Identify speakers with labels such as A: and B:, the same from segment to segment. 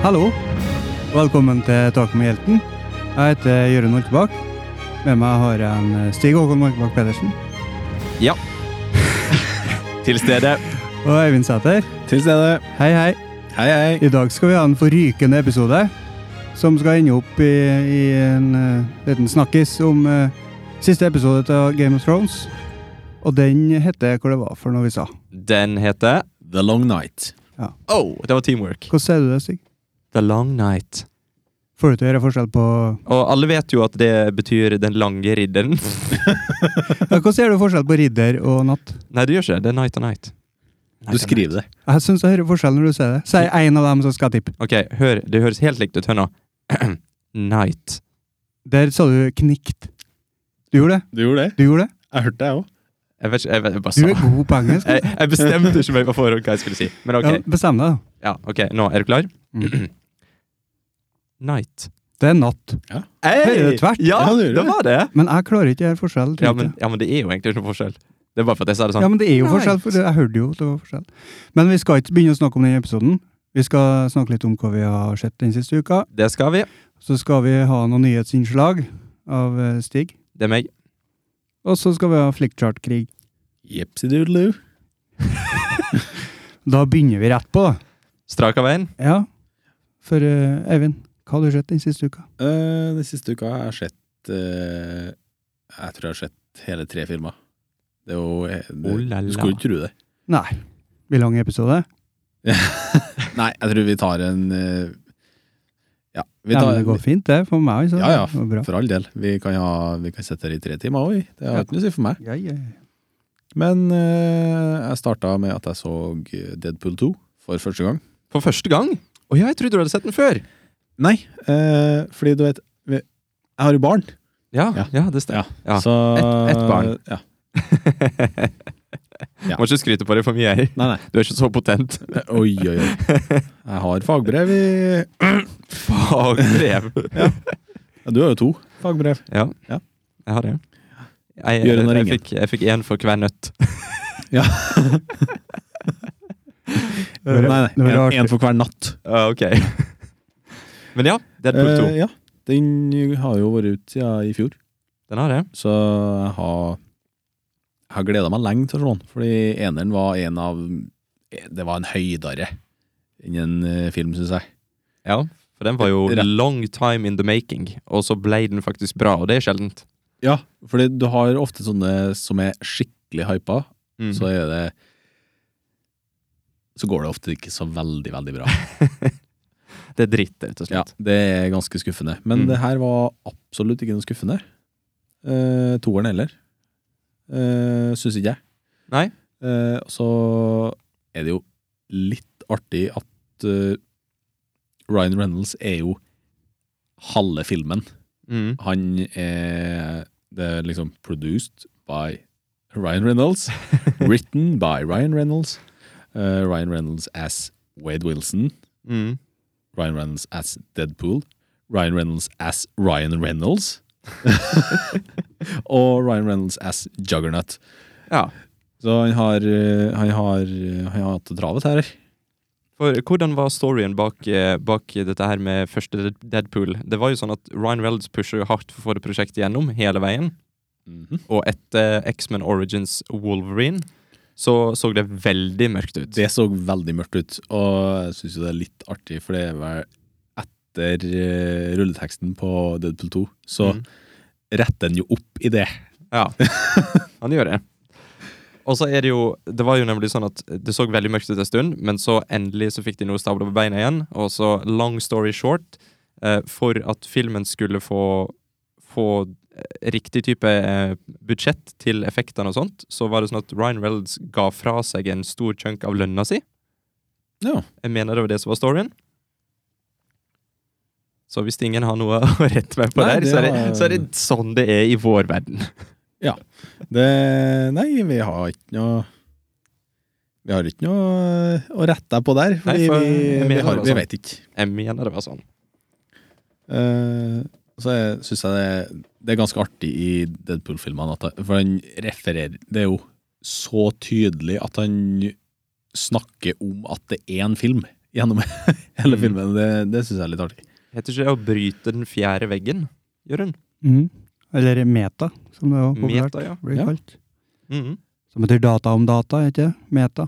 A: Hallo. Velkommen til Tak med hjelten. Jeg heter Jørund Orkebakk. Med meg har jeg en eh, Stig Håkon Orkebakk Pedersen
B: Ja. Til stede.
A: og Eivind Sæther.
B: Til stede.
A: Hei, hei.
B: Hei, hei.
A: I dag skal vi ha en forrykende episode som skal ende opp i, i en eh, liten snakkis om eh, siste episode av Game of Thrones. Og den heter hva det var for noe vi sa.
B: Den heter
C: The Long Night.
B: Oh, det var teamwork.
A: Hvordan sier du det, Stig?
B: The Long Night.
A: Får du til å gjøre forskjell på
B: Og alle vet jo at det betyr Den lange ridderen.
A: ja, Hvordan gjør du forskjell på ridder og natt?
B: Nei, det gjør ikke det. Det er Night and Night.
C: Du skriver det.
A: Jeg syns jeg hører forskjell når du sier det. Sier en av dem som skal tippe.
B: Ok, hør. Det høres helt likt ut. Hør nå. Night.
A: Der sa du knikt. Du gjorde det.
C: Du gjorde det?
A: Du gjorde det.
C: Jeg hørte det, jeg òg.
B: Jeg vet ikke, jeg, vet, jeg bare
A: Du er
B: sa
A: god på engelsk.
B: jeg, jeg bestemte ikke meg på forhånd hva jeg skulle si. Men ok,
A: Ja, bestem deg, da.
B: ja, ok, nå er du klar?
A: Mm.
B: Night.
A: Det er natt. Hører du tvert?
B: Ja,
C: Ja, du gjør
B: det
C: det.
B: var det!
A: Men jeg klarer ikke å gjøre forskjell. tror
B: Ja
A: jeg.
B: men, ja, men det er jo egentlig ikke noe forskjell. Det er bare for at jeg sa det sånn.
A: ja, men det er jo
B: Right.
A: forskjell. For det- jeg hørte jo at det var forskjell. Men vi skal ikke begynne å snakke om den episoden. Vi skal snakke litt om hva vi har sett den siste uka.
B: Det skal vi.
A: Så skal vi ha noen nyhetsinnslag av eh, Stig.
B: Det er meg.
A: Og så skal vi ha flickchart-krig.
C: Jepsidoodaloo.
A: Da begynner vi rett på, da.
B: Straka veien.
A: Ja. For eh, Eivind, hva har du sett den siste uka?
C: Eh, den siste uka har jeg sett eh, Jeg tror jeg har sett hele tre filmer. Det er jo eh, det,
B: Oh la
C: Du
B: la.
C: skulle jo ikke tro det.
A: Nei. Blir lang episode.
C: Nei, jeg tror vi tar en eh, Ja, vi
A: Ja,
C: tar
A: men det går fint, det. For meg, så.
C: Ja, ja,
A: Det var bra.
C: for all del. Vi kan, ha, vi kan sitte her i tre timer òg, det har
A: Ja.
C: ikke noe å si for meg.
A: Ja, ja, ja.
C: Men eh, jeg starta med at jeg så Deadpool 2 for første gang.
B: For første gang? Å ja, jeg trodde du hadde sett den før.
C: Nei, eh, fordi du vet vi- Jeg har jo barn.
B: Ja, ja,
C: Ja.
B: det stemmer. Ja.
C: Så,
B: Et- ett barn.
C: Ja. Ja.
B: Må ikke skryte på det for mye. jeg.
C: Nei, nei.
B: Du er ikke så potent.
C: Oi, oi, oi. Jeg har fagbrev i
B: Fagbrev.
C: ja, Du har jo to fagbrev.
B: Ja.
C: Ja.
B: Jeg har det. Jeg, jeg,
C: Gjør den
B: jeg,
C: ringen.
B: fikk, jeg fikk én for hver nøtt.
A: var- det var rart.
C: en for hver natt.
B: Ah, ok. Men ja, Deadpool 2.
C: Eh, ja. Den har jo vært ute siden i fjor,
B: Den har det.
C: så jeg har, jeg har gleda meg lenge til sånn, fordi eneren var en av Det var en høydere enn en eh, film, syns jeg.
B: Ja, for den var jo
C: Rett.
B: long time in the making, og så ble den faktisk bra, og det er sjeldent.
C: Ja, fordi du har ofte sånne som er skikkelig hypa,
B: Mhm.
C: så er det Så går det ofte ikke så veldig, veldig bra.
B: Det er dritt, rett og
C: Ja,
B: slett.
C: det er ganske skuffende. Men
B: Mm.
C: det her var absolutt ikke noe skuffende. Eh, toeren heller. Eh, Syns ikke jeg.
B: Nei?
C: Eh, så er det jo litt artig at eh, Ryan Reynolds er jo halve filmen.
B: Mm.
C: Han er Det er liksom produced by Ryan Reynolds. Written by Ryan Reynolds. Eh, Ryan Reynolds as Wade Wilson.
B: Mm.
C: Ryan Reynolds as Deadpool, Ryan Reynolds as Ryan Reynolds, og Ryan Reynolds as Juggernaut.
B: Ja.
C: Så han har, eh, han har, eh, han har hatt det travet her.
B: For hvordan var storyen bak, eh, bak dette her med første Dead- Deadpool? Det var jo sånn at Ryan Reynolds pusher jo hardt for å få det prosjektet gjennom hele veien. Og etter X-Men Origins Wolverine så så det veldig mørkt ut.
C: Det så veldig mørkt ut, og jeg syns jo det er litt artig, for det er vel etter eh, rulleteksten på Deadpool 2, så
B: Mm.
C: retter han jo opp i det.
B: Ja, han gjør det. Og så er det jo Det var jo nemlig sånn at det så veldig mørkt ut en stund, men så endelig så fikk de noe stabla på beina igjen. Og så, long story short, eh, for at filmen skulle få, få eh, riktig type eh, budsjett til effektene og sånt, så var det sånn at Ryan Reynolds ga fra seg en stor chunk av lønna si.
C: Ja.
B: Jeg mener det var det som var storyen. Så hvis ingen har noe å rette meg på
C: Nei,
B: der,
C: det
B: så er, det,
C: var-
B: så er det sånn det er i vår verden.
C: Det Nei, vi har ikke noe Vi har ikke noe eh, å rette deg på der,
B: Nei,
C: fordi
B: for jeg
C: vi, vi,
B: mener
C: har,
B: det
C: vi
B: var
C: vet ikke.
B: Jeg mener det var sånn.
C: Eh, så jeg syns jeg det, det er ganske artig i Deadpool-filmene, at han- for han refererer Det er jo så tydelig at han snakker om at det er en film gjennom hele
B: Mm.
C: filmen. Det, det syns jeg er litt artig.
B: Heter ikke det å bryte den fjerde veggen, Jørund?
A: Mhm. Eller meta, som det var populært
B: Meta, ja.
A: blir
C: Ja.
A: kalt.
B: Mhm.
A: Som betyr data om data, ikke det? Meta.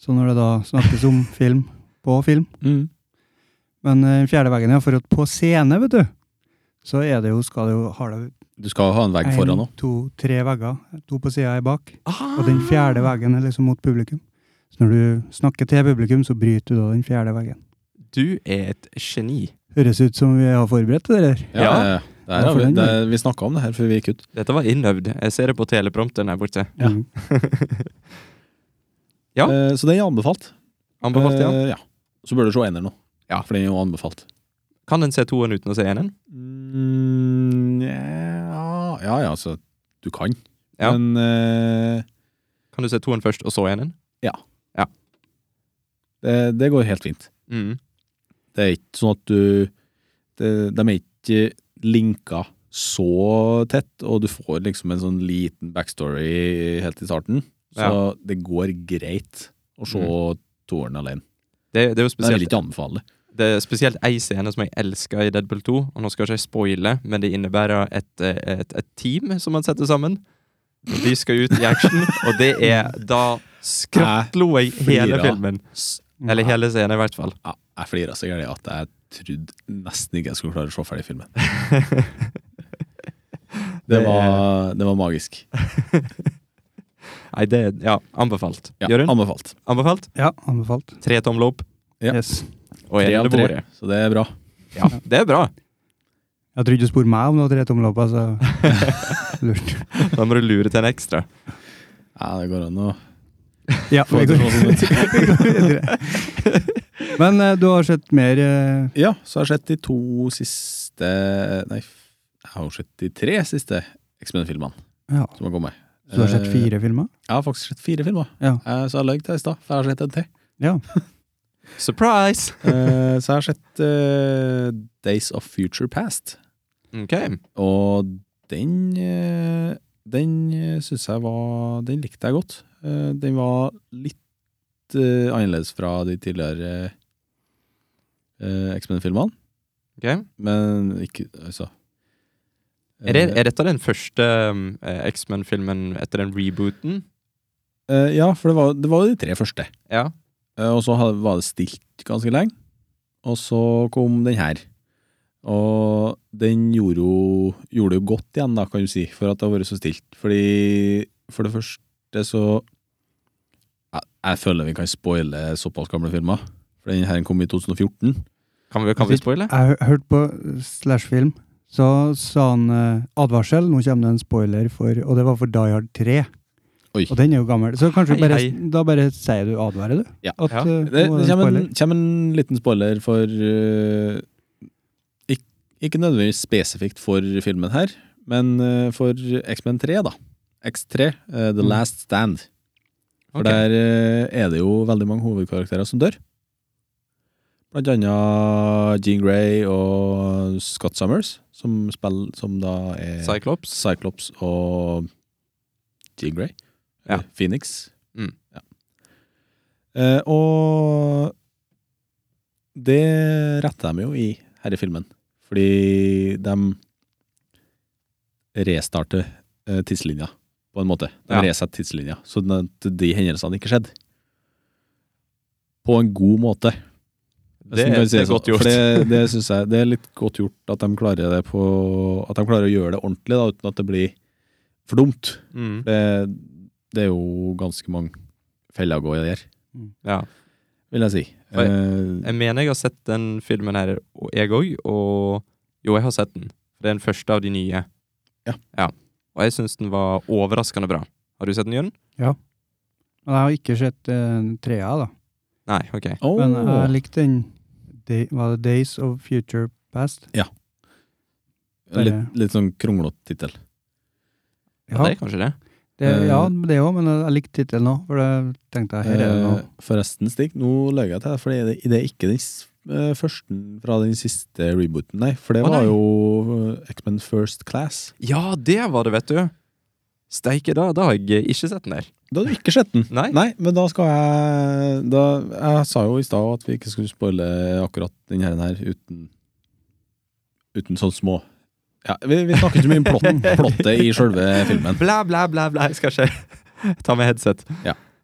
A: Så når det da snakkes om film på film
B: Mm.
A: Men eh, den fjerde veggen, ja, for at på scene, vet du, så er det jo, skal det jo ha det
C: Du skal ha en vegg foran òg.
A: to, tre vegger. To på sida er bak.
B: Ah!
A: Og den fjerde veggen er liksom mot publikum. Så når du snakker til publikum, så bryter du da den fjerde veggen.
B: Du er et geni.
A: Høres ut som vi har forberedt det der.
C: Ja, ja. ja. Det her
A: Ja,
C: har
A: for
C: vi
A: den,
C: det, vi snakka om det her før vi gikk ut.
B: Dette var innøvd. Jeg ser det på teleprompteren her borte.
A: Ja.
B: Ja.
C: Eh, så den er anbefalt.
B: Anbefalt, ja.
C: Eh, ja. Så bør du se eneren nå.
B: Ja.
C: For den er jo anbefalt.
B: Kan en se toen uten å se eneren?
C: Mm, ja, ja, ja, altså Du kan.
B: Ja.
C: Men eh,
B: Kan du se toen først, og så eneren?
C: det, det går helt fint.
B: Mhm.
C: Det er ikke sånn at du det, De er ikke linka så tett, og du får liksom en sånn liten backstory helt i starten. Så
B: Ja.
C: det går greit å se toeren alene.
B: Det, det er jo
C: Men jeg vil
B: spesielt
C: ikke anbefale det.
B: Det er spesielt ei scene som jeg elsker i Deadpool 2, og nå skal ikke jeg spoile, men det innebærer et, eh, et, et team som man setter sammen. De skal ut i action, og det er da skrattlo jeg hele
C: Flirer.
B: filmen. Eller hele scenen, i hvert fall.
C: Ja, jeg flira så gærent at jeg trodde nesten ikke jeg skulle klare å se ferdig filmen.
B: Det
C: Det var, det var magisk.
B: Nei, det er Ja, anbefalt.
C: Ja,
B: Jørund?
C: anbefalt.
B: Anbefalt?
A: Ja, anbefalt.
B: Tre tommel opp.
C: Ja.
A: Yes.
B: Og
C: Tre
B: en
C: av
B: på
C: tre,
B: bordet.
C: så det er bra.
B: Ja, det er bra.
A: Jeg trodde du spurte meg om noe tre tommel opp, altså. Lurt.
B: Da må du lure til en ekstra.
C: Ja, det går an å
A: Ja,
C: få
A: vi
C: det
A: går
C: til å se sånn ut.
A: videre. Men eh, du har sett mer eh,
C: Ja, så har jeg sett de to siste Nei, f- jeg har jo sett de tre siste X-Men-filmene
A: Ja,
C: som har kommet.
A: så du har sett
C: Eh,
A: fire filmer?
C: Jeg har faktisk sett fire filmer.
A: Ja.
C: Eh, Så jeg løy til i stad, for jeg har sett en til.
A: Ja.
B: Surprise!
C: Eh, Så jeg har sett eh, Days of Future Past,
B: OK.
C: og den eh, Den syns jeg var Den likte jeg godt. Eh, Den var litt eh, annerledes fra de tidligere eh, X-Men-filmene,
B: ok.
C: men ikke Altså
B: Er, det,
C: Eh,
B: er dette den første um, eh, X-Men-filmen etter den rebooten?
C: Eh, ja, for det var, det var jo de tre første.
B: Ja.
C: Eh, og så hadde, var det stilt ganske lenge. Og så kom den her. Og den gjorde jo gjorde det jo godt igjen, da, kan du si, for at det har vært så stilt. Fordi for det første så Jeg, jeg føler vi kan spoile såpass gamle filmer. For den her kom i 2014.
B: Kan vi, kan vi spoile?
A: Jeg hø- hørte på Slashfilm, så sa han eh, advarsel, nå kommer det en spoiler for Og det var for Die Hard 3.
C: Oi.
A: Og den er jo gammel, så kanskje
B: Hei,
A: bare,
B: hei.
A: da bare sier du advarer, du?
C: Ja.
A: At,
B: Ja.
A: eh, nå
C: Det,
A: er
C: det
A: en
C: kommer,
A: spoiler.
C: en, kommer en liten spoiler for eh, ikk- Ikke nødvendigvis spesifikt for filmen her, men eh, for X-Men 3, da. X3, eh, The
A: Mm.
C: Last Stand. For
B: Ok.
C: der eh, er det jo veldig mange hovedkarakterer som dør. Blant annet Jean Grey og Scott Summers, som, spiller, som da er
B: Cyclops?
C: Cyclops og Jean Grey.
B: Ja.
C: Eller Phoenix.
B: Mm.
C: Ja. Eh, og det retter de jo i her i filmen. Fordi de restarter eh, tidslinja, på en måte. De
B: Ja.
C: resetter tidslinja, så den- at de hendelsene ikke skjedde. På en god måte.
B: Det,
C: Hvis man
B: er-
C: kan si
B: det er
C: sånn.
B: godt gjort.
C: For det, det synes jeg det er litt godt gjort at de klarer det på At de klarer å gjøre det ordentlig, da, uten at det blir for dumt.
B: Mm.
C: Det, det er jo ganske mange feller å gå i der,
B: Ja.
C: vil jeg si.
B: Oi.
C: Eh,
B: Jeg mener jeg har sett den filmen her, og jeg òg, og Jo, jeg har sett den. Det er den første av de nye.
C: Ja.
B: Og jeg syns den var overraskende bra. Har du sett den, Jørn?
A: Men jeg har ikke sett uh, trea, da.
B: Nei, OK.
C: åh,
A: Men jeg likte den Day, Var det Days of Future Past?
C: litt, litt sånn kronglete tittel.
B: Ja. Det er kanskje det.
A: det,
C: Eh,
A: ja det òg, men jeg likte tittelen òg, for det tenkte jeg her er det noe.
C: Eh, forresten, Stig, nå løy jeg til deg, for det, er- det er ikke den s- eh, første fra den siste rebooten, nei. For det
B: Å,
C: var
B: nei.
C: jo eh, X-Men First Class.
B: Ja, det var det, vet du! Steike, da, da har jeg ikke sett den der.
C: Da har du ikke sett den.
B: Nei.
C: Nei, men da skal jeg da, Jeg sa jo i stad at vi ikke skulle spoile akkurat den her, den her uten Uten sånne små ja, vi, vi snakker ikke mye om plotten, plottet i sjølve filmen.
B: Blæ, blæ, blæ, blæ. Jeg skal ikke ta med headset.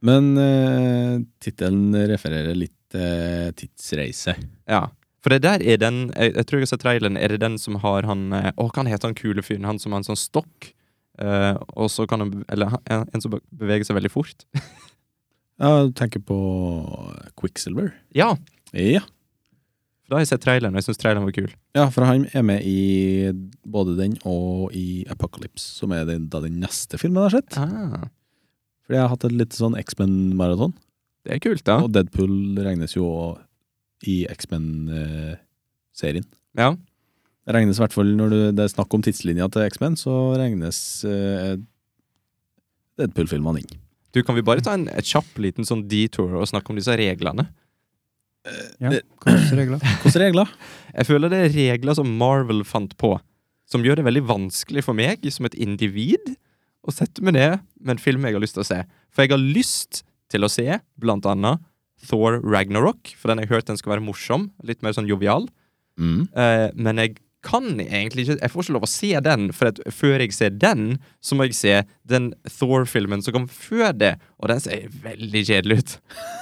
C: Men uh, tittelen refererer litt til tidsreise.
B: Ja. For det der er den Jeg, jeg tror jeg har sett traileren. Er det den som har han eh, Å, hva han heter han kule fyren? Han som har en sånn stokk? eh, og så kan han be- Eller han- en, en som be- beveger seg veldig fort?
C: Ja, du tenker på Quicksilver?
B: Ja!
C: Ja.
B: Da har jeg sett traileren, og jeg syns traileren var kul.
C: ja, for han er med i både den og i Apocalypse, som er den, da den neste filmen jeg har sett.
B: Ah,
C: Fordi jeg har hatt et litt sånn X-Men-maraton.
B: det er kult, da.
C: Og Deadpool regnes jo i X-Men-serien.
B: Ja.
C: Det regnes i hvert fall når du- det er snakk om tidslinja til X-Men, så regnes eh, Deadpool-filmene inn.
B: Du, kan vi bare ta en et kjapp liten sånn detour og snakke om disse reglene?
A: Ja.
C: det-
A: Hvordan regler?
C: Hvilke regler?
B: Jeg føler det er regler som Marvel fant på, som gjør det veldig vanskelig for meg som et individ å sette meg ned med en film jeg har lyst til å se. For jeg har lyst til å se blant annet Thor Ragnarok, for den jeg har hørt den skal være morsom, litt mer sånn jovial.
C: Mm.
B: Eh, men jeg kan egentlig ikke Jeg får ikke lov å se den, for at før jeg ser den, så må jeg se den Thor-filmen som kom før det, og den ser veldig kjedelig ut.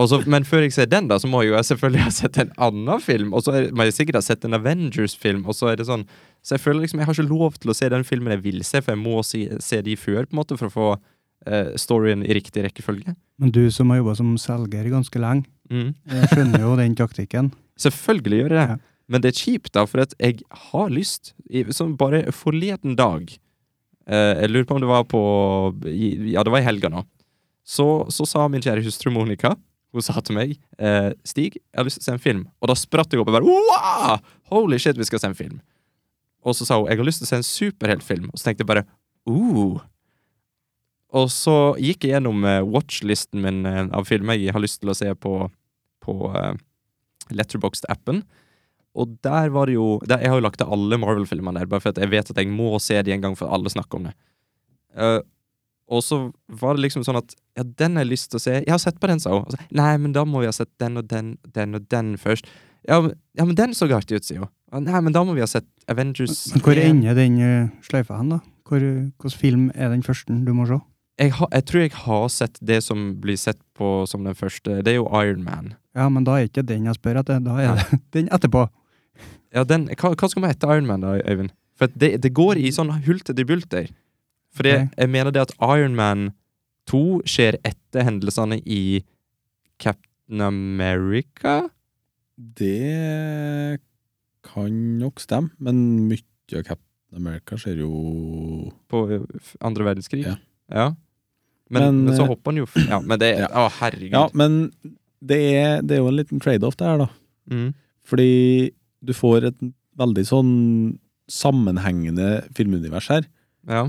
B: Og så- men før jeg ser den, da, så må jeg jo selvfølgelig ha sett en annen film, og så er- må jeg sikkert ha sett en Avengers-film, og så er det sånn Så jeg føler liksom jeg har ikke lov til å se den filmen jeg vil se, for jeg må si, se de før, på en måte, for å få eh, storyen i riktig rekkefølge.
A: Men du som har jobba som selger ganske lenge,
B: Mm.
A: jeg skjønner jo den taktikken.
B: Selvfølgelig gjør jeg det.
A: Ja.
B: Men det er kjipt, da, for at jeg har lyst i- Som bare forleden dag eh, Jeg lurer på om det var på i- Ja, det var i helga nå. Så, så sa min kjære hustru Monica Hun sa til meg eh, Stig, jeg har lyst til å se en film. Og da spratt jeg opp og bare wow! Holy shit, vi skal se en film. Og så sa hun jeg har lyst til å se en superheltfilm. Og så tenkte jeg bare uh. Og så gikk jeg gjennom eh, watchlisten min eh, av filmer jeg har lyst til å se på, på eh, Letterboxd-appen. Og der var det jo der, Jeg har jo lagt til alle Marvel-filmene der, bare for at jeg vet at jeg må se de en gang, for alle snakker om det. Eh, og så var det liksom sånn at Ja, den har jeg lyst til å se. Jeg har sett på den, sa hun. Og så, Nei, men da må vi ha sett den og den den og den først. Ja, men, ja, men den så artig ut, sier hun. «Ja, Nei, men da må vi ha sett Avengers
A: Men hvor
B: 1.»
A: ender den eh, sløyfa hen, da? Hvor, hvilken film er den første du må se?
B: jeg, har- jeg tror jeg har sett det som blir sett på som den første. Det er jo Iron Man.
A: Ja, men da er ikke den jeg spør etter, da er det den etterpå.
B: Ja, den, hva, hva skal man hete Iron Man, da, Øyvind? For at det, det går i sånn hulter til bulter. For det,
A: Ok.
B: jeg mener det at Iron Man 2 skjer etter hendelsene i Captain America.
C: Det kan nok stemme, men mye av Captain America skjer jo
B: På ø, f- andre verdenskrig.
C: Ja.
B: Ja. Men,
C: Men,
B: men
C: eh,
B: så hopper han jo f- Ja, men det
C: ja.
B: Å, herregud.
C: Ja, men det er, det er jo en liten trade-off, det her, da.
B: Mm.
C: Fordi du får et veldig sånn sammenhengende filmunivers her.
B: ja.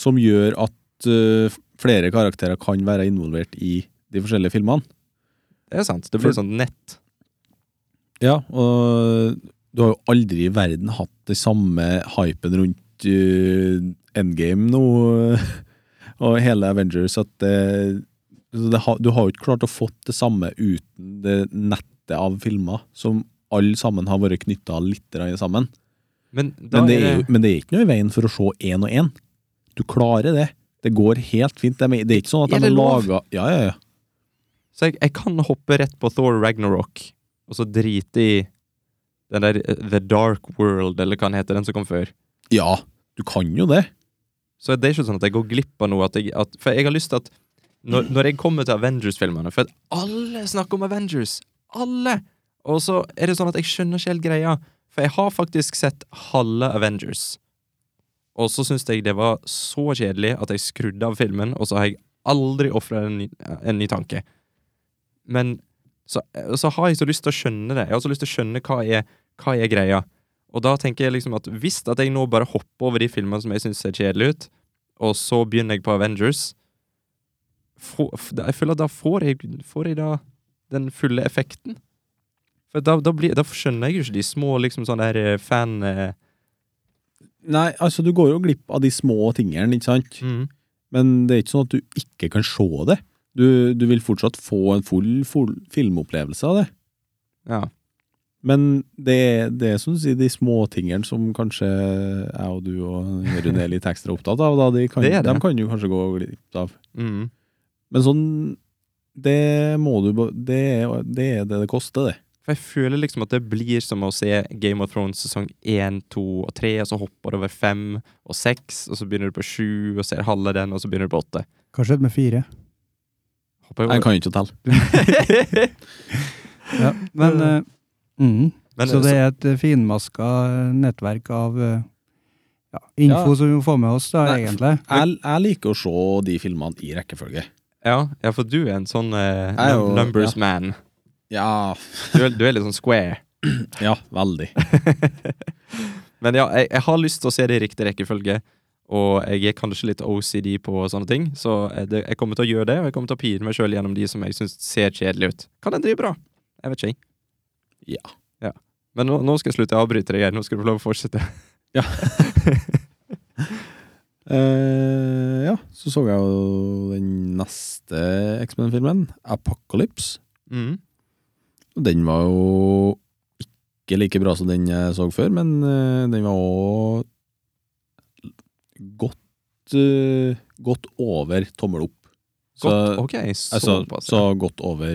C: som gjør at eh, flere karakterer kan være involvert i de forskjellige filmene.
B: Det er sant. Det blir
C: For-
B: sånn nett.
C: Ja, og du har jo aldri i verden hatt det samme hypen rundt eh, Endgame nå, og hele Avengers, at det, så det, har- du har jo ikke klart å fått det samme uten det nettet av filmer som alle sammen har vært knytta litt grann sammen.
B: Men, da
C: Men det,
B: er
C: er jo, men det er ikke noe i veien for å se én og én. Du klarer det. Det går helt fint. Det er, det er ikke sånn at
B: Er det
C: de har
B: lov?
C: laga Ja, ja, ja.
B: Så jeg, jeg kan hoppe rett på Thor Ragnarok, og så drite i den der eh, The Dark World, eller hva den heter, den som kom før.
C: Ja, du kan jo det.
B: Så det er ikke sånn at jeg går glipp av noe. At jeg, at, for jeg har lyst til at når, når jeg kommer til Avengers-filmene For at alle snakker om Avengers! Alle! Og så er det sånn at jeg skjønner ikke helt greia. For jeg har faktisk sett halve Avengers. Og så syns jeg det var så kjedelig at jeg skrudde av filmen, og så har jeg aldri ofra en, ny- en ny tanke. Men så, så har jeg så lyst til å skjønne det. Jeg har så lyst til å skjønne hva er, hva er greia. Og da tenker jeg liksom at hvis at jeg nå bare hopper over de filmene som jeg syns ser kjedelige ut, og så begynner jeg på Avengers få- f- da- Jeg føler at da får jeg, får jeg da den fulle effekten. For da, da, blir, da skjønner jeg jo ikke de små liksom sånne der eh, fan... eh,
C: Nei, altså du går jo glipp av de små tingene, ikke sant?
B: Mm.
C: Men det er ikke sånn at du ikke kan se det. Du, du vil fortsatt få en full, full filmopplevelse av det.
B: Ja.
C: Men det, er- det er som du sier, de småtingene som kanskje jeg og du og Jørund er litt ekstra opptatt av, da, de kan,
B: Det er det.
C: dem kan du kanskje gå glipp av.
B: Mm.
C: Men sånn, det må du, ba- det er det er det, det koster, det.
B: For jeg føler liksom at det blir som å se Game of Thrones sesong 1, 2 og 3, og så hopper det over 5 og 6, og så begynner du på 7 og ser halve den, og så begynner du på 8.
A: Hva skjedde med fire?
B: Hopper
C: Jeg
B: over.
C: kan jo ikke telle.
A: Ja, men eh, mm.
B: Men,
A: Så det er et eh, finmaska eh, nettverk av eh, ja, info
C: Ja.
A: som vi må få med oss, da,
C: Nei.
A: egentlig.
C: Jeg, jeg liker å se de filmene i rekkefølge.
B: ja, ja, for du er en sånn eh,
C: Jeg er jo-
B: numbers man.
C: Ja,
B: Du er, du er litt sånn square.
C: ja, veldig.
B: Men ja, jeg, jeg har lyst til å se det i riktig rekkefølge. Og jeg er kanskje litt OCD på sånne ting, så eh, det, jeg kommer til å gjøre det. Og jeg kommer til å pine meg sjøl gjennom de som jeg syns ser kjedelige ut. Kan den drive bra? Jeg vet ikke, jeg.
C: Ja.
B: Men nå, nå skal jeg slutte å avbryte deg igjen. Nå skal du få lov å fortsette.
C: Eh, ja, så så jeg jo den neste X-Men-filmen, Apocalypse.
B: Mm.
C: Og Den var jo ikke like bra som den jeg så før, men eh, den var òg godt, eh, godt over tommel opp. Så,
B: Godt. ok, såpass.
C: altså, så godt over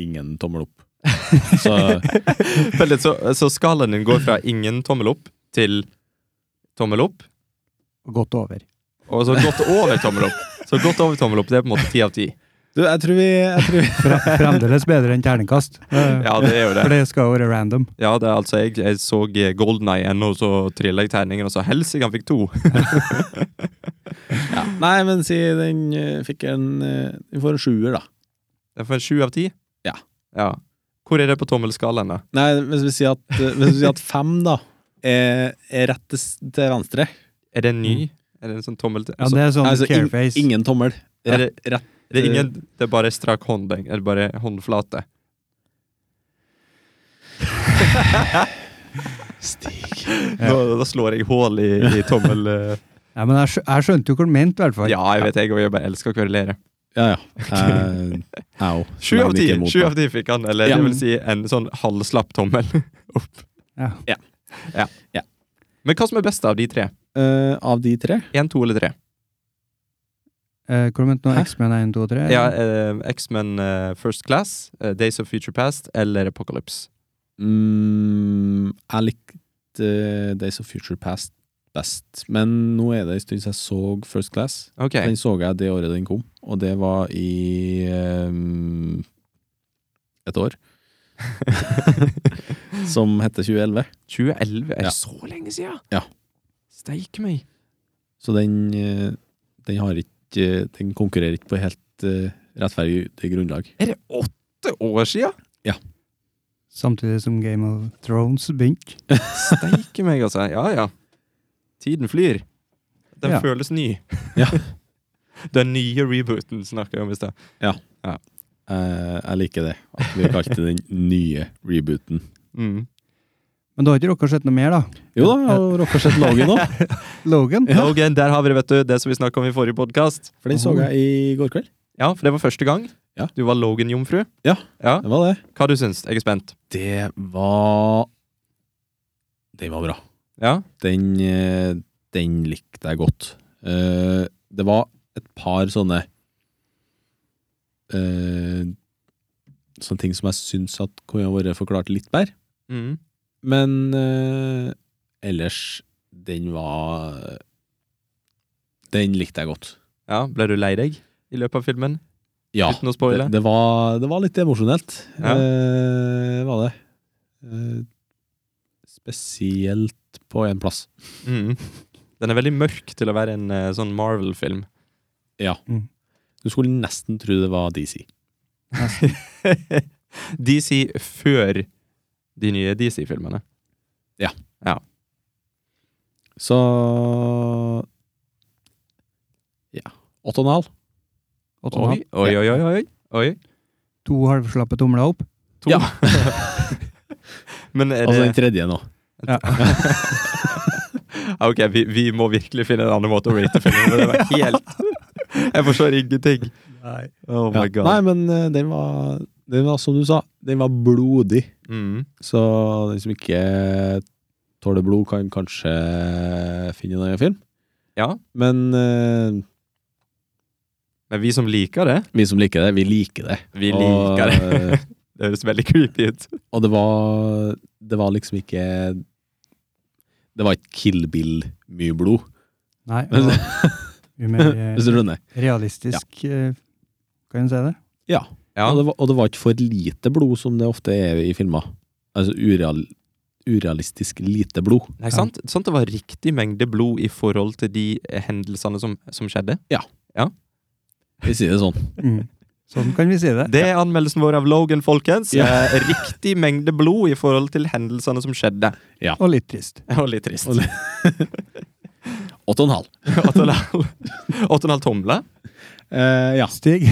C: ingen tommel opp. så
B: Vent litt, så, så skalaen din går fra ingen tommel opp til tommel opp,
A: Godt over.
B: og så godt over tommel opp. Så godt over tommel opp, det er på en måte ti av ti.
C: du, jeg tror vi, jeg tror vi
A: Fre- Fremdeles bedre enn terningkast. Eh,
B: Ja, det er jo det.
A: For det skal jo være random.
B: Ja, det er altså, jeg, jeg så Golden Eye igjen, og så trilla jeg terningen, og så helsike, han fikk to.
C: ja. Nei, men si den eh, fikk en eh, Den får en sjuer, da.
B: Det er for en sju av ti.
C: Ja.
B: ja. Hvor er det på tommelskalaen, da?
C: Nei, hvis vi sier at, hvis vi sier at fem, da, er, er rett til, s- til venstre
B: Er det en ny? Er det en sånn tommel...
A: Ja, det er sånn
C: Altså, ing-
A: careface.
C: Ingen tommel.
B: Er det-
C: Rett, rett.
B: det er ingen Det er bare strak hånd, det- eller bare håndflate.
C: Stig.
B: Nå, da slår jeg hull i, i tommel... eh.
A: Ja, men jeg, skjø- jeg skjønte jo hva du mente, i hvert fall.
B: Ja, jeg vet jeg, og jeg bare elsker å kverulere.
C: Ja, ja. Jeg jeg òg.
B: Sju av ti! Sju av ti fikk han, eller
C: Ja.
B: det vil si en sånn halvslapp tommel opp.
A: Ja.
B: Ja. Ja.
C: Ja.
B: Men hva som er best av de tre?
C: Eh, av de tre?
B: Én, to eller tre?
A: Eh, Hva du mente nå?
C: Hæ?
A: X-Men 1, 2, 3?
B: Ja, eh, X-Men eh, First Class, eh, Days of Future Past eller Apocalypse.
C: Mm, jeg likte eh, Days of Future Past best, men nå er det en stund siden jeg så First Class.
B: Ok,
C: Den så jeg det året den kom, og det var i eh, et år. Som heter 2011.
B: 2011 er
C: Ja.
B: så lenge siden!
C: Ja.
B: Steike meg!
C: Så den, eh, den har ikke eh, Den konkurrerer ikke på helt eh, rettferdig grunnlag.
B: Er det åtte år siden?
A: Samtidig som Game of Thrones begynte.
B: Steike meg, altså. Ja ja. Tiden flyr. Den
A: Ja.
B: føles ny.
C: Ja.
B: Den nye rebooten snakka jeg om i stad.
C: Eh, jeg liker det. At vi kalte den nye rebooten.
B: Mm.
A: Men da har ikke dere sett noe mer, da?
C: Jo da, jeg har rocka sett Logan nå.
A: Logan?
B: Ja. Logan, der har vi det, vet du. Det som vi snakka om i forrige podkast.
C: For den så jeg i går kveld.
B: Ja, for det var første gang.
C: Ja.
B: Du var Logan-jomfru.
C: Ja.
B: ja.
C: Det var det.
B: Hva du syns? Jeg er spent.
C: Det var Den var bra.
B: Ja.
C: Den, eh, den likte jeg godt. Eh, det var et par sånne eh, Sånne ting som jeg syns at kunne ha vært forklart litt bedre.
B: Mm.
C: Men eh, ellers, den var Den likte jeg godt.
B: ja. Ble du lei deg i løpet av filmen?
C: Ja.
B: Uten å
C: Det,
B: spoile?
C: det, var, det var litt emosjonelt,
B: Ja.
C: eh, var det. Eh, spesielt på én plass.
B: Mm. Den er veldig mørk til å være en eh, sånn Marvel-film.
C: Du skulle nesten tro det var DC.
B: DC før de nye DC-filmene.
C: Så Ja. Åtte og en halv.
A: Åtte og en
B: Oi,
A: halv.
B: oi, oi, oi. oi. oi.
A: To halvslappe tomler opp?
B: To.
C: Ja.
B: Men er
C: Altså
B: det
C: den tredje nå.
B: Ok, vi, vi må virkelig finne en annen måte å rate filmen på. Det var helt Jeg forstår ingenting.
A: Nei.
B: Oh my god.
C: Nei, men eh, den var, den var, som du sa, den var blodig.
B: Mm.
C: Så den som ikke tåler blod, kan kanskje finne en annen film.
B: Ja,
C: Men eh,
B: men vi som liker det,
C: vi som liker det, vi liker det.
B: vi liker det.
C: det.
B: Det høres veldig creepy ut.
C: Og det var, det var liksom ikke Det var ikke Kill Bill-mye blod,
A: Nei, og
B: Altså-
A: mye mer
C: hvis du
A: eh,
C: skjønner.
A: realistisk, eh, kan en si det?
C: Ja.
B: Ja.
C: Og, det var, og det var ikke for lite blod, som det ofte er i filmer. Altså ureal, urealistisk lite blod.
B: Nei, sant? sant? Det var riktig mengde blod i forhold til de eh, hendelsene som, som skjedde.
C: Vi sier det sånn.
A: Mm. Sånn kan vi si det.
B: Det er anmeldelsen vår av Logan, folkens.
C: Ja.
B: Eh, Riktig mengde blod i forhold til hendelsene som skjedde.
A: Og litt trist.
B: Og litt trist.
C: Og litt- Åtte og en halv.
B: Åtte og en halv- åtte og en halv tomle.
C: Eh, ja.
A: Stig,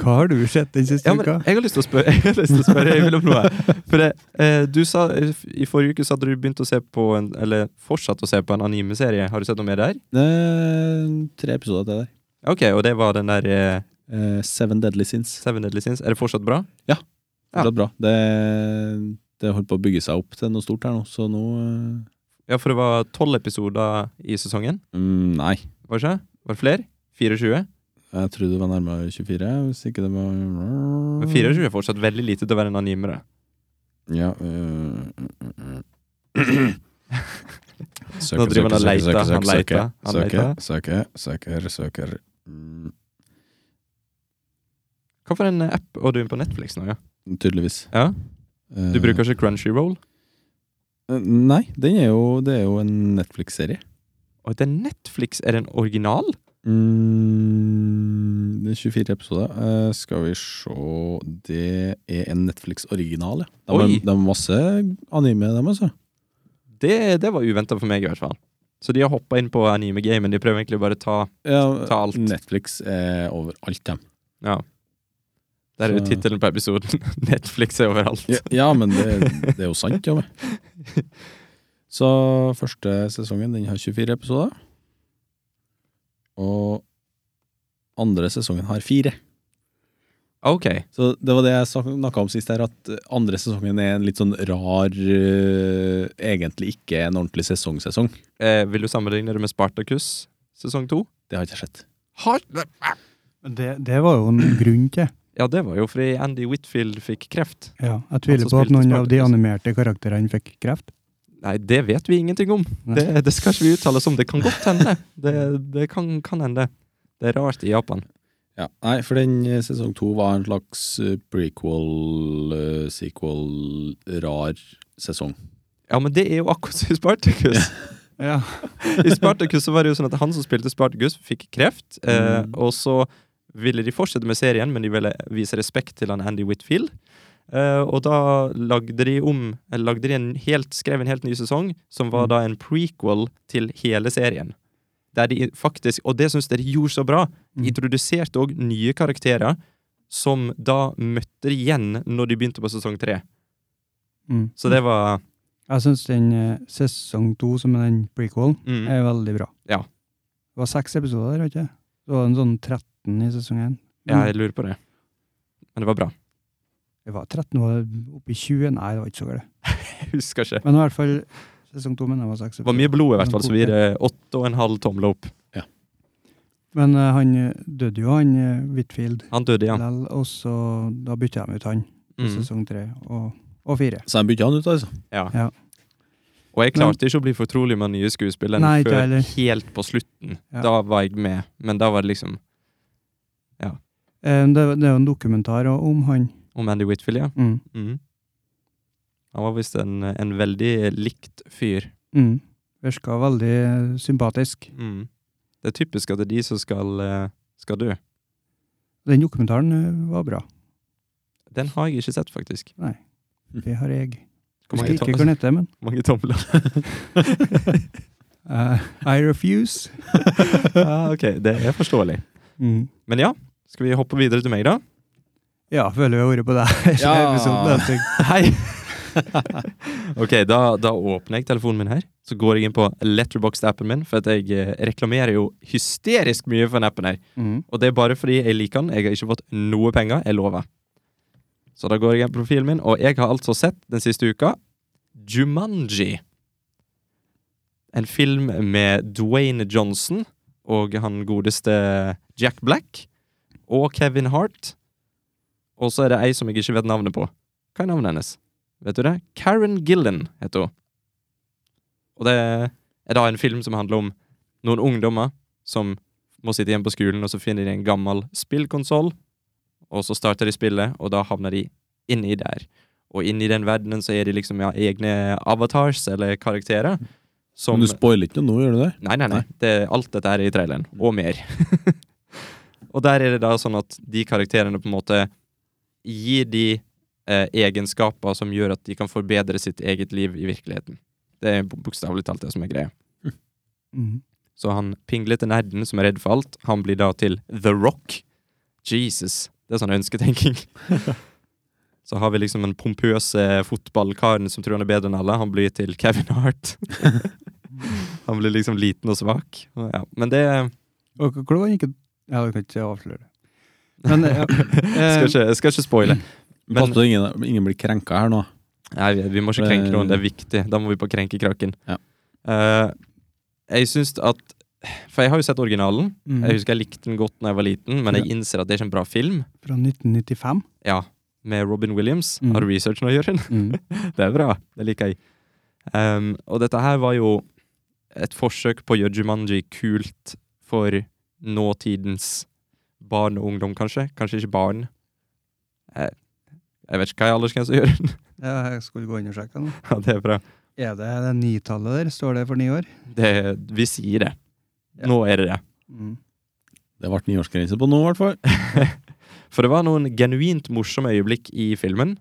A: hva har du sett den siste
B: Ja, men
A: uka?
B: jeg har lyst til å spørre, jeg har lyst til å spørre Øyvind om noe. For det, eh, du sa, I forrige uke så hadde du begynt å se på en, eller fortsatt å se på en anime-serie. Har du sett noe mer der?
C: tre episoder til der.
B: Ok, Og det var den der eh,
C: Eh, Seven Deadly Sins.
B: Seven Deadly Sins. Er det fortsatt bra? Ja.
C: Fortsatt bra. Det, det holdt på å bygge seg opp til noe stort her nå, så nå eh,
B: Ja, for det var tolv episoder i sesongen.
C: mm, Nei.
B: Var det ikke? Var det flere? 24?
C: Jeg tror det var nærmere 24, hvis ikke det var Mm.
B: Men 24 er fortsatt veldig lite til å være en anime. da.
C: Ja øh,
B: Nå driver han og leter, han leter, han leter.
C: søker, søker, søker. Mm,
B: Hva for en app har du inne på Netflix nå? ja?
C: tydeligvis.
B: ja?
C: Eh,
B: Du bruker ikke Crunchyroll?
C: eh, Nei, den er jo, det er jo en Netflix-serie.
B: Og det er Netflix, er det en original?
C: Mm, det er 24 episoder. Eh, skal vi se Det er en Netflix-original, ja. De har,
B: Oi.
C: de har masse anime, dem, altså.
B: Det, det var uventa for meg, i hvert fall. Så de har hoppa inn på anime-gamen. De prøver egentlig bare å ta
C: Ja,
B: Ta alt.
C: Netflix er overalt, dem.
B: Ja. Der er jo
C: Så-
B: tittelen på episoden. Netflix er overalt.
C: Ja, ja men det, det er jo sant, jo. Så første sesongen den har 24 episoder. Og andre sesongen har fire.
B: Ok.
C: Så det var det jeg snakka om sist, her, at andre sesongen er en litt sånn rar eh, Egentlig ikke en ordentlig sesongsesong.
B: Eh, vil du sammenligne det med Spartacus sesong to?
C: Det har jeg ikke sett.
B: Har-
A: Men Det, det var jo en grunn til.
B: Ja, det var jo fordi Andy Whitfield fikk kreft.
A: Ja, jeg
B: Han som
A: tviler på at
B: spilte
A: noen av de
B: Spartacus.
A: animerte karakterene fikk kreft.
B: Nei, det vet vi ingenting om.
A: Nei.
B: Det, det skal ikke vi uttale oss om. Det kan godt hende. Det, det kan, kan hende. Det er rart i Japan.
C: Ja, Nei, for den eh, sesong to var en slags eh, prequel, eh, sequel, rar sesong.
B: Ja, men det er jo akkurat som i Spartacus.
A: Ja.
B: I Spartacus så var det jo sånn at han som spilte Spartacus, fikk kreft. Eh,
C: Mm.
B: Og så ville de fortsette med serien, men de ville vise respekt til han Andy Whitfield. Eh, og da lagde de om Eller lagde de en helt, skrev en helt ny sesong, som var
A: Mm.
B: da en prequel til hele serien. Der de faktisk, Og det syns dere gjorde så bra.
A: Mm.
B: Introduserte òg nye karakterer som da møtte igjen når de begynte på sesong tre.
A: Mm.
B: Så det var
A: Jeg syns den eh, sesong to, som er den prequelen,
B: mm.
A: er veldig bra.
B: Ja.
A: Det var seks episoder, vet du. Det var en sånn 13 i sesong én.
B: Ja, jeg lurer på det. Men det var bra.
A: Det var 13, var det oppe i 20? Nei, det var ikke så galt.
B: Jeg husker ikke.
A: Men i hvert fall sesong to mener jeg var seks
B: Det var mye
A: episoder.
B: blod, i hvert fall, så vi gir det åtte og en halv tommel opp.
A: Men eh, han eh, døde jo, han eh, Whitfield.
B: Han døde, ja.
A: Lell, og så da bytta de ut han i
B: Mm.
A: sesong tre og, og fire.
C: Så jeg bytta han ut, altså.
B: ja.
A: Ja.
B: Og jeg klarte ikke å bli fortrolig med den nye skuespilleren
A: Nei, ikke
B: før
A: heller.
B: helt på slutten.
A: Ja.
B: Da var jeg med, men da var det liksom
A: Eh, Det, det er jo en dokumentar også om han.
B: om Andy Whitfield, ja.
A: Mm.
B: Mm. Han var visst en, en veldig likt fyr.
A: Mm. Virka veldig eh, sympatisk.
B: Mm. Det er typisk at det er de som skal, eh, skal dø.
A: Den dokumentaren eh, var bra.
B: Den har jeg ikke sett, faktisk.
A: Det har jeg.
B: Hvor
A: Husker
B: mange,
A: ikke hva den heter,
B: tom
A: men
B: mange tomler?
A: eh, I Refuse.
B: ja, Ah, ok, det er forståelig.
A: Mm.
B: Men ja, skal vi hoppe videre til meg, da?
A: Ja, føler vi har vært på det her.
C: Ja.
A: episoden, jeg tenker.
B: Hei! ok, da, da åpner jeg telefonen min her. så går jeg inn på Letterboxd-appen min, for at jeg eh, reklamerer jo hysterisk mye for den appen her.
A: Mhm.
B: Og det er bare fordi jeg liker den. Jeg har ikke fått noe penger, jeg lover. Så da går jeg inn på profilen min, og jeg har altså sett den siste uka Jumanji. En film med Dwayne Johnson og han godeste Jack Black og Kevin Hart. Og så er det ei som jeg ikke vet navnet på. Hva er navnet hennes? Vet du det? Karen Gillen heter hun. Og det er da en film som handler om noen ungdommer som må sitte hjemme på skolen, og så finner de en gammel spillkonsoll, og så starter de spillet, og da havner de inni der. Og inni den verdenen så er de liksom ja, egne avatars, eller karakterer, som
C: Men du spoiler ikke noe nå, gjør du det?
B: Nei, nei, nei. Det, alt dette er i traileren, og mer. og der er det da sånn at de karakterene på en måte gir de eh, egenskaper som gjør at de kan forbedre sitt eget liv i virkeligheten. Det er bok- bokstavelig talt det som er greia.
A: Mhm.
B: Så han pinglete nerden som er redd for alt, han blir da til The Rock. Jesus. Det er sånn ønsketenking. Så har vi liksom den pompøse fotballkaren som tror han er bedre enn alle. Han blir til Kevin Hart. han blir liksom liten og svak. Og Ja, men det
A: Og hvor var den ikke Ja, jeg kan ikke avsløre det. Men ja,
B: skal ikke, jeg skal ikke spoile. Men-
C: Pass på at ingen, ingen blir krenka her nå.
B: Nei, vi, vi må ikke
A: Eh,
B: krenke noen. Det er viktig. Da må vi på krenkekraken.
C: Ja.
B: Eh, jeg syns at For jeg har jo sett originalen.
A: Mhm.
B: Jeg husker jeg likte den godt da jeg var liten, men jeg innser at det er ikke en bra film.
A: Fra 1995.
B: Ja, med Robin Williams.
A: Mhm.
B: Har du research nå, Jørgen? Det er bra. Det liker jeg. Ehm, og dette her var jo et forsøk på å gjøre Jumanji kult for nåtidens barn og ungdom, kanskje. Kanskje ikke barn. Jeg, jeg vet ikke hva er aldersgrensa gjør.
A: Ja, jeg skulle gå inn og sjekke nå.
B: ja, det er bra.
A: Er det det nitallet der? Står det for ni år?
B: Det, vi sier det.
A: Ja.
B: Nå er det det.
A: Mhm.
C: Det ble niårsgrense på nå, i hvert fall.
B: For det var noen genuint morsomme øyeblikk i filmen.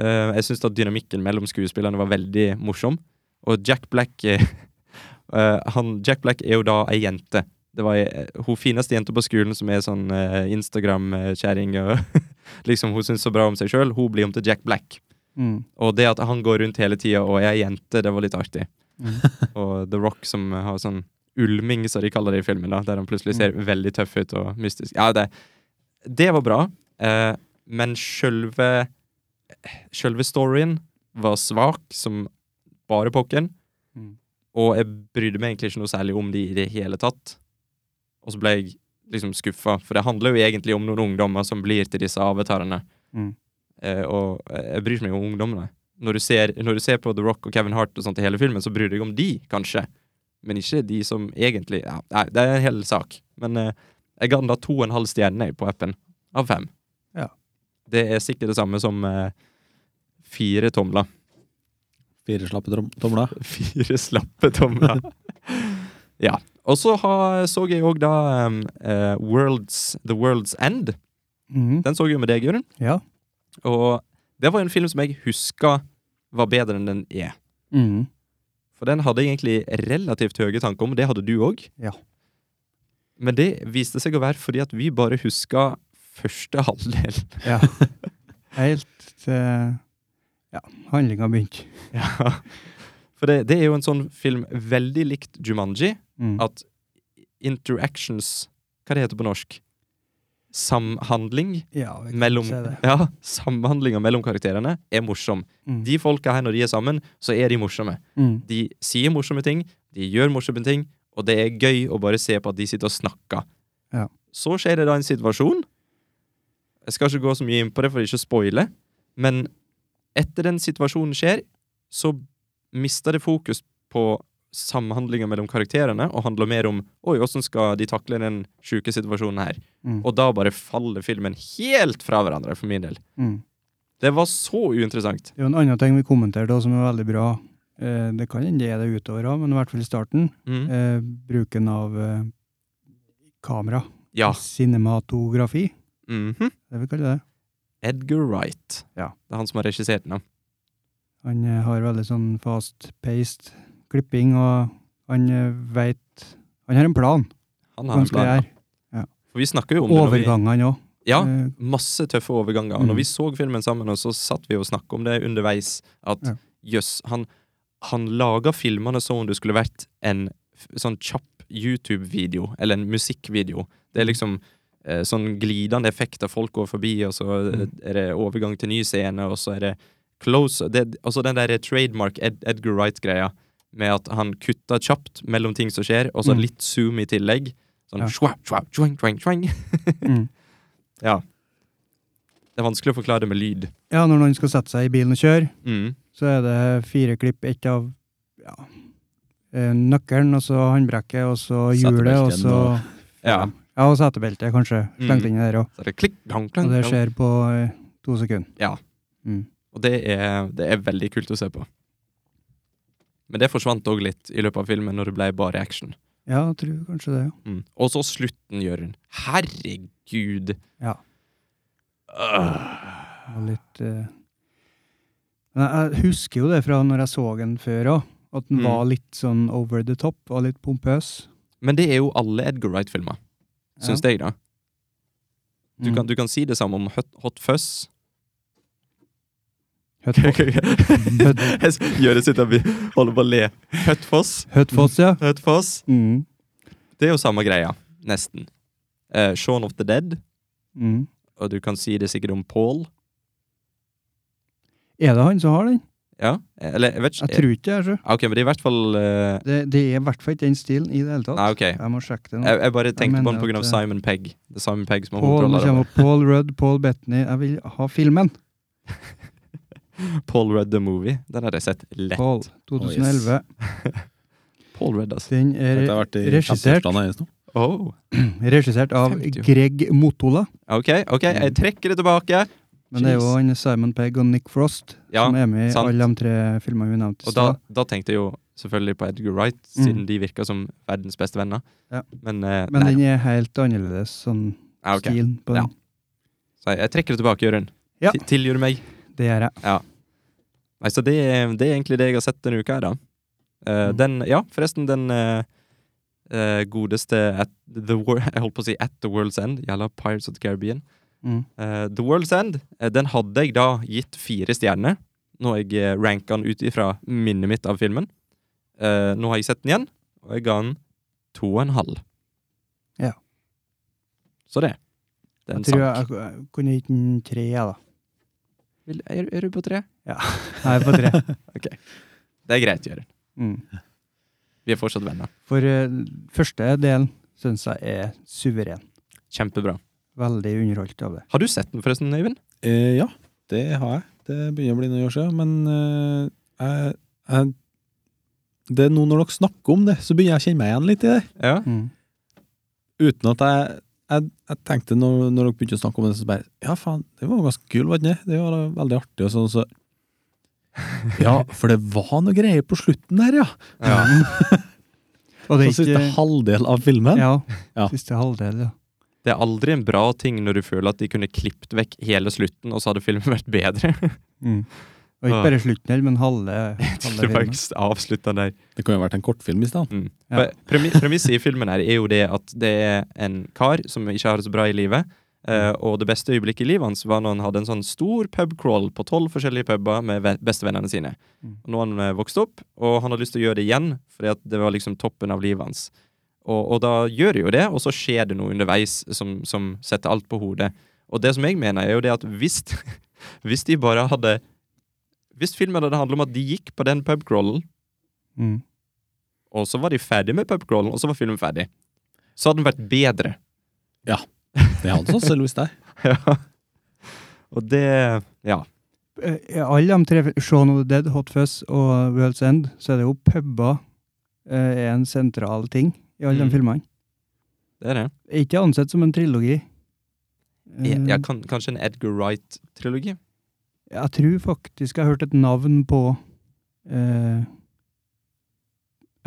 B: Eh, jeg syns dynamikken mellom skuespillerne var veldig morsom. Og Jack Black eh, eh, han, Jack Black er jo da ei jente. Det var ei, hun fineste jenta på skolen som er sånn eh, Instagram-kjerring. og liksom Hun syns så bra om seg sjøl. Hun blir om til Jack Black.
A: Mhm.
B: Og det at han går rundt hele tida og er ei jente, det var litt artig. Mm.
A: Mhm.
B: Og The Rock som har sånn ulming, som de kaller det i filmen, da, der han plutselig ser veldig tøff ut og mystisk. Ja, det, det var bra, eh, men sjølve eh, Sjølve storyen var svak som bare pokken,
A: Mm.
B: og jeg brydde meg egentlig ikke noe særlig om de i det hele tatt. Og så ble jeg liksom skuffa, for det handler jo egentlig om noen ungdommer som blir til disse avatarene.
A: Mm.
B: Eh, og jeg bryr meg jo om ungdommene. Når du, ser, når du ser på The Rock og Kevin Hart og sånt i hele filmen, så bryr du deg om de, kanskje. Men ikke de som egentlig ja, Nei, det er en hel sak. Men eh, jeg ga den da to og en halv stjerne jeg, på appen, av fem.
A: Ja.
B: Det er sikkert det samme som eh, fire tomler.
C: Fire slappe trom- tomler.
B: Fire slappe tomler. ja. Og så har- så jeg òg da um, eh, World's, The World's End.
A: Mhm.
B: Den så jeg jo med deg, Jørund.
A: Ja.
B: Og det var jo en film som jeg huska var bedre enn den er. Mm.
A: Mhm.
B: For den hadde jeg egentlig relativt høye tanker om. Det hadde du òg.
A: Ja.
B: Men det viste seg å være fordi at vi bare huska første halvdel.
A: Ja. Helt til ja, handlinga begynte.
B: ja. For det, det er jo en sånn film veldig likt Jumanji.
A: Mm.
B: at interactions Hva det heter på norsk? Samhandling
A: Ja, vi kan
B: mellom
A: se det.
B: Ja, samhandlinga mellom karakterene er morsom.
A: Mm.
B: De folka her, når de er sammen, så er de morsomme.
A: Mm.
B: De sier morsomme ting, de gjør morsomme ting, og det er gøy å bare se på at de sitter og snakker.
A: Ja.
B: Så skjer det da en situasjon. Jeg skal ikke gå så mye inn på det for ikke å spoile, men etter den situasjonen skjer, så mister det fokus på samhandlinga mellom karakterene og handler mer om Oi, åssen skal de takle den sjuke situasjonen her?
A: Mm.
B: Og da bare faller filmen helt fra hverandre, for min del.
A: Mm.
B: Det var så uinteressant.
A: Det er jo en annen ting vi kommenterte også, som er veldig bra. Eh, det kan hende det er det utover òg, men i hvert fall i starten.
B: Mm.
A: Eh, bruken av eh, kamera.
B: Ja.
A: Cinematografi,
B: Mhm.
A: det vi kaller det.
B: Edgar Wright.
A: Ja.
B: Det er han som har regissert den. ja.
A: Han eh, har veldig sånn fast-paced klipping, og han eh, veit Han har en plan,
B: Han
A: hva
B: har
A: han
B: en
A: skal
B: plan.
A: gjøre.
B: da. For vi snakker jo om det. når
A: Overgangene òg.
B: Vi, ja,
A: Eh,
B: masse tøffe overganger. Og
A: Mm.
B: Når vi så filmen sammen, og så satt vi og snakket om det underveis, at
A: Ja.
B: jøss, han han laga filmene som om det skulle vært en f- sånn kjapp YouTube-video, eller en musikkvideo. Det
A: Mm.
B: er liksom eh, sånn glidende effekt av folk går forbi, og så eh,
A: Mm.
B: er det overgang til ny scene, og så er det close det, Altså den der trademark Ed, Edgar Wright-greia, med at han kutta kjapt mellom ting som skjer, og så
A: Mm.
B: litt zoom i tillegg. Sånn
A: Ja.
B: schwap, schwap, schwang, schwang, schwang.
A: Mm.
B: Ja. Det er vanskelig å forklare det med lyd.
A: Ja, når noen skal sette seg i bilen og kjøre,
B: Mm.
A: så er det fire klipp. Ett av ja, eh, nøkkelen, og så håndbrekket, og så hjulet, og
C: Setebelten
A: så
C: og-
B: Ja.
A: Ja, og setebeltet, kanskje. Slengt
B: Mm.
A: inn i der òg.
B: Så er det klikk, klang, klang,
A: Og det
B: klang.
A: skjer på eh, to sekunder.
B: Ja.
A: Mm.
B: Og det er, det er veldig kult å se på. Men det forsvant òg litt i løpet av filmen, når det ble bare action.
A: Ja, jeg tror kanskje det, ja.
B: Mm. Og så slutten, Jørund. Herregud!
A: Ja.
B: Øh.
A: Det var litt eh, Men jeg husker jo det fra når jeg så den før òg, at den
B: Mm.
A: var litt sånn over the top, var litt pompøs.
B: Men det er jo alle Edgar Wright-filmer, syns jeg, da.
A: Mm.
B: Du, kan, du kan si det samme om Hot, hot Fuzz. Jørund sitter og holder på å le. Høttfoss.
A: Høtfoss, ja.
B: Høttfoss.
A: Mm.
B: Det er jo samme greia, nesten. Eh, Shaun of the Dead,
A: Mm.
B: og du kan si det sikkert om Paul.
A: Er det han som har den?
B: Ja, eller jeg vet
A: Jeg
B: ikke.
A: tror ikke det. er så.
B: Ah, Ok, men det er i hvert fall eh,
A: Det, det er i hvert fall ikke den stilen i det hele tatt.
B: Nei, ok.
A: Jeg må sjekke det nå.
B: Jeg, jeg bare tenkte på
A: mener
B: den på grunn av
A: at, eh,
B: Simon Pegg. Det er Simon Pegg som er
A: Paul, nå
B: hovedrollen.
A: kommer Paul Rudd, Paul Bettany Jeg vil ha filmen!
B: Paul Rudd The Movie. Den har jeg sett lett.
A: Paul, 2011.
B: Paul Rudd, altså.
A: Den er
C: Dette har vært i
A: regissert.
C: 50-årsdagen hennes nå.
B: Oh.
A: regissert av
B: 50.
A: Greg Motola.
B: Ok, ok,
A: Mm.
B: jeg trekker det tilbake.
A: Men det er jo
B: Jeez.
A: han Simon Pegg og Nick Frost
B: Ja,
A: som er med i
B: sant.
A: alle de tre filmene vi nevnte. i
B: Og da,
A: stad.
B: da tenkte jeg jo selvfølgelig på Edgar Wright,
A: Mm.
B: siden de virker som verdens beste venner.
A: Ja.
B: Men, eh,
A: Men
B: nei.
A: den er helt annerledes, sånn
B: Ah, ok.
A: stilen på den.
B: Så jeg, jeg trekker det tilbake, Jørund.
A: Ja.
B: Ti- Tilgir du meg?
A: Det gjør jeg.
B: Nei, så det, er- det er egentlig det jeg har sett denne uka her, da. Eh,
A: Mm.
B: Den, ja, forresten, den eh, eh, godeste at the wor Jeg holdt på å si At The World's End. Jalla Pirates of the Caribbean.
A: Mm.
B: Eh, the World's End, eh, den hadde jeg da gitt fire stjerner når jeg eh, ranka den ut ifra minnet mitt av filmen. Eh, nå har jeg sett den igjen, og jeg ga den to og en halv.
A: Ja.
B: Så det. Den
A: Jeg tror jeg,
B: sank.
A: jeg, jeg kunne gitt den tre, jeg, da.
B: Vil- Er, er du på tre?
A: Nei, på tre.
B: Det er greit, Jørund.
A: Mm.
B: Vi er fortsatt venner.
A: For eh, første delen syns jeg er suveren.
B: Kjempebra.
A: Veldig underholdt av det.
B: Har du sett den, forresten, Øyvind?
C: Eh, ja, det har jeg. Det begynner å bli noen år siden. Men eh, jeg, jeg, det er nå når dere snakker om det, så begynner jeg å kjenne meg igjen litt i det.
B: Ja.
A: Mm.
C: Uten at jeg, jeg, jeg tenkte når, når dere begynte å snakke om det, så bare Ja, faen, det var ganske kul, var det ikke? Det var da veldig artig og sånn, så Ja, for det var noe greier på slutten der, ja.
A: Og det
C: Så
A: er
C: siste
A: ikke
C: halvdel av filmen.
A: Ja.
C: Ja.
A: Siste halvdel, ja.
B: Det er aldri en bra ting når du føler at de kunne klippet vekk hele slutten, og så hadde filmen vært bedre.
A: Mm. Og ikke
B: Ah.
A: bare slutten heller, men halve, halve
B: Til å
A: filmen.
B: faktisk avslutte den der.
C: Det kunne jo vært en kortfilm i stedet.
B: Mm.
A: Ja.
B: For premi- Premisset i filmen her er jo det at det er en kar som ikke har det så bra i livet,
A: Mm.
B: eh, og det beste øyeblikket i livet hans var når han hadde en sånn stor pubcrawl på tolv forskjellige puber med ve- bestevennene sine.
A: Mm.
B: Og nå har han eh, vokst opp, og han har lyst til å gjøre det igjen, fordi at det var liksom toppen av livet hans. Og, og da gjør de jo det, og så skjer det noe underveis som, som setter alt på hodet. Og det som jeg mener, er jo det at hvis, hvis de bare hadde Hvis filmen hadde handlet om at de gikk på den pubcrawlen
A: Mm.
B: og så var de ferdig med pubcrawlen, og så var filmen ferdig. Så hadde den vært bedre.
C: Det hadde sånn selv hvis det.
B: Ja. Og det Ja.
A: Eh, i alle de tre, Shaun of the Dead, Hot Fuzz og World's End, så er det jo puber eh, er en sentral ting i alle
B: Mm.
A: de filmene.
B: Det er det.
A: Er Ikke ansett som en trilogi. Eh,
B: Ja,
C: Mm.
B: kan, kanskje en Edgar Wright-trilogi?
A: Jeg tror faktisk jeg har hørt et navn på eh,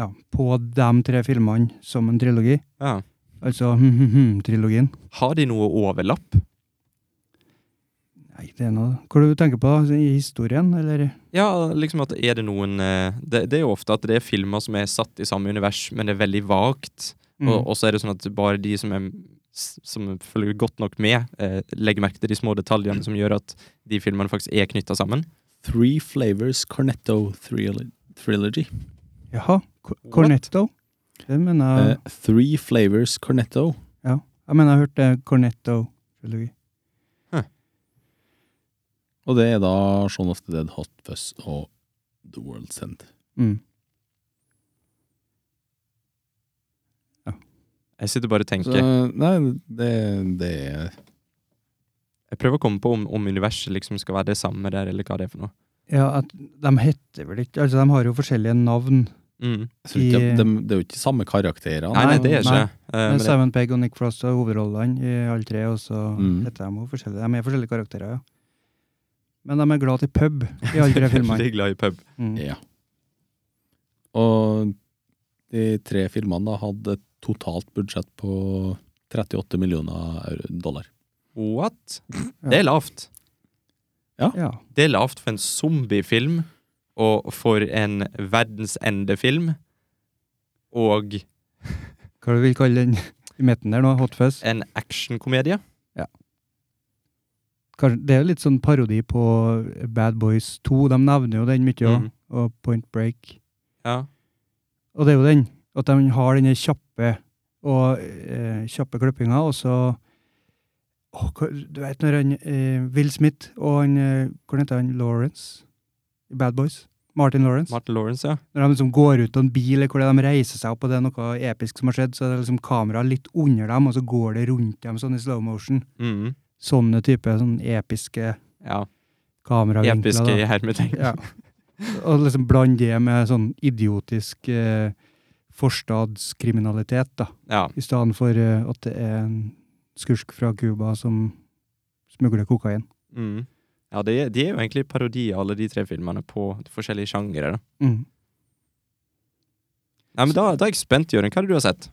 A: Ja, på de tre filmene som en trilogi.
B: Ja.
A: Altså hm-hm-hm-trilogien.
B: Har de noe overlapp?
A: Nei, det er noe Hva er det du tenker på? altså, I historien, eller?
B: Ja, liksom at er det noen eh, det, det er jo ofte at det er filmer som er satt i samme univers, men det er veldig vagt.
A: Mm.
C: Mm.
B: Og, og så er det sånn at bare de som er s- som følger godt nok med, eh, legger merke til de små detaljene som gjør at de filmene faktisk er knytta sammen.
C: Three Flavors Cornetto Thrilo- Trilogy.
A: Jaha. Cor- Cornetto? Det mener jeg
C: Eh, Three Flavors Cornetto.
A: Jeg mener jeg har hørt det Cornetto-trilogi.
C: Og det er da Shaun of the Dead, Hot Fuzz og The World's End.
A: Mm.
B: Jeg sitter bare og
C: Så,
B: tenker.
C: nei, det, det er
B: Jeg prøver å komme på om, om universet liksom skal være det samme der, eller hva det er for noe.
A: Ja, at de heter vel ikke Altså, de har jo forskjellige navn.
B: Mm.
C: jeg tror ikke,
A: I-
C: de, Det er jo ikke samme karakterene.
B: Nei, nei, det er ikke
A: nei.
B: det. Eh, men det.
A: Simon Pegg og Nick Frost er hovedrollene i alle tre, og så
C: Mm.
A: heter de jo forskjellige. De er forskjellige karakterer, ja. Men de er glad i pub i alle tre filmene.
B: Veldig glad i pub.
A: Mm.
C: Ja. Og de tre filmene da hadde et totalt budsjett på 38 millioner euro- dollar.
B: What? Det er lavt.
A: Ja.
B: Det er lavt for en zombiefilm, og for en verdensendefilm, og
A: Hva du vil kalle den i midten der nå? Hot Fuzz?
B: en actionkomedie.
A: Kanskje, det er jo litt sånn parodi på Bad Boys 2. De nevner jo den mye òg.
B: Mm.
A: Og Point Break.
B: Ja.
A: Og det er jo den. At de har denne kjappe og eh, kjappe klippinga, og så Åh, hva- Du vet når han eh, Will Smith og han eh, Hvordan heter han? Lawrence? I Bad Boys? Martin Lawrence?
B: Martin Lawrence, ja.
A: Når de liksom går ut av en bil, eller hvor de reiser seg opp, og det er noe episk som har skjedd, så er det liksom kameraet litt under dem, og så går det rundt dem sånn i slow motion.
B: Mm.
A: Sånne type sånn episke
B: ja.
A: kameravinkler.
B: Episke
A: da.
B: i hermetegn.
A: Ja. Og liksom bland det med sånn idiotisk eh, forstadskriminalitet, da.
B: Ja.
A: I stedet for eh, at det er en skursk fra Cuba som smugler kokain.
B: Mm. ja de, de er jo egentlig parodi, alle de tre filmene, på forskjellige sjangere. da.
A: Mm.
B: Nei, men da, da er jeg spent, Jørgen. Hva er det du har sett?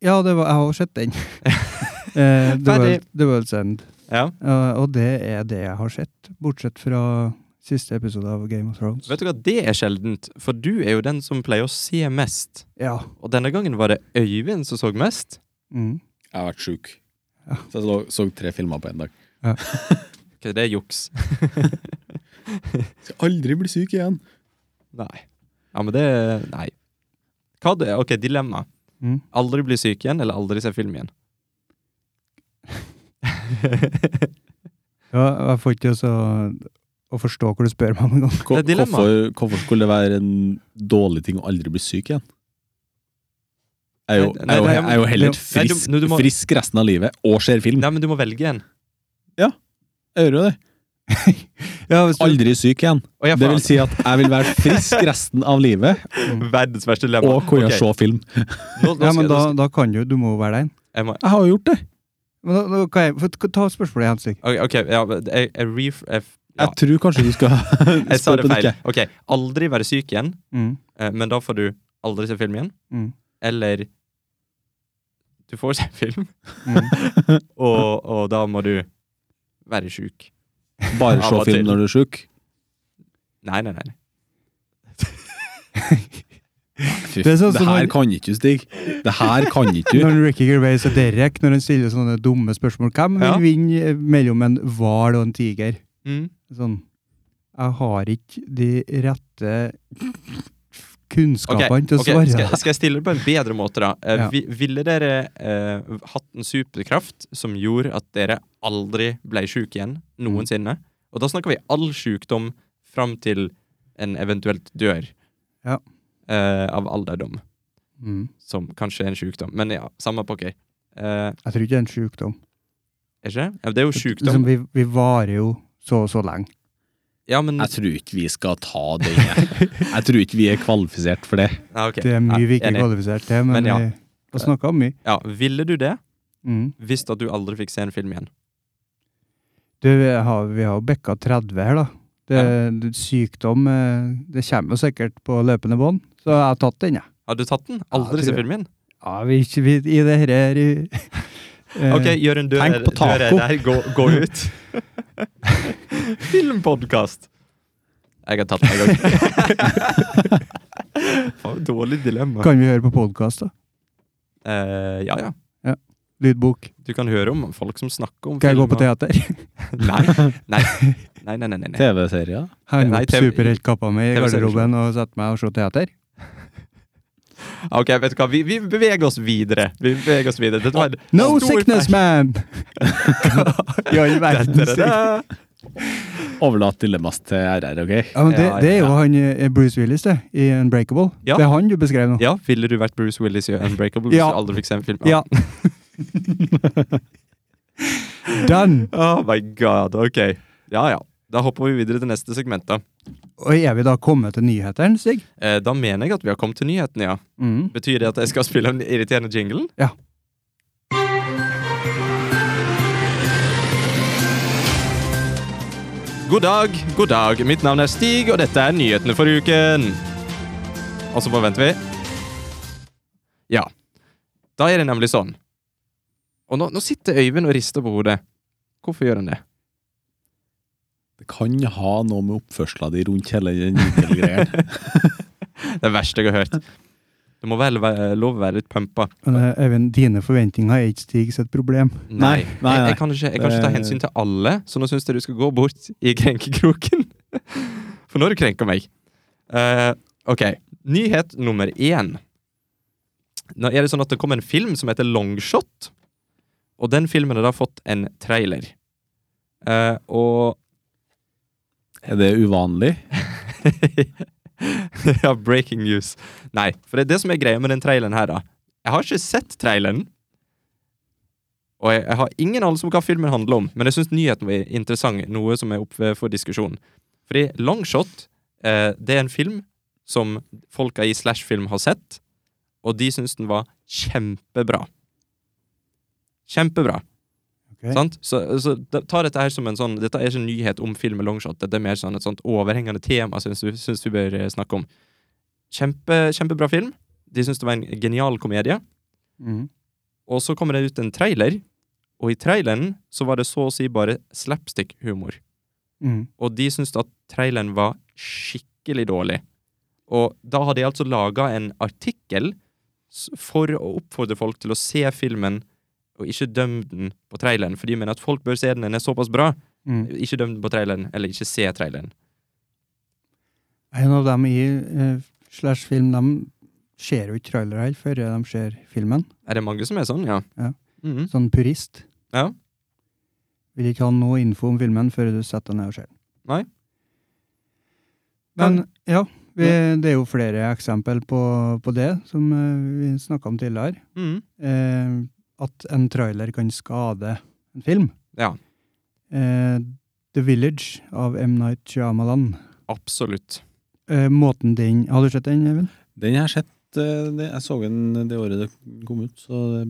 A: Ja, det var, jeg har sett den. eh, The,
B: Ferdig.
A: World, The World's End.
B: Ja.
A: Eh, og det er det jeg har sett, bortsett fra siste episode av Game of Thrones.
B: Vet du hva, det er sjeldent, for du er jo den som pleier å se mest.
A: Ja.
B: Og denne gangen var det Øyvind som så mest.
A: Mm.
C: Jeg har vært sjuk.
A: Ja.
C: Så jeg så, så tre filmer på én dag.
B: Ok, det er juks.
C: Skal aldri bli syk igjen!
B: Nei. Ja, men det Nei. Hva det Ok, dilemma.
A: Mm.
B: Aldri bli syk igjen, eller aldri se film igjen?
A: ja. Jeg får ikke også å forstå hvor du spør meg om engang.
C: Hvor-
B: Det er dilemma.
C: Hvorfor, hvorfor skulle det være en dårlig ting å aldri bli syk igjen? Jeg er jo,
B: Nei, nei,
C: jeg er jo,
B: nei,
C: jeg er jo heller
B: nei, du-
C: frisk,
B: nå du må-
C: frisk resten av livet og ser film.
B: Nei, men du må velge en.
C: Jeg gjør jo det.
A: Ja, hvis du-
C: Aldri syk igjen.
B: Å, ja,
C: Det
B: faen.
C: vil si at jeg vil være frisk resten av livet
B: Verdens verste dilemma.
C: og kunne
B: Ok,
C: se film.
B: nå, nå
A: ja,
B: skal
A: men
B: jeg-
A: da, da kan du, du må jo være den.
B: jeg må,
C: Jeg har jo gjort det.
A: Men da, da kan jeg, for, ta spørsmålet igjen, Stig.
B: ok, ok, ja, men jeg, jeg, ref, jeg, ja,
C: Jeg tror kanskje du skal
B: jeg sa
C: spørre
B: det
C: på
B: feil.
C: noe.
B: Ok, aldri være syk igjen,
A: Mm.
B: eh, men da får du aldri se film igjen.
A: Mm.
B: Eller Du får se film,
A: Mm.
B: og, og da må du være sjuk.
C: Bare
B: Av
C: se
B: og til.
C: film når du er sjuk.
B: Nei, nei, nei.
C: Fy,
A: Det er
C: det,
A: sånn som
C: her
A: han-
C: kan ikke du, Stig. Det her kan ikke du.
A: Når Ricky Gervais og Derek når han stiller sånne dumme spørsmål Hvem vil
B: Ja.
A: vinne eh, mellom en hval og en tiger?
B: Mm.
A: Sånn Jeg har ikke de rette kunnskapene
B: Ok,
A: til å
B: ok,
A: svare.
B: Skal, skal jeg stille det på en bedre måte, da? Eh,
A: Ja.
B: vi, ville dere eh, hatt en superkraft som gjorde at dere aldri ble sjuke igjen noensinne?
A: Mm.
B: Og da snakker vi all sjukdom fram til en eventuelt dør
A: Ja.
B: eh, av alderdom,
A: Mm.
B: som kanskje er en sjukdom. Men ja, samme pokker. Eh,
A: Jeg tror ikke det er en sjukdom.
B: er ikke det? Ja, Det er jo sjukdom.
A: Liksom, vi, vi varer jo så og så lenge.
B: Ja, men
C: Jeg tror ikke vi skal ta den. Jeg, jeg tror ikke vi er kvalifisert for det.
B: ja, ok.
A: Det er
B: Ja,
A: mye vi ikke er
B: enig.
A: kvalifisert til, men,
B: Men ja.
A: vi har snakka om mye.
B: Ja, ville du det
A: Mm.
B: hvis at du aldri fikk se en film igjen?
A: Du, vi har vi har jo bekka 30 her, da. Det, det- Sykdom eh, Det kommer jo sikkert på løpende bånd, så jeg har tatt den, jeg.
B: Har du tatt den?
A: Ja,
B: Aldri
A: jeg
B: se
A: tror det.
B: film igjen?
A: Ja, vi, vi, I det her er i- eh,
B: Ok, Jørund, du,
C: Tenk
B: er-
C: på
B: du er
C: taco.
B: der. Gå, gå ut. Filmpodkast. Jeg har tatt den en gang. Faen, dårlig dilemma.
A: Kan vi høre på podkast, da?
B: Eh, ja, ja.
A: Lydbok.
B: Du kan høre om folk som snakker om
A: Kan jeg gå
B: film
A: på
B: og-
A: teater?
B: Nei. Nei. Nei, nei, nei. nei, nei.
C: TV-serier?
A: Henge
B: Nei,
A: opp
B: TV
A: superheltkappa mi i
B: TV-serier.
A: garderoben og sette meg og se teater.
B: Ok, vet du hva, vi, vi beveger oss videre. Vi beveger oss videre. Dette var en
A: No
B: stor
A: sickness,
B: feil.
A: man! I all verdens ting.
B: Da-da-da.
C: Overlat dilemmas til RR, OK?
A: Ja, men det,
B: Ja,
A: det er jo
B: ja.
A: han eh, Bruce Willis det, i Unbreakable.
B: Ja.
A: Det er han du beskrev nå.
B: Ja, ville du vært Bruce Willis i Unbreakable hvis
A: Ja.
B: du aldri fikk se en film?
A: Ja. Done!
B: Oh my god, ok. Ja, ja. Da hopper vi videre til neste segment, da.
A: Og er vi da kommet til nyhetene, Stig?
B: Eh, da mener jeg at vi har kommet til nyhetene, ja.
A: Mm.
B: Betyr det at jeg skal spille en irriterende jingle?
A: Ja.
B: God dag, god dag. Mitt navn er Stig, og dette er nyhetene for uken. Og så bare venter vi. Ja. Da er det nemlig sånn. Og nå, nå sitter Øyvind og rister på hodet. Hvorfor gjør han det?
C: Det kan ha noe med oppførselen din rundt hele den greia.
B: Det verste jeg har hørt. Det må vel være lov å være litt pumpa.
A: Men eh, Øyvind, dine forventninger er ikke Stig sitt problem.
C: Nei, nei,
B: Jeg,
C: nei. Eh.
B: jeg, kan ikke, jeg kan ikke ta
C: Det-
B: hensyn til alle, så nå syns jeg du skal gå bort i krenkekroken. For nå har du krenka meg. Eh, ok, nyhet nummer én. Nå er det sånn at det kom en film som heter Longshot. Og den filmen har da fått en trailer. Eh, og
C: Er det uvanlig?
B: ja, breaking news. Nei, for det er det som er greia med den traileren her, da. Jeg har ikke sett traileren. Og jeg, jeg har ingen anelse om hva filmen handler om, men jeg syns nyheten var interessant. Noe som er oppe for diskusjon. Fordi Longshot eh, det er en film som folka i Slash Film har sett, og de syns den var kjempebra. Kjempebra.
A: Ok.
B: Sant? Så, så da- ta dette her som en sånn Dette er ikke en nyhet om film med longshot. Dette er mer sånn et sånt overhengende tema syns vi, syns vi bør eh, snakke om. Kjempe, kjempebra film. De syns det var en genial komedie.
A: Mm.
B: Og så kommer det ut en trailer, og i traileren så var det så å si bare slapstick-humor.
A: Mm.
B: Og de syntes at traileren var skikkelig dårlig. Og da har de altså laga en artikkel s- for å oppfordre folk til å se filmen, og ikke dømme den på traileren. For de mener at folk bør se den, den er såpass bra.
A: Mm.
B: Ikke døm den på traileren, eller ikke se traileren.
A: En av dem i eh, slash film, de ser jo ikke trailere helt før de ser filmen.
B: Er det mange som er sånn, ja?
A: Ja.
B: Mhm.
A: Sånn purist.
B: Ja.
A: Vil ikke ha noe info om filmen før du setter deg ned og ser den.
B: Nei.
A: Men ja, vi, det er jo flere eksempel på, på det, som eh, vi snakka om tidligere.
B: Mhm.
A: eh, at en trailer kan skade en film.
B: Ja.
A: Eh, The Village av M. Night Shyamalan.
B: Absolutt.
A: Eh, måten den Har du sett den, Even?
C: Den har jeg sett. eh, det- Jeg så den det året det kom ut, så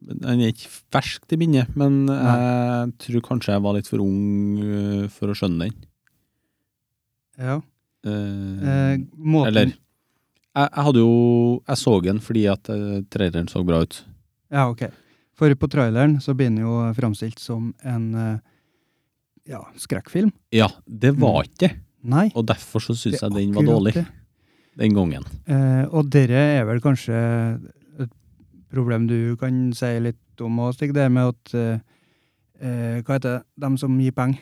C: det- den er ikke ferskt i minnet. Men jeg tror kanskje jeg var litt for ung eh, for å skjønne den.
A: Ja.
C: Eh,
A: Eh, måten,
C: Eller jeg, jeg hadde jo Jeg så den fordi at eh, traileren så bra ut.
A: Ja, ok. For på traileren så blir den jo framstilt som en eh, ja, skrekkfilm.
C: Ja, det var ikke det.
A: Nei.
C: Og derfor så syns
A: det er
C: jeg den var
A: akkurat
C: dårlig
A: det.
C: den gangen.
A: Eh, og dere er vel kanskje et problem du kan si litt om òg, Stig, det med at eh, eh, Hva heter det? Dem som gir penger?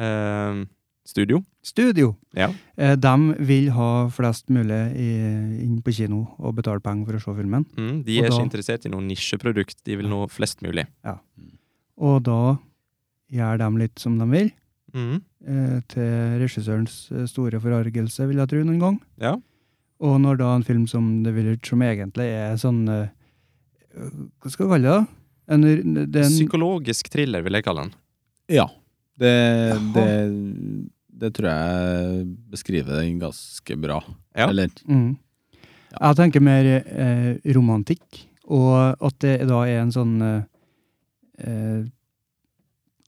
B: Ehm, studio?
A: Studio!
B: Ja.
A: Eh, de vil ha flest mulig i, inn på kino og betale penger for å se filmen.
B: Mhm. De
A: Og
B: er
A: da-
B: ikke interessert i noe nisjeprodukt. De vil nå flest mulig.
A: Og da gjør de litt som de vil.
B: Mhm.
A: Eh, til regissørens eh, store forargelse, vil jeg tro, noen gang.
B: Ja.
A: Og når da en film som The Village, som egentlig er sånn eh, Hva skal vi kalle det? da? En, r- det er en,
B: Psykologisk thriller, vil jeg kalle den.
C: Ja. Det,
A: Jaha.
C: det, det tror jeg beskriver den ganske bra.
B: Ja.
C: Eller
A: Mm. Jeg tenker mer eh, romantikk, og at det da er en sånn eh, eh,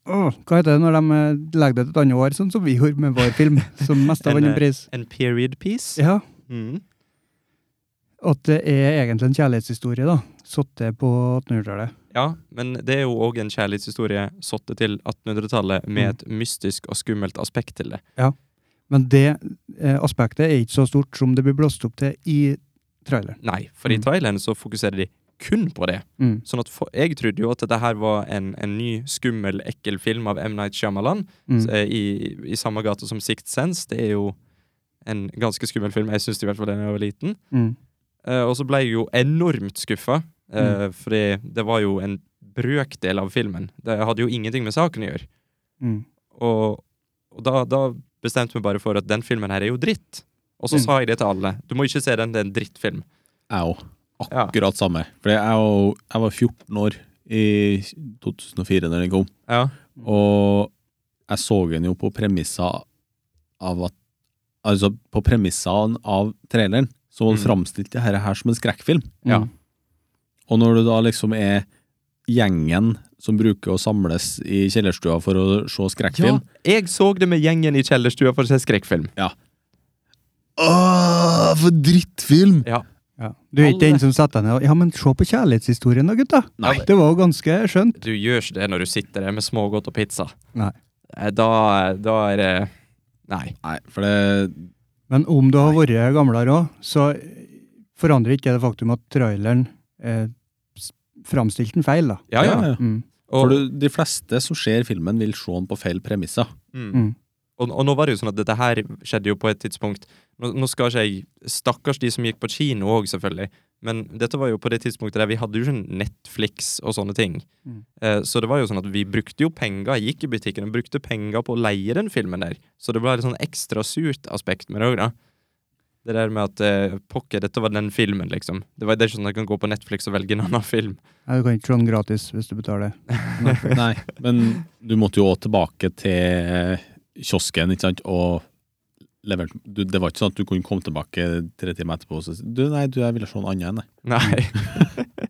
A: åh, Hva heter det når de eh, legger det til et annet år, sånn som vi gjorde med vår film, som mest
B: En,
A: vant en
B: eh,
A: pris?
B: En period piece?
A: Ja,
B: Mhm.
A: At det er egentlig en kjærlighetshistorie, da. Satt til på 1800-tallet.
B: Ja, men det er jo òg en kjærlighetshistorie sotte til 1800-tallet
A: Mm.
B: med et mystisk og skummelt aspekt til det.
A: Men det eh, aspektet er ikke så stort som det blir blåst opp til i traileren.
B: Nei, for i
A: Mm.
B: traileren så fokuserer de kun på det.
A: Mm.
B: Sånn at for, Jeg trodde jo at dette her var en, en ny, skummel, ekkel film av M. Night Shyamalan,
A: Mm.
B: s- eh, i, i samme gate som Sixth Sense. Det er jo en ganske skummel film. Jeg syntes det i hvert fall da jeg var liten.
A: Mm.
B: Eh, og så ble jeg jo enormt skuffa, eh, fordi det var jo en brøkdel av filmen. Det hadde jo ingenting med saken å gjøre.
A: Mm.
B: Og, og da, da bestemte vi bare for at den filmen her er jo dritt. Og så
A: Mm.
B: sa jeg det til alle. Du må ikke se den, det er en drittfilm.
C: Jeg òg.
B: Ja.
C: Akkurat samme. For jeg, og- jeg var 14 år i 2004 når den kom,
B: Ja.
C: og jeg så den jo på premisser av at Altså, på premissene av traileren, så
B: Mm.
C: framstilte dette her som en skrekkfilm.
B: Ja.
A: Mm.
C: Og når du da liksom er gjengen som bruker å samles i kjellerstua for å se skrekkfilm
B: Jeg så det med gjengen i kjellerstua for å se skrekkfilm.
C: Åh, for drittfilm!
B: Ja.
A: Ja. Du er ikke den som setter deg ned og Ja, men se på kjærlighetshistorien da, gutta!
C: Nei.
A: Det var jo ganske skjønt.
B: Du gjør ikke det når du sitter der med smågodt og pizza.
A: Nei.
B: Eh, Da, da er det Nei.
C: Nei, for det
A: Men om du har vært gamlere òg, så forandrer ikke det faktum at traileren eh, s- framstilte den feil, da.
B: Ja, ja.
A: Mm.
C: For
B: Og,
C: du, de fleste som ser filmen, vil se den på feil premisser.
B: mm.
A: Mm.
B: og, og nå var det jo sånn at dette her skjedde jo på et tidspunkt Nå, nå skal ikke jeg Stakkars de som gikk på kino òg, selvfølgelig. Men dette var jo på det tidspunktet der vi hadde jo ikke Netflix og sånne ting.
A: Mm.
B: Eh, så det var jo sånn at vi brukte jo penger, jeg gikk i butikken og brukte penger på å leie den filmen der. Så det ble et sånn ekstra surt aspekt med det òg, da. Det der med at eh, pokker, dette var den filmen, liksom. Det, var, det er ikke sånn at jeg kan gå på Netflix og velge en annen film.
A: Nei, du kan ikke se den gratis hvis du betaler.
C: Nei, men du måtte jo òg tilbake til eh, kiosken, ikke sant, og levere den. Du- Det var ikke sånn at du kunne komme tilbake tre timer etterpå og si du, nei, du, jeg ville se en annen enn det.
B: Nei.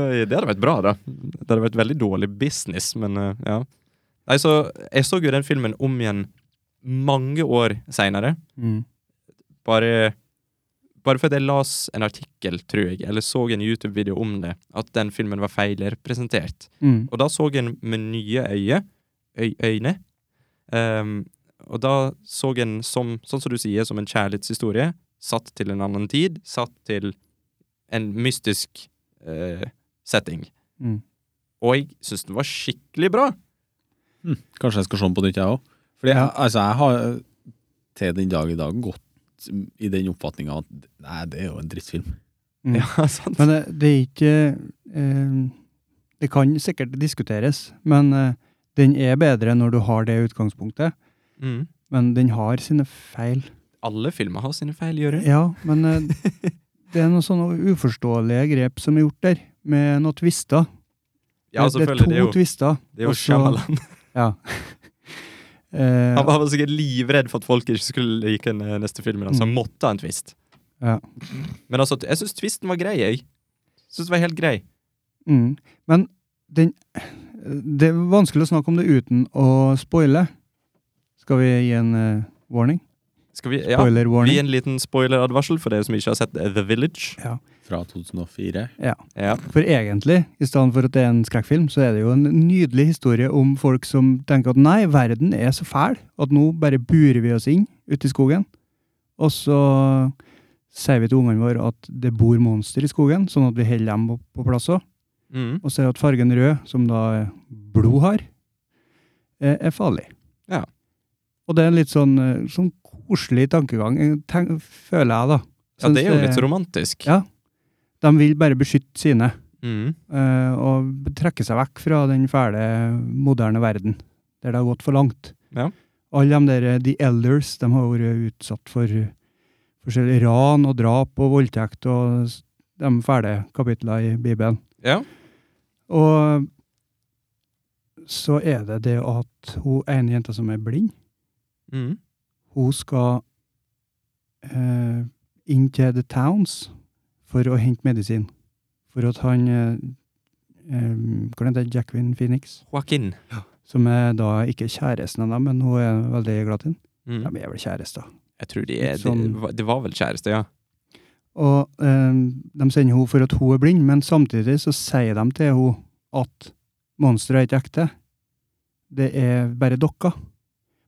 B: Oi, det hadde vært bra, da. Det hadde vært veldig dårlig business, men eh, ja. Nei, så jeg så jo den filmen om igjen mange år seinere.
A: Mm.
B: Bare, bare fordi jeg las en artikkel, tror jeg, eller så en YouTube-video om det, at den filmen var feilrepresentert.
A: Mm.
B: Og da så jeg den med nye øye, øy, øyne. Ehm, og da så jeg den som, sånn som du sier, som en kjærlighetshistorie, satt til en annen tid, satt til en mystisk eh, setting.
A: Mm.
B: Og jeg syns den var skikkelig bra.
C: Hm, kanskje jeg skal se den på nytt, jeg òg. Fordi jeg, altså, jeg har til den dag i dag gått i den oppfatninga at nei, det er jo en drittfilm.
A: Mm.
B: Ja, sant?
A: Men det, det er ikke eh, Det kan sikkert diskuteres, men eh, den er bedre når du har det utgangspunktet.
B: Mm.
A: Men den har sine feil.
B: Alle filmer har sine feil, Jørund.
A: Ja, men eh, det er noen sånne uforståelige grep som er gjort der, med noen twister.
B: Ja,
A: det, Altså, det
B: selvfølgelig.
A: er
B: Det er
A: to
B: jo,
A: twister.
B: det er jo
A: og så-
B: Shyamalan.
A: Ja. Eh,
B: Han var han var sikkert livredd for at folk ikke skulle like den eh, neste filmen, så han måtte ha en twist.
A: Mm. Ja.
B: Men altså, jeg syns twisten var grei, jeg. Syns den var helt grei.
A: mm. Men den Det er vanskelig å snakke om det uten å spoile. Skal vi gi en eh, warning?
B: Skal vi, ja,
A: Spoiler
B: vi gir
A: warning.
B: en liten spoileradvarsel for dere som ikke har sett eh, The Village.
A: Ja.
C: Fra 2004.
B: Ja.
A: For egentlig, i stedet for at det er en skrekkfilm, så er det jo en nydelig historie om folk som tenker at nei, verden er så fæl at nå bare burer vi oss inn ute i skogen. Og så sier vi til ungene våre at det bor monster i skogen, sånn at vi holder dem på- på plass òg.
B: Mm.
A: Og ser at fargen rød, som da blod har, eh, er farlig.
B: Ja.
A: Og det er en litt sånn, eh, sånn koselig tankegang, eh, tenk, føler jeg, da.
B: ja, det er jo
A: Syns
B: litt romantisk.
A: Ja. De vil bare beskytte sine.
B: Mm.
A: eh, og trekke seg vekk fra den fæle, moderne verden, der det har gått for langt.
B: Ja.
A: Alle de der, eh, The Elders, de har vært utsatt for eh, forskjellige ran og drap og voldtekt og s- de fæle kapitlene i Bibelen.
B: ja.
A: Og så er det det at hun ene jenta som er blind,
B: Mm.
A: hun skal eh, inn til The Towns for å hente medisin. For at han eh, eh, Hva heter han? Jacqueline Phoenix?
B: Joaquin.
A: Som er da ikke kjæresten av dem, men hun er veldig glad i ham.
B: Mm.
A: De er vel kjærester.
B: Jeg tror de er
A: Litt sånn-
B: det var- Det var vel kjæreste, ja.
A: Og eh, de sender henne for at hun er blind, men samtidig så sier de til henne at monsteret er ikke ekte. Det er bare dokker.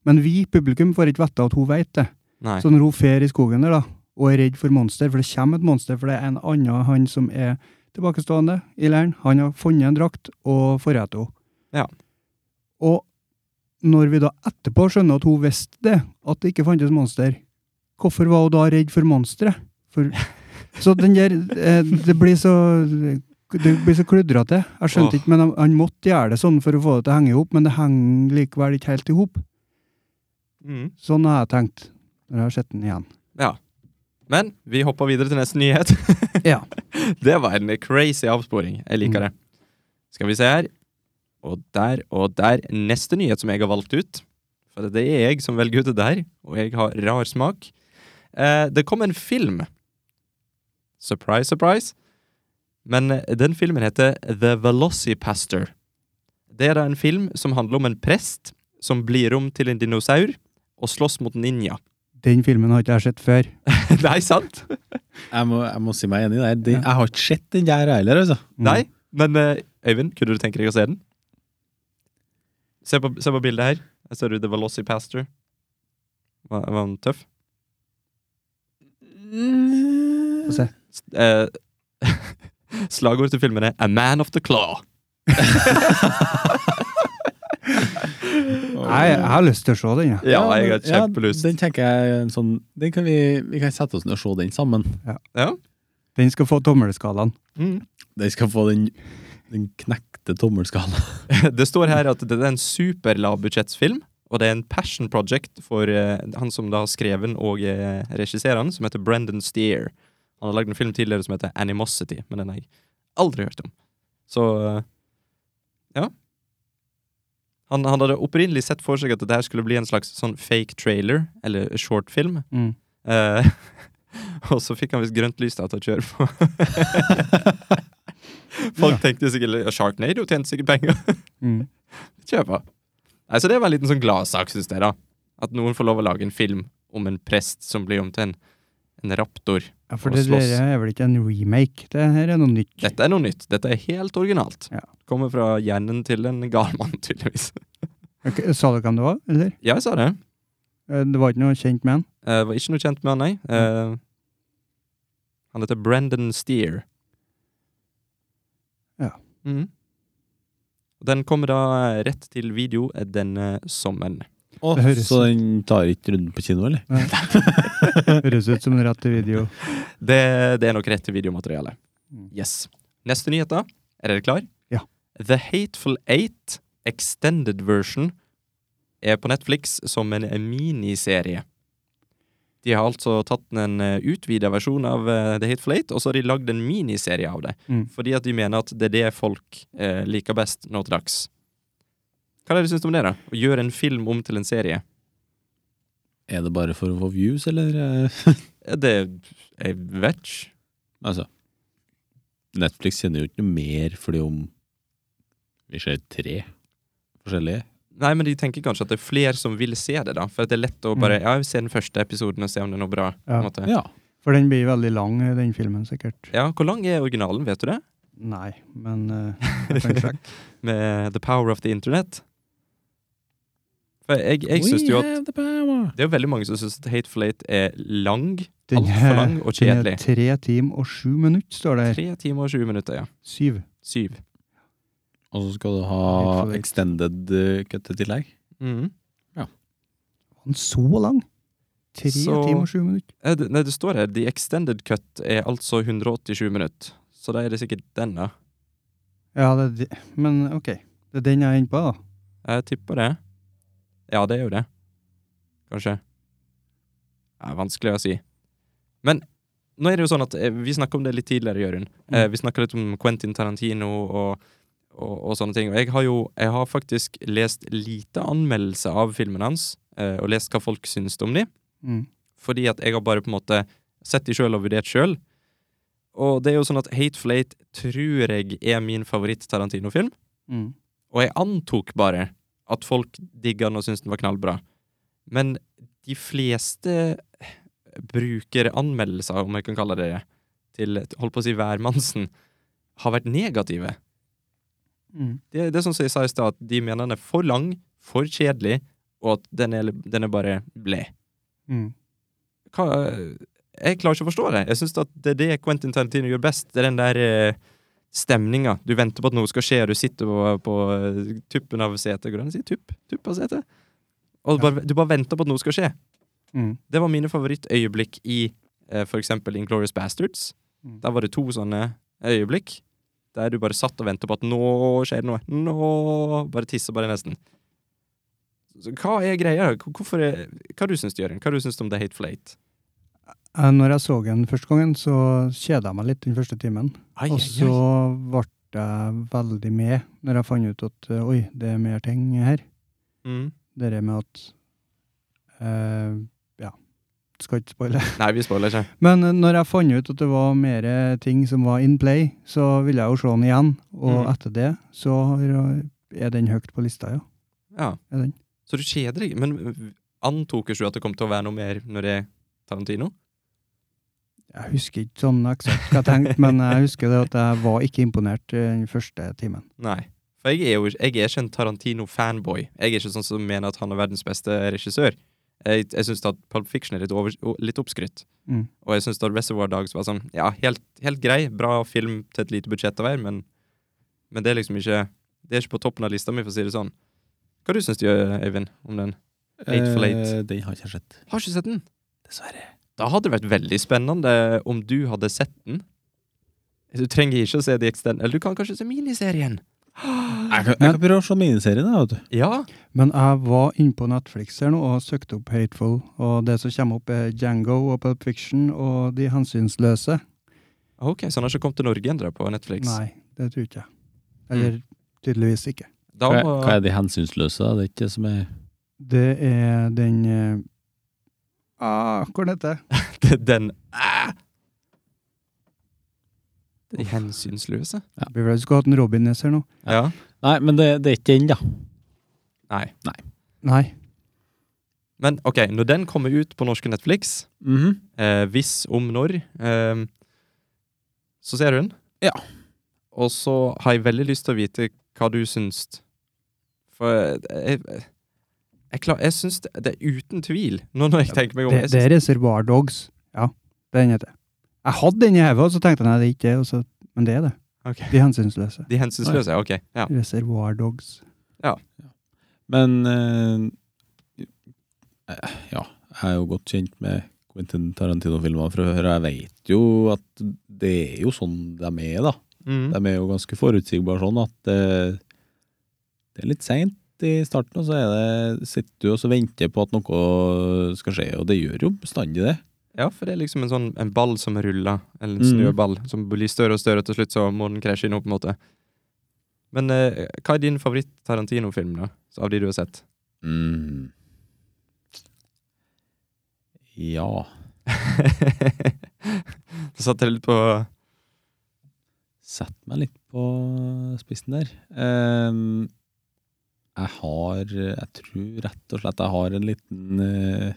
A: Men vi, publikum, får ikke vite at hun vet det.
B: Nei.
A: Så når hun fer i skogen der da, og er redd for monster, for det kommer et monster, for det er en annen han som er tilbakestående i leiren. Han har funnet en drakt og forrært henne.
B: Ja.
A: Og når vi da etterpå skjønner at hun visste det, at det ikke fantes monster, hvorfor var hun da redd for monsteret? For, så den der eh, Det blir så det blir så kludrete. Jeg skjønte
B: Åh.
A: ikke, men han, han måtte gjøre det sånn for å få det til å henge i hop, men det henger likevel ikke helt i hop.
B: Mm.
A: Sånn har jeg tenkt når jeg har sett den igjen.
B: Men vi hopper videre til neste nyhet.
A: Ja.
B: Det var en crazy avsporing. Jeg liker
A: Mm.
B: det. Skal vi se her. Og der og der. Neste nyhet som jeg har valgt ut. For det er jeg som velger ut det der, og jeg har rar smak. Eh, det kom en film. Surprise, surprise. Men eh, den filmen heter The Velocipastor. Det er da en film som handler om en prest som blir om til en dinosaur og slåss mot ninja.
A: Den filmen har ikke jeg sett før.
B: Nei, sant?
C: Jeg må, jeg må si meg enig der. Den, jeg har ikke sett den der heller, altså.
A: Mm.
B: Nei, men eh, Øyvind, kunne du tenke deg å se den? Se på, se på bildet her. Jeg ser ut det var Lossy Pastor. Var, var han tøff?
A: Få se.
B: S- eh, slagord til filmen er A Man of the Claw.
A: Nei, jeg har lyst til å se den, jeg.
B: Ja, jeg
C: men-
B: har kjempelyst.
C: Ja, den tenker jeg er en sånn den kan vi, vi kan sette oss ned og se den sammen.
A: Den skal få tommelskalaen.
B: Mm.
C: Den skal få den, den knekte tommelskala.
B: Det står her at det er en superlavbudsjettsfilm, og det er en passion project for eh, han som da har skrevet den og eh, regisserer den, som heter Brendan Steer. Han har lagd en film tidligere som heter Animosity, men den har jeg aldri hørt om. Så eh, ja. Han, han hadde opprinnelig sett for seg at dette her skulle bli en slags sånn fake trailer, eller shortfilm. Eh, og så fikk han visst grønt lys da til å kjøre på. Folk tenkte sikkert Sharknado tjente sikkert penger
A: Mm.
B: kjøpe. Nei, så det var en liten sånn gladsak, syns jeg, da. At noen får lov å lage en film om en prest som blir om til en, en raptor.
A: Ja, for
B: Og
A: det
B: slåss.
A: der er vel ikke en remake? Det her er noe nytt.
B: Dette er noe nytt. Dette er helt originalt.
A: Ja.
B: Kommer fra hjernen til en gal mann, tydeligvis.
A: Ok, sa du hvem det var, eller?
B: Ja, jeg sa det.
A: Eh, Det var ikke noe kjent med han?
B: Eh, var ikke noe kjent med han, nei. Eh, han heter Brendan Steer.
A: Ja.
B: Mm. Den kommer da eh, rett til video denne sommeren.
C: Å,
A: Det høres-
C: så den tar ikke runden på kino, eller?
A: Høres ut som en rett til video.
B: Det, det er nok rett til videomaterialet.
A: Mm.
B: Yes. Neste nyhet, da. Er dere klar?
A: Ja.
B: The Hateful Eight Extended Version er på Netflix som en miniserie. De har altså tatt en utvida versjon av eh, The Hateful Eight, og så har de lagd en miniserie av det.
A: Mm.
B: Fordi at de mener at det er det folk eh, liker best nå til dags. Hva er det du syns om det, da? Å gjøre en film om til en serie?
C: Er det bare for å få views, eller? eh,
B: Eh, Det Jeg vet ikke.
C: Altså, Netflix sender jo ikke noe mer fordi om vi ser tre forskjellige.
B: Nei, men de tenker kanskje at det er flere som vil se det, da. For at det er lett å bare Ja, se den første episoden og se om det er noe bra. på
A: Mm. Ja.
B: en måte.
C: Ja.
A: For den blir veldig lang, eh, den filmen, sikkert.
B: ja, Hvor lang er originalen, vet du det?
A: Nei, men eh, jeg kan sjekke.
B: Med The Power of the Internet? For jeg, jeg syns
C: We
B: jo at
C: have the power.
B: Det er jo veldig mange som syns at Hateful Eight er lang.
A: Den
B: Altfor
A: er-
B: lang og
A: Den
B: kjedelig.
A: er tre timer og sju minutter, står det her.
B: Tre timer og 20 minutter, ja.
A: Syv.
B: Syv.
C: Og så skal du
A: Litt for
C: ha
A: litt.
C: extended eh, cut i tillegg.
A: Mm.
B: Mhm.
A: Han så lang! Tre
B: Så-
A: timer og sju minutter.
B: Eh, det- Nei, det står her The Extended Cut er altså 187 minutter. Så da er det sikkert den, da.
A: Ja, det, er det- men ok. Det er den jeg er inne på, da.
B: Jeg tipper det. Ja, det er jo det. Kanskje. Det er vanskelig å si. Men nå er det jo sånn at eh, vi snakka om det litt tidligere, Jørund. Eh, vi snakka litt om Quentin Tarantino og, og, og sånne ting. Og jeg har jo jeg har faktisk lest lite anmeldelse av filmen hans, eh, og lest hva folk syns om de.
A: Mm.
B: Fordi at jeg har bare på en måte sett de sjøl og vurdert sjøl. Og det er jo sånn at Hateful Eight tror jeg er min favoritt-Tarantino-film.
A: Mm.
B: Og jeg antok bare at folk digga den og syntes den var knallbra. Men de fleste bruker anmeldelser, om jeg kan kalle det det, til holdt på å si hvermannsen, har vært negative.
A: Mm.
B: Det, det er sånn som jeg sa i stad, at de mener den er for lang, for kjedelig, og at den er, den er bare bled.
A: Mm.
B: Hva Jeg klarer ikke å forstå det. Jeg syns at det er det Quentin Tarantino gjør best. Det er den der eh, stemninga. Du venter på at noe skal skje, og du sitter på, på eh, tuppen av setet. Går det an å si tupp? Tupp av setet? Og bare, du bare venter på at noe skal skje.
A: Mm.
B: Det var mine favorittøyeblikk i eh, for eksempel Inglourious Bastards.
A: Mm.
B: Der var det to sånne øyeblikk der du bare satt og ventet på at nå skjer det noe. Nå Bare tisser bare nesten. Så hva er greia? Hvor- Hvorfor er, hva du syns du, Jørgen? Hva du syns du om The Hateful Eight?
A: Eh, Når jeg så den første gangen, så kjeda jeg meg litt den første timen.
B: Ai,
A: Og så ble jeg veldig med når jeg fant ut at eh, oi, det er mer ting her.
B: Mm.
A: Det der med at eh, Ja, skal ikke spoile.
B: Nei, vi spoiler ikke.
A: Men eh, når jeg fant ut at det var mer ting som var in play, så ville jeg jo se den igjen. Og
B: Mhm.
A: etter det så har- er den høyt på lista, ja.
B: Ja.
A: Er den.
B: Så du kjeder deg. Men øh, antok ikke du at det kom til å være noe mer når det er Tarantino?
A: Jeg husker ikke sånn eksakt hva jeg tenkte, men jeg husker det at jeg var ikke imponert eh, den første timen.
B: Nei. For jeg er jo jeg er ikke en Tarantino-fanboy. Jeg er ikke sånn som mener at han er verdens beste regissør. Jeg, jeg syns at Pulp Fiction er litt, over, o- litt oppskrytt.
A: Mm.
B: Og jeg syns at Reservoir Dogs var sånn Ja, helt, helt grei, bra film til et lite budsjett av hver, men, men det er liksom ikke Det er ikke på toppen av lista mi, for å si det sånn. Hva du syns du, Øyvind, om den? Hateful Eight.
C: Eh, den har jeg ikke sett.
B: Har ikke sett den.
C: Dessverre.
B: Da hadde det vært veldig spennende om du hadde sett den. Du trenger ikke å se de eksterne Eller du kan kanskje se miniserien.
C: Jeg kan, jeg kan prøve å se miniserien, da, vet du.
B: Ja.
A: Men jeg var inne på Netflix her nå og søkte opp Hateful, og det som kommer opp, er Django og Pulp Fiction og De hensynsløse.
B: Ok, Så han har ikke kommet til Norge ennå på Netflix?
A: Nei, det tror ikke jeg. Eller tydeligvis ikke.
B: Da
C: Hva,
B: må,
C: hva er de hensynsløse? da? Det er ikke det som er
A: Det er den eh, ah, Hvor heter det?
B: den ah! De hensynsløse?
A: Vi vel skulle hatt en Robin Ness her nå.
B: Ja.
C: Nei, men det, det er ikke den, da.
B: Nei.
A: Nei.
B: Men ok, når den kommer ut på norske Netflix, eh, hvis om når, eh, så ser du den.
C: Ja.
B: Og så har jeg veldig lyst til å vite hva du syns. For jeg, jeg, jeg, klar, jeg syns det, det er uten tvil, nå når jeg tenker meg om
A: Det,
B: jeg
A: det
B: syns-
A: er Reservoir Dogs. Ja, den heter det. Jeg hadde den i hodet, og så tenkte jeg nei, det er ikke det, og så- men det er det.
B: Ok.
A: De hensynsløse.
B: De hensynsløse, ok. Ja.
A: Reservoir Dogs.
C: Men eh, eh, ja, jeg er jo godt kjent med Quentin Tarantino-filmer fra før. og Jeg vet jo at det er jo sånn de er, da.
B: Mm.
C: De er jo ganske forutsigbare sånn at eh, det er litt seint i starten, og så er det, sitter du og så venter på at noe skal skje, og det gjør jo bestandig det.
B: Ja, for det er liksom en sånn en ball som ruller, eller en
C: Mm.
B: snøball, som blir større og større, og til slutt så må den krasje inn, på en måte. Men eh, hva er din favoritt-Tarantino-film, da? Så Av de du har sett?
C: Mm. Ja
B: Så satte jeg litt på
C: Sett meg litt på spissen der. Ehm, jeg har Jeg tror rett og slett jeg har en liten uh,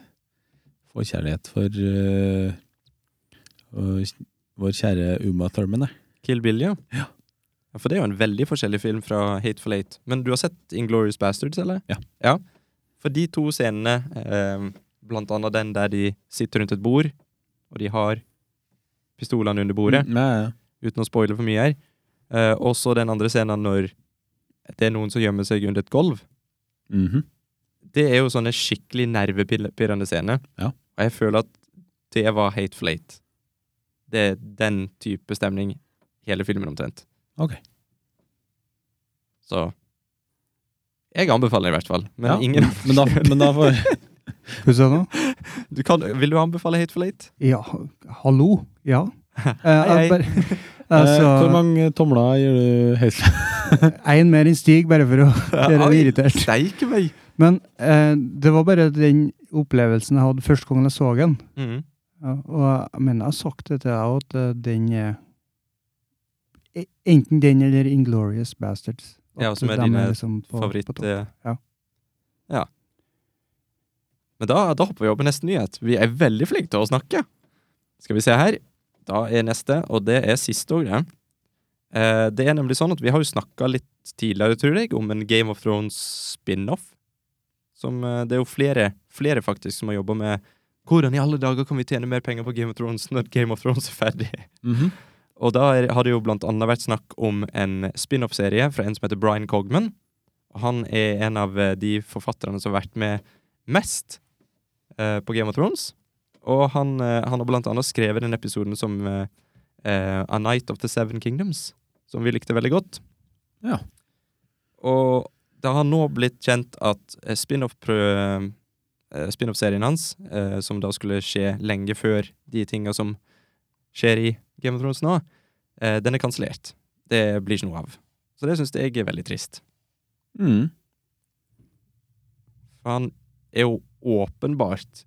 C: forkjærlighet for eh, vår- vår kjære Uma Thurman, jeg.
B: Kill Bill, ja.
C: Ja.
B: Ja, For det er jo en veldig forskjellig film fra Hateful Eight. Men du har sett Inglorious Bastards, eller?
C: Ja.
B: ja. For de to scenene, eh, blant annet den der de sitter rundt et bord, og de har pistolene under bordet,
C: Mm, ja, ja.
B: uten å spoile for mye her. Eh, også den andre scenen når det er noen som gjemmer seg under et gulv.
C: Mhm.
B: Det er jo sånne skikkelig nervepirrende scener.
C: Ja.
B: Og jeg føler at det var Hateful Eight. Det er den type stemning hele filmen omtrent.
C: Ok.
B: Så Jeg anbefaler den i hvert fall. Men
C: Ja,
B: ingen
C: men da, men da får
A: Hva sa du nå?
B: du kan, Vil du anbefale Hateful Eight?
A: Ja, hallo? Ja. Eh,
B: Hei, hei.
A: jeg bare-
C: eh, Hvor
A: altså,
C: mange tomler gir du helt
A: Én mer enn Stig, bare for å gjøre ham
B: Oi,
A: irritert.
B: Steike meg!
A: Men eh, det var bare den opplevelsen jeg hadde første gang jeg så den.
B: Mhm.
A: Ja, og jeg mener jeg har sagt det til deg òg, at eh, den er e- Enten den eller Inglorious Bastards.
B: Ja,
A: At
B: som er
A: de
B: dine
A: liksom på-
B: favoritt...
A: på topp.
B: eh,
A: ja.
B: ja. Men da, da hopper vi over på neste nyhet. Vi er veldig flinke til å snakke. Skal vi se her. Da er neste, og det er siste òg, det. Eh, det er nemlig sånn at vi har jo snakka litt tidligere, tror jeg, om en Game of Thrones-spin-off. Som eh, Det er jo flere, flere faktisk som har jobba med hvordan i alle dager kan vi tjene mer penger på Game of Thrones når Game of Thrones er ferdig?
C: Mhm.
B: Og da er, har det jo blant annet vært snakk om en spin-off-serie fra en som heter Brian Cogman. Han er en av eh, de forfatterne som har vært med mest eh, på Game of Thrones. Og han, eh, han har blant annet skrevet den episoden som eh, eh, A Night of the Seven Kingdoms, som vi likte veldig godt.
C: Ja.
B: Og det har nå blitt kjent at eh, spin-off-prø- eh, spin-off-serien hans, eh, som da skulle skje lenge før de tinga som skjer i Game of Thrones nå, eh, den er kansellert. Det blir ikke noe av. Så det syns jeg er veldig trist.
C: Mm.
B: For han er jo åpenbart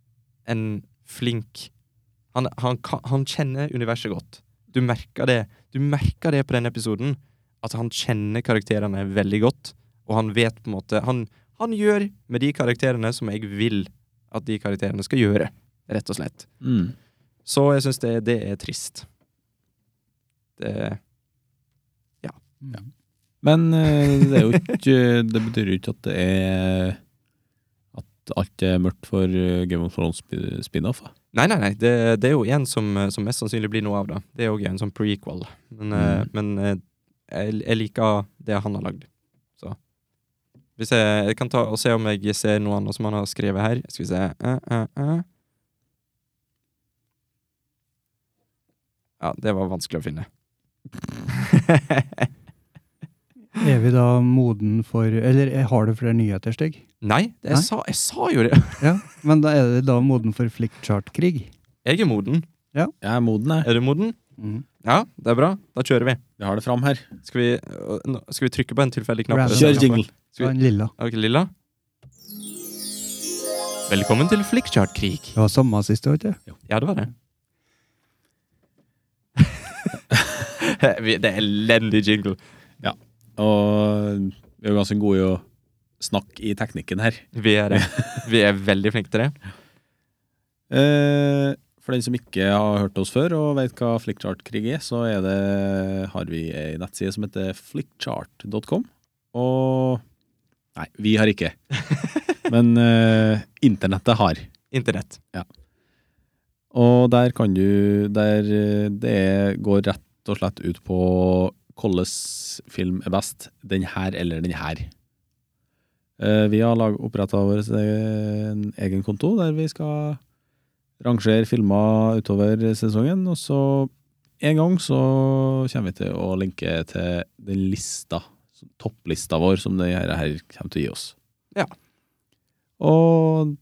B: en flink Han, han, ka- han kjenner universet godt. Du merker det Du merker det på den episoden, at han kjenner karakterene veldig godt, og han vet på en måte Han, han gjør med de karakterene som jeg vil at de karakterene skal gjøre, rett og slett.
C: Mm.
B: Så jeg syns det, det er trist. Det
A: Mm.
C: Men eh, det, er jo ikke, det betyr jo ikke at det er At alt er mørkt for eh, Game of Thrones spi- spin-off. da.
B: Nei, nei, nei. Det, det er jo en som, eh, som mest sannsynlig blir noe av det. Det er jo en sånn prequel. Men, eh,
C: Mm.
B: men eh, jeg, jeg liker det han har lagd. Så Hvis jeg, jeg kan ta og se om jeg ser noe annet som han har skrevet her. Skal vi se Eh, eh, eh. Ja, det var vanskelig å finne.
A: Er vi da moden for Eller eh, har du flere nyheter, Stig?
B: nei, det,
A: Nei?
B: jeg, Sa, jeg sa jo det!
A: Ja. Men da er vi da moden for flickchart-krig.
B: Jeg er moden.
C: Jeg er moden, jeg.
B: Er du moden? Ja, det er bra. Da kjører vi.
C: Vi har det fram her.
B: Skal vi, øh, nå- skal vi trykke på en tilfeldig knapp?
A: Random.
C: Kjør jingle.
A: Det var en lilla.
B: Ok, Lilla. Velkommen til Flickchart-krig.
A: Det var samme sist, var det ikke?
B: Ja, det var det. Vi- det er elendig jingle.
C: Og vi er jo ganske gode i å snakke i teknikken her.
B: Vi er, det. Vi er veldig flinke til det.
C: Eh, for den som ikke har hørt oss før og vet hva flickchart-krig er, så er det, har vi ei nettside som heter flickchart.com. Og Nei, vi har ikke. Men eh, internettet har.
B: Internett.
C: Og der kan du Der eh, det går rett og slett ut på hvordan film er best. Den her eller den her. Eh, Vi har oppretta vår eh, en egen konto der vi skal rangere filmer utover sesongen. Og så en gang så kommer vi til å linke til den lista, topplista vår, som det her, her kommer til å gi oss.
B: Ja.
C: Og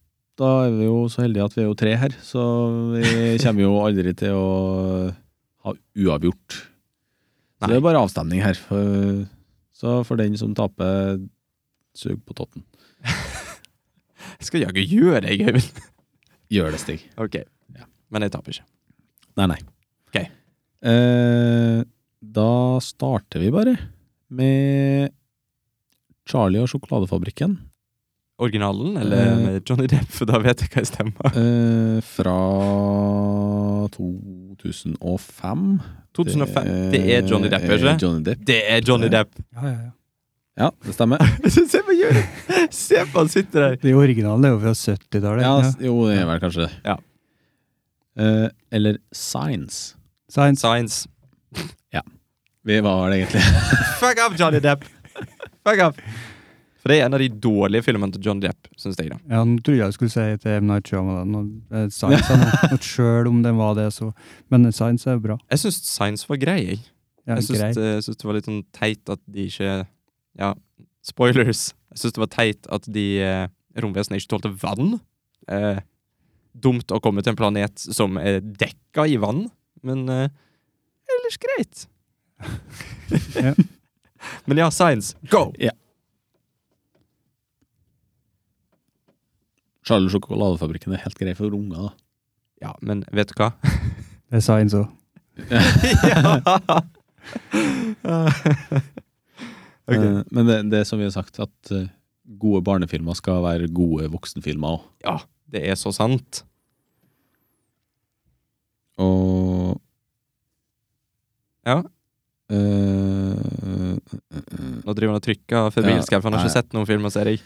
C: da er vi jo så heldige at vi er jo tre her, så vi kommer jo aldri til å ha uavgjort. Så
B: Nei.
C: det er bare avstemning her. For, så for den som taper, sug på totten.
B: Jeg skal jaggu gjøre det, Gøyvind.
C: Gjør det, Stig.
B: Ok.
C: Ja.
B: Men jeg taper ikke.
C: Nei, nei.
B: Ok.
C: Eh, da starter vi bare med Charlie og sjokoladefabrikken
B: Originalen eller
C: Eh.
B: med Johnny Depp, for da vet jeg hva jeg stemmer.
C: eh, fra 2005.
B: 2005. Det er Johnny Depp, ikke
C: Eh,
B: det?
C: Johnny Depp.
B: Det er Johnny Depp.
A: Ja, ja, ja.
C: Ja, det stemmer.
B: Se på Gøyvind! Se på han sitter der.
A: Det originalen er jo fra 70-tallet.
C: Ja,
A: Ja.
C: s- jo, det er vel kanskje det.
B: Ja.
C: Eh, eller Science.
A: Science.
B: Science.
C: Vi var det egentlig.
B: Fuck off, Johnny Depp! Fuck off! For det er en av de dårlige filmene til Johnny Depp, syns jeg. da
A: Ja, nå trodde jeg jeg skulle si til M. Night Shyamalan og eh, Science, han, og selv om den var det, så Men Science er jo bra.
B: Jeg syns Science var grei. Jeg,
A: Ja,
B: jeg syns
A: grei.
B: det, jeg syns det var litt sånn teit at de ikke Ja, spoilers. Jeg syns det var teit at de eh, romvesenene ikke tålte vann. Eh, dumt å komme til en planet som er dekka i vann, men eh, ellers greit.
A: Ja.
B: Men ja, Science, go!
C: Charlie Sjokoladefabrikken er helt grei for unger, da.
B: Ja, men vet du hva?
A: Det er Science òg.
B: Ok.
C: Eh, men det, det er som vi har sagt, at eh, gode barnefilmer skal være gode voksenfilmer òg.
B: Ja, det er så sant.
C: Og
B: Ja.
C: eh, eh, eh,
B: Nå driver han og trykker febrilsk her, for han har
C: Ja,
B: ikke sett noen film og serie.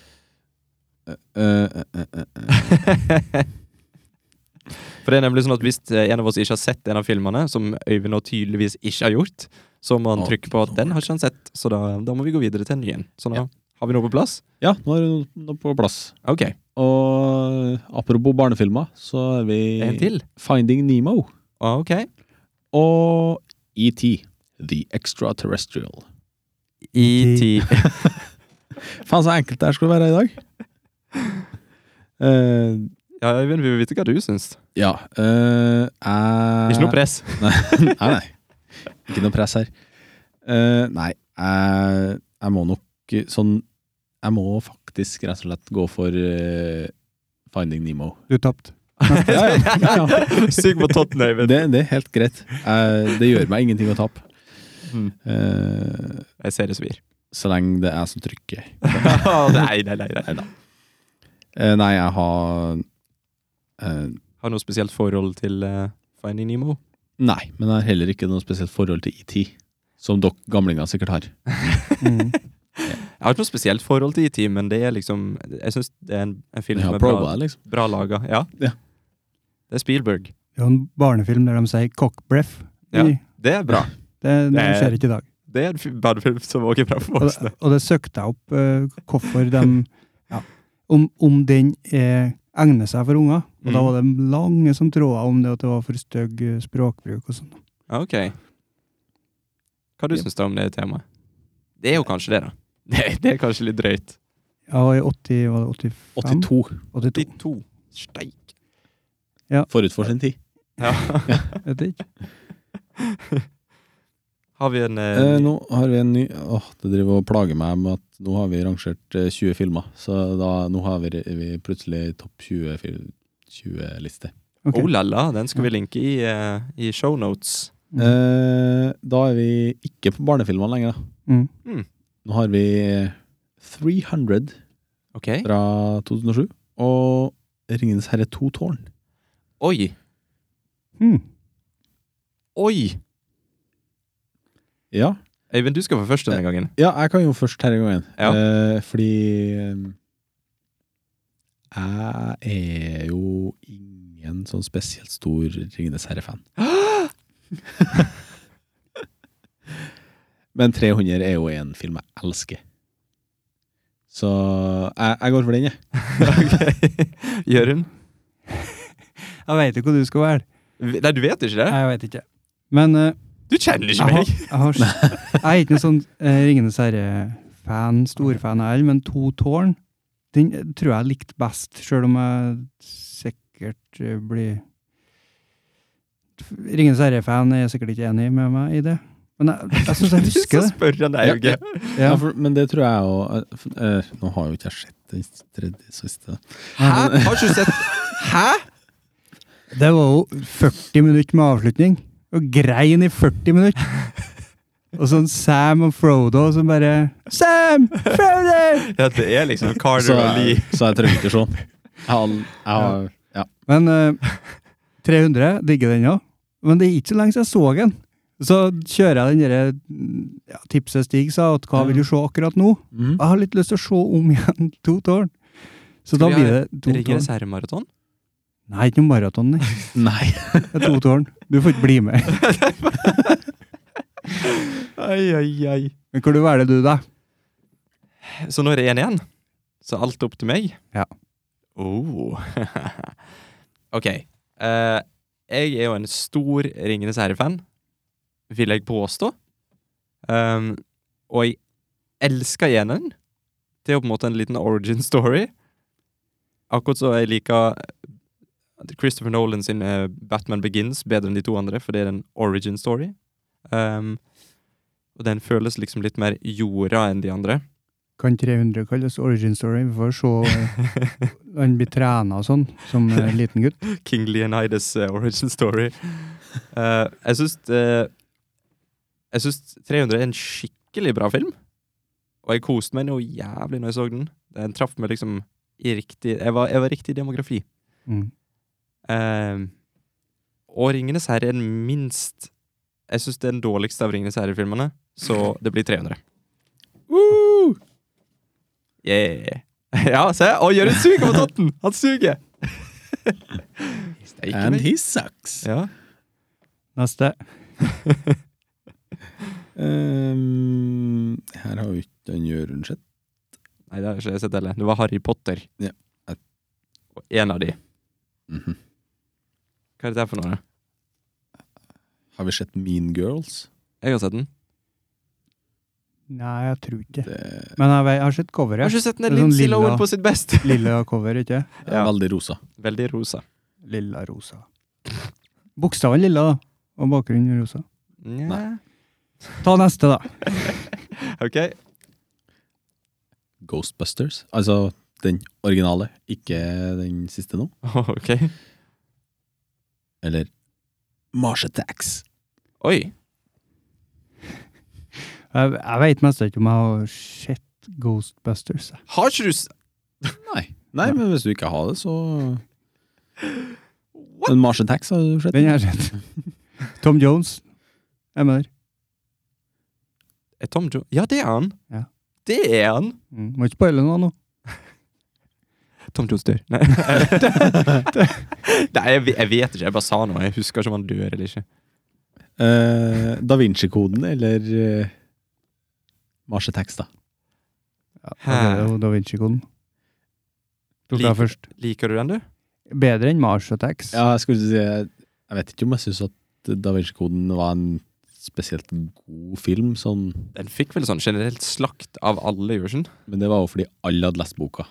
C: eh, eh, eh, eh, eh.
B: For det er nemlig sånn at hvis eh, en av oss ikke har sett en av filmene, som Øyvind nå tydeligvis ikke har gjort, så må han
C: Å,
B: trykke på at den har ikke han sett, så da, da må vi gå videre til en ny en. Så nå
C: Ja.
B: har vi noe på plass.
C: Ja, nå er det noe på plass.
B: Ok,
C: Og apropos barnefilmer, så har vi
B: en til.
C: Finding Nemo
B: Ah, Ok.
C: og ET. The Extraterrestrial.
B: ET.
C: Faen, så enkelt det her skulle være i dag. Eh,
B: Ja, Øyvind, vi vil vite hva du syns.
C: ja eh, jeg
B: Ikke noe press.
C: nei, nei. Ikke noe press her. Eh, nei, jeg, jeg må nok sånn Jeg må faktisk rett og slett gå for eh, Finding Nemo.
A: Du tapte.
C: Ja, ja, ja, ja.
B: Sug på totten, Øyvind.
C: Det, det er helt greit. Jeg, det gjør meg ingenting å tape.
B: Mm.
C: Eh,
B: Jeg ser det svir.
C: så lenge det er jeg som trykker.
B: nei, nei, nei, nei.
C: Eh, nei, jeg har eh,
B: Har du noe spesielt forhold til eh, Finding Nemo?
C: Nei, men jeg har heller ikke noe spesielt forhold til ET. Som dere gamlinger sikkert har.
A: Mm.
B: Jeg har ikke noe spesielt forhold til ET, men det er liksom Jeg syns det er en, en film
C: Jeg
B: som
C: har
B: er bra,
C: proba, liksom.
B: bra laga. Ja.
C: Ja.
B: Det er Spielberg.
A: Det er jo en barnefilm der de sier 'cock breath'.
B: Ja.
A: I-
B: Det er bra.
A: Det, det,
B: Det-
A: skjer ikke i dag.
B: Det er en fi- barnefilm som også er bra for
A: Og,
B: voksne.
A: det- og det søkte jeg opp eh, hvorfor de ja, om, om den er, egner seg for unger. Og da
B: Mm.
A: var det lange som tråder om det at det var for stygg eh, språkbruk og sånn.
B: Ja, Ok. Hva du
C: Ja.
B: syns du om det temaet? Det er jo kanskje det, da. Det, det er kanskje litt drøyt.
A: Ja, og i 80, var det 85?
C: 82
A: 82.
B: De to. Steik.
C: forut for sin tid.
B: Ja.
A: Vet ikke.
B: Har vi en eh,
C: Eh,
B: ny-
C: nå har vi en ny Åh, det driver og plager meg med at nå har vi rangert eh, 20 filmer. Så da, nå har vi, er vi plutselig topp 20-liste.
A: Ok.
B: Oh la la, den skal vi linke i, eh, i shownotes.
A: Mm.
C: Eh, da er vi ikke på barnefilmene lenger, da.
A: Mm.
C: Nå har vi 300
B: Ok.
C: fra 2007 og Ringenes herre 2 tårn.
B: Oi!
A: Mm.
B: Oi!
C: Ja.
B: Øyvind, du skal få først denne gangen.
C: ja, jeg kan jo først denne gangen.
B: Ja.
C: Eh, fordi eh, jeg er jo ingen sånn spesielt stor Ringenes herre-fan. Men 300 er jo en film jeg elsker. Så jeg, jeg går for den, jeg.
B: Ok. Jørund?
A: Jeg veit ikke hva du skal være.
B: Nei, du vet ikke det?
A: Nei, jeg veit ikke. Men eh,
B: Du kjenner ikke
A: jeg, har,
B: meg!
A: jeg, har, jeg er ikke noen sånn eh, Ringenes herre-fan, storfan jeg heller, men To tårn den eh, tror jeg likte best, sjøl om jeg sikkert eh, blir Ringenes herre-fan er sikkert ikke enig med meg i det, men jeg, jeg syns jeg husker
B: Så
A: det.
B: spør han deg,
C: Ja,
B: Jørgen.
C: Ja.
A: Ja.
C: for, men det tror jeg òg Nå har jo ikke jeg sett den tredje siste.
B: Hæ? Har ikke du sett Hæ?!
A: Det var jo 40 minutter med avslutning. Og grein i 40 minutter. Og sånn Sam og Frodo som bare Sam! Frodo!
B: Ja, det er liksom Carter
C: Så,
B: og Lee.
C: jeg- så jeg trenger ikke se den. Jeg har- jeg har- ja.
A: Men eh, 300 digger den òg. Men det er ikke så lenge siden jeg så den. Så kjører jeg den derre mm, ja, tipset Stig sa, at hva vil du se akkurat nå?
C: Mhm.
A: Jeg har litt lyst til å se om igjen to tårn. Så
B: Skal
A: da
B: vi
A: blir
B: ha
A: det to
B: Ringenes
A: tårn.
B: herre-maraton?
A: Nei, ikke noe maraton, nei.
C: Nei.
A: Det er to tårn. Du får ikke bli med.
B: Ai, ai, ai.
A: Men hvor du velger du, da?
B: Så nå er det én igjen. Så alt er opp til meg?
A: Ja.
B: Oh. ok. Eh, jeg er jo en stor Ringenes herre-fan, vil jeg påstå. Um, og jeg elsker eneren. Det er jo på en måte en liten origin story. Akkurat så jeg liker Christopher Nolan sin eh, Batman Begins bedre enn de to andre, for det er en origin story. Um, og den føles liksom litt mer jorda enn de andre.
A: Kan 300 kalles origin story? Vi får se. eh, Han blir trena og sånn, som eh, liten gutt.
B: King Leonidas eh, origin story. Eh, jeg syns eh, Jeg syns 300 er en skikkelig bra film. Og jeg koste meg noe jævlig når jeg så den. Den traff meg liksom i riktig Jeg var, jeg var riktig demografi.
A: Mm.
B: Eh, og 'Ringenes herre' er den minst Jeg syns det er den dårligste av 'Ringenes herre'-filmene, så det blir 300.
C: Woo!
B: Yeah. ja, se! Å, Jørund suger på totten! Han suger! Ikke
C: And
B: meg.
C: he sucks.
B: Ja.
A: Neste.
C: Ehm, her har vi ikke han Jørund sett.
B: Nei, det har ikke jeg sett heller. Det var Harry Potter.
C: Ja.
B: Og en av de.
C: Mhm.
B: Hva er dette for noe?
C: Har vi sett Mean Girls?
B: Jeg har sett den.
A: Nei, jeg tror ikke det.
C: Det
A: Men jeg, vet- jeg har sett
B: Jeg har
A: coveret.
B: ikke sett
A: Det
B: den
A: er sånn
B: Lindsay
A: lilla.
B: Lohan på sitt beste.
A: Lilla cover, ikke
C: er
B: Ja.
C: veldig rosa.
B: Veldig rosa.
A: Lilla rosa. Bokstaven lilla, da. Og bakgrunnen rosa.
B: Nja.
A: Ta neste, da.
B: Ok.
C: Ghostbusters. Altså den originale, ikke den siste nå.
B: ok.
C: Eller Mars Attacks.
B: Oi.
A: Jeg, jeg veit mest ikke om jeg har sett Ghostbusters. jeg.
B: Har ikke du s-
C: Nei. Nei, men hvis du ikke har det, så
B: What?
C: Men Mars Attacks har du sett?
A: Den har jeg sett. Tom Jones. Jeg mener.
B: Er Eh, Tom Jo... Ja, det er han.
A: Ja.
B: Det er han.
A: Mm. Må ikke spoile noe nå.
B: Tom Jones dør. Nei, Nei jeg, ve- jeg vet ikke. Jeg bare sa noe. Jeg husker ikke om han dør eller ikke.
C: Eh, da Vinci-koden eller eh, Mars Attacks, da.
A: Ja, det er jo Da Vinci-koden. Tok jeg
B: Liker-
A: først.
B: Liker du den, du?
A: Bedre enn Mars Attacks.
C: Ja, jeg skulle si Jeg jeg vet ikke om jeg syns at Da Vinci-koden var en spesielt god film, sånn,
B: Den fikk vel sånn generelt slakt av alle, gjorde den?
C: men det var jo fordi alle hadde lest boka.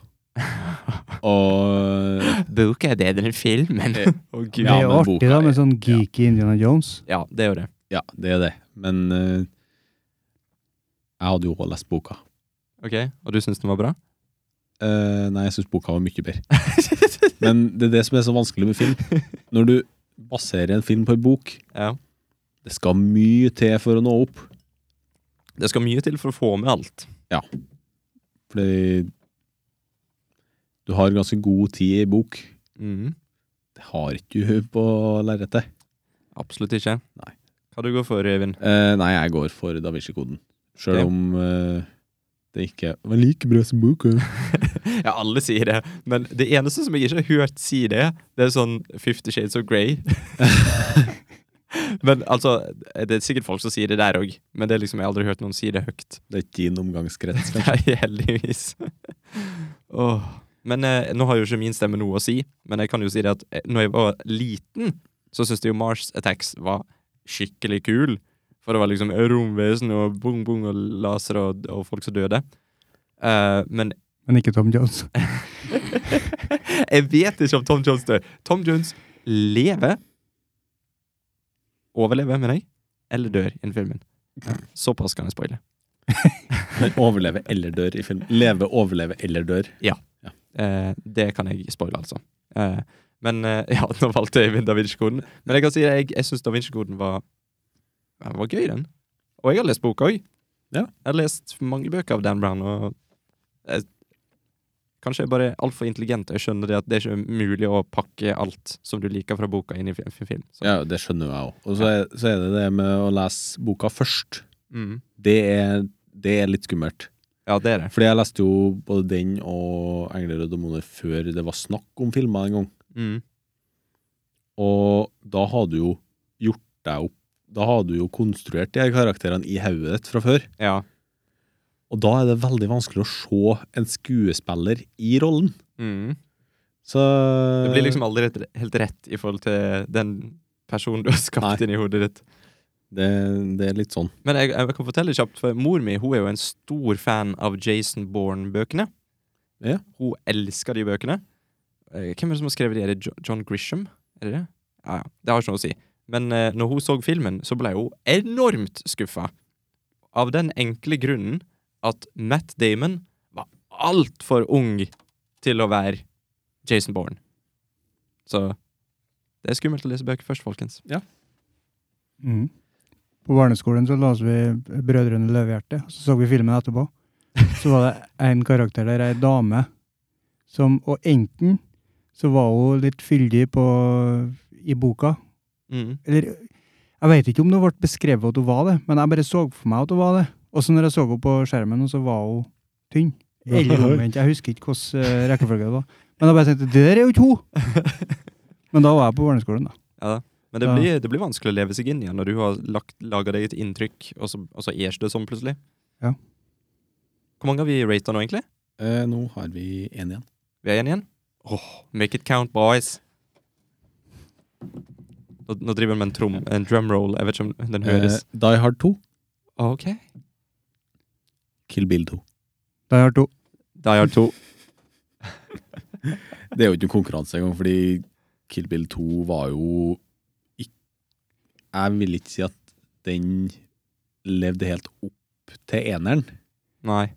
C: Og
B: Boka er bedre enn filmen. Eh, Å,
A: det
B: Gud.
C: Ja,
A: er jo
C: men
A: artig,
C: boka
A: da,
C: er-
A: med sånn geeky Indiana Jones.
B: Ja, det er jo det.
C: Ja, det er det. Men eh, jeg hadde jo også lest boka.
B: Ok, Og du syns den var bra?
C: Eh, nei, jeg syns boka var mye bedre. Men det er det som er så vanskelig med film. Når du baserer en film på en bok,
B: Ja.
C: det skal mye til for å nå opp.
B: Det skal mye til for å få med alt.
C: Fordi du har ganske god tid i bok.
B: Mhm.
C: Det har ikke du på lerretet.
B: Absolutt ikke.
C: Nei.
B: Hva du går for, Øyvind?
C: Eh, nei, jeg går for Da Vinci-koden. Sjøl
B: Ok.
C: om eh, det ikke var like bra som boka.
B: Ja, alle sier det, men det eneste som jeg ikke har hørt si det, det er sånn Fifty Shades of Grey. men altså, det er sikkert folk som sier det der òg, men det er liksom, jeg har aldri hørt noen si det høyt.
C: Det er ikke din omgangskrets. kanskje.
B: Nei, heldigvis. Åh. Men eh, nå har jo ikke min stemme noe å si, men jeg kan jo si det at eh, når jeg var liten, så syntes jeg jo Mars Attacks var skikkelig kul. For det var liksom romvesen og bong bong og laser og, og folk som døde. Eh, men
A: Men ikke Tom Jones.
B: jeg vet ikke om Tom Jones dør. Tom Jones lever. Overlever, mener jeg. Eller dør innen filmen. Såpass kan jeg spoile.
C: Men Overleve eller dør i film. Leve, overleve eller dør.
B: Eh, det kan jeg spoile, altså. Eh, men eh, ja, nå valgte jeg Da Vinci-koden. Men jeg kan si det, jeg, jeg syns Da Vinci-koden var, ja, var gøy, den. Og jeg har lest boka òg.
C: Ja.
B: Jeg har lest mange bøker av Dan Brown, og jeg, Kanskje jeg bare er altfor intelligent. og Jeg skjønner det at det er ikke mulig å pakke alt som du liker fra boka, inn i fi- fi- film. Så,
C: Ja, det skjønner jeg òg. Og så er, så er det det med å lese boka først.
B: mm.
C: Det er, det er litt skummelt.
B: ja det er det.
C: Fordi jeg leste jo både den og 'Engler og demoner' før det var snakk om filmer en gang.
B: Mm.
C: Og da har du jo gjort deg opp Da har du jo konstruert de her karakterene i hodet ditt fra før.
B: Ja.
C: Og da er det veldig vanskelig å se en skuespiller i rollen.
B: Mm.
C: Eh. Så
B: Det blir liksom aldri rett, helt rett i forhold til den personen du har skapt
C: Nei.
B: inni hodet ditt.
C: det, det er litt sånn.
B: Men jeg, jeg kan fortelle kjapt, for mor mi hun er jo en stor fan av Jason Bourne-bøkene.
C: Ja.
B: Hun elsker de bøkene. Eh, Hvem er det som har skrevet de? Er det Jo- John Grisham? Er det det? Ja, ja. Det har ikke noe å si. Men eh, når hun så filmen, så ble hun enormt skuffa. Av den enkle grunnen at Matt Damon var altfor ung til å være Jason Bourne. Så det er skummelt å lese bøker først, folkens.
A: Mm. På barneskolen så leste vi Brødrene Løvehjerte, og så så vi filmen etterpå. Så var det en karakter der, ei dame, som Og enten så var hun litt fyldig på, i boka,
B: Mm.
A: eller Jeg veit ikke om det ble beskrevet at hun var det, men jeg bare så for meg at hun var det. Og så når jeg så henne på skjermen, og så var hun tynn. eh, Eller omvendt. Jeg husker ikke hvilken rekkefølge det var. Men jeg bare tenkte det der er jo ikke hun! Men da var jeg på barneskolen, da.
B: Ja, da. men det
A: Ja.
B: blir, det blir vanskelig å leve seg inn igjen når du har lagt, laga deg et inntrykk, og så, og så er ikke det sånn plutselig.
A: Ja.
B: Hvor mange har vi rata nå, egentlig?
C: Eh, nå har vi én igjen.
B: Vi er én igjen? Åh, make it count, boys! Nå, nå driver han med en, trom, en drumroll. Jeg vet ikke om den høres.
C: Eh, Die Hard 2,
A: ah,
B: Ok.
C: Kill Bill 2.
A: Da har jeg hørt to.
B: Die Hard 2.
C: Det er jo ikke noen konkurranse engang, fordi Kill Bill 2 var jo ikk- Jeg vil ikke si at den levde helt opp til eneren.
B: Nei.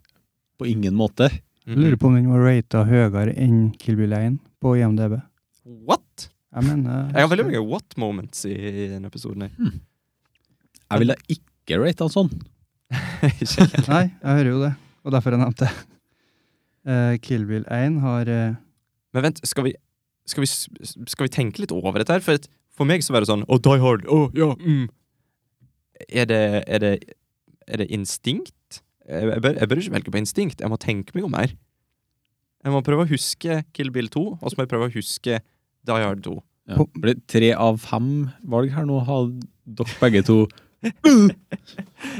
C: På ingen måte.
A: Jeg Lurer på om den var rata høyere enn Kill Bill 1 på IMDb.
B: What?!
A: Jeg mener
B: Jeg har veldig mange what moments i denne episoden. her.
C: Hmm. Jeg ville ikke rate han sånn.
B: Ikke helt.
A: Nei, jeg hører jo det, og derfor jeg nevnte det. Eh, Kill Bill 1 har eh,
B: Men vent, skal vi, skal, vi, s- skal vi tenke litt over dette her? For, at for meg så var det sånn Å, Die Hard! Å, ja! Mm. Er, det, er, det, er det instinkt? Jeg, jeg, bør, jeg bør ikke velge på instinkt. Jeg må tenke meg om her. Jeg må prøve å huske Kill Bill 2, og så må jeg prøve å huske Die Hard 2.
C: Ja. For det er tre av fem valg her nå har dere begge to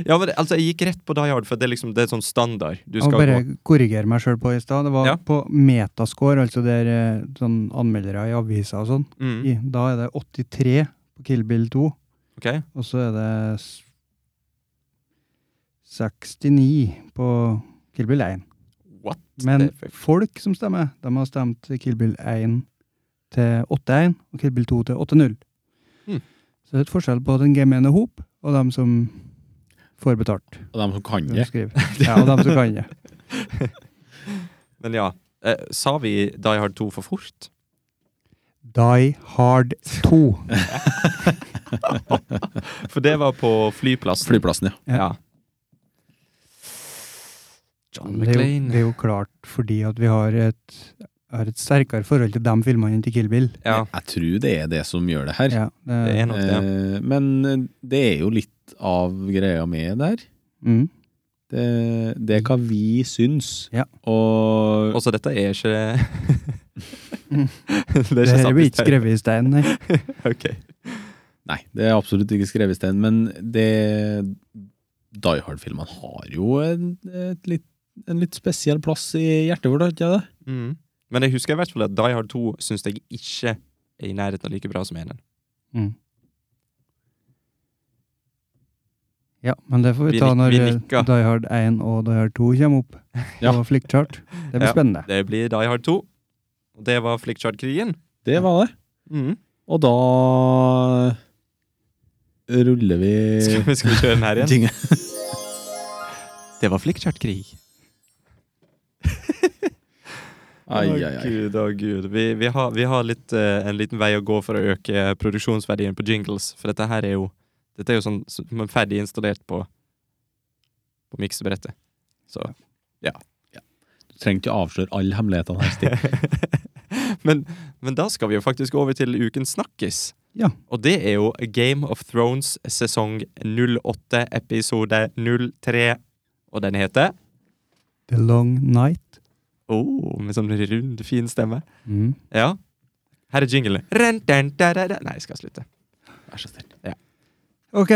B: Ja, men det- altså, jeg gikk rett på Die Hard, for det er liksom det er sånn standard. Du
A: Jeg må
B: skal
A: bare
B: gå
A: korrigere meg sjøl på i stad. Det var
B: Ja.
A: på metascore, altså der eh, sånn anmeldere i aviser og sånn.
B: mm.
A: I- Da er det 83 på Kill Bill 2,
B: Ok.
A: og så er det s- 69 på Kill Bill 1.
B: What?
A: Men
B: Det er for-
A: folk som stemmer, de har stemt Kill Bill 1 til 8-1 og Kill Bill 2 til 8-0.
B: Hmm.
A: Så det er et forskjell på den gemene hop og dem som får betalt.
C: av dem som kan
A: De
C: det.
A: skriver. Ja, og dem som kan det.
B: Men ja. Eh, sa vi Die Hard 2 for fort?
A: Die Hard 2.
B: For det var på flyplassen.
C: Flyplassen, ja.
A: Ja.
B: Ja. John
A: Det er, jo,
B: McLean.
A: det er jo klart fordi at vi har et, har et sterkere forhold til de filmene enn til Kill Bill.
B: Ja,
C: Jeg tror det er det som gjør det her.
A: Ja,
B: det er nok det.
C: Eh, Men det er jo litt av greia med det her.
A: mm.
C: Det, det er hva vi syns.
A: Ja.
C: Og
B: Også dette er ikke
A: Mm.
B: Det
A: Det her blir ikke
B: samtidig.
A: skrevet i stein, nei.
B: Ok.
C: Nei, det er absolutt ikke skrevet i stein, men det Die Hard-filmene har jo en, et litt, en litt spesiell plass i hjertet vårt, har ikke det?
B: Mm. Men jeg husker i hvert fall at Die Hard 2 syns jeg ikke er i nærheten av like bra som eneren.
A: Mm. Ja, men det får vi,
B: Vi
A: ta
B: nik-
A: når
B: vi
A: eh,
B: nikker.
A: Die Hard 1 og Die Hard 2 kommer opp
C: Ja.
A: på Flickchart. Det blir
B: Ja.
A: spennende.
B: Det blir Die Hard 2. Og det var Flickchard-krigen.
C: Det var det.
B: Mm.
C: Og da ruller vi
B: Skal, vi- skal vi kjøre den her igjen?
C: tingen.
B: Det var Flickchard-krig.
C: Ai, ai,
B: Å,
C: ai.
B: Gud, å gud. Vi, vi har, vi har litt, eh, en liten vei å gå for å øke produksjonsverdien på jingles. For dette her er jo Dette er jo sånn som er ferdig installert på På miksebrettet. Så
C: Du trenger ikke avsløre alle hemmelighetene her, Stig.
B: men, men da skal vi jo faktisk over til ukens snakkis.
A: Ja.
B: Og det er jo Game of Thrones sesong 08, episode 03. Og den heter
A: The Long Night.
B: oh, Med sånn rund, fin stemme.
A: Mm.
B: Ja. Her er jinglen. Ren, den, da, da, da. Nei, jeg skal slutte.
C: Vær så snill.
A: Ok.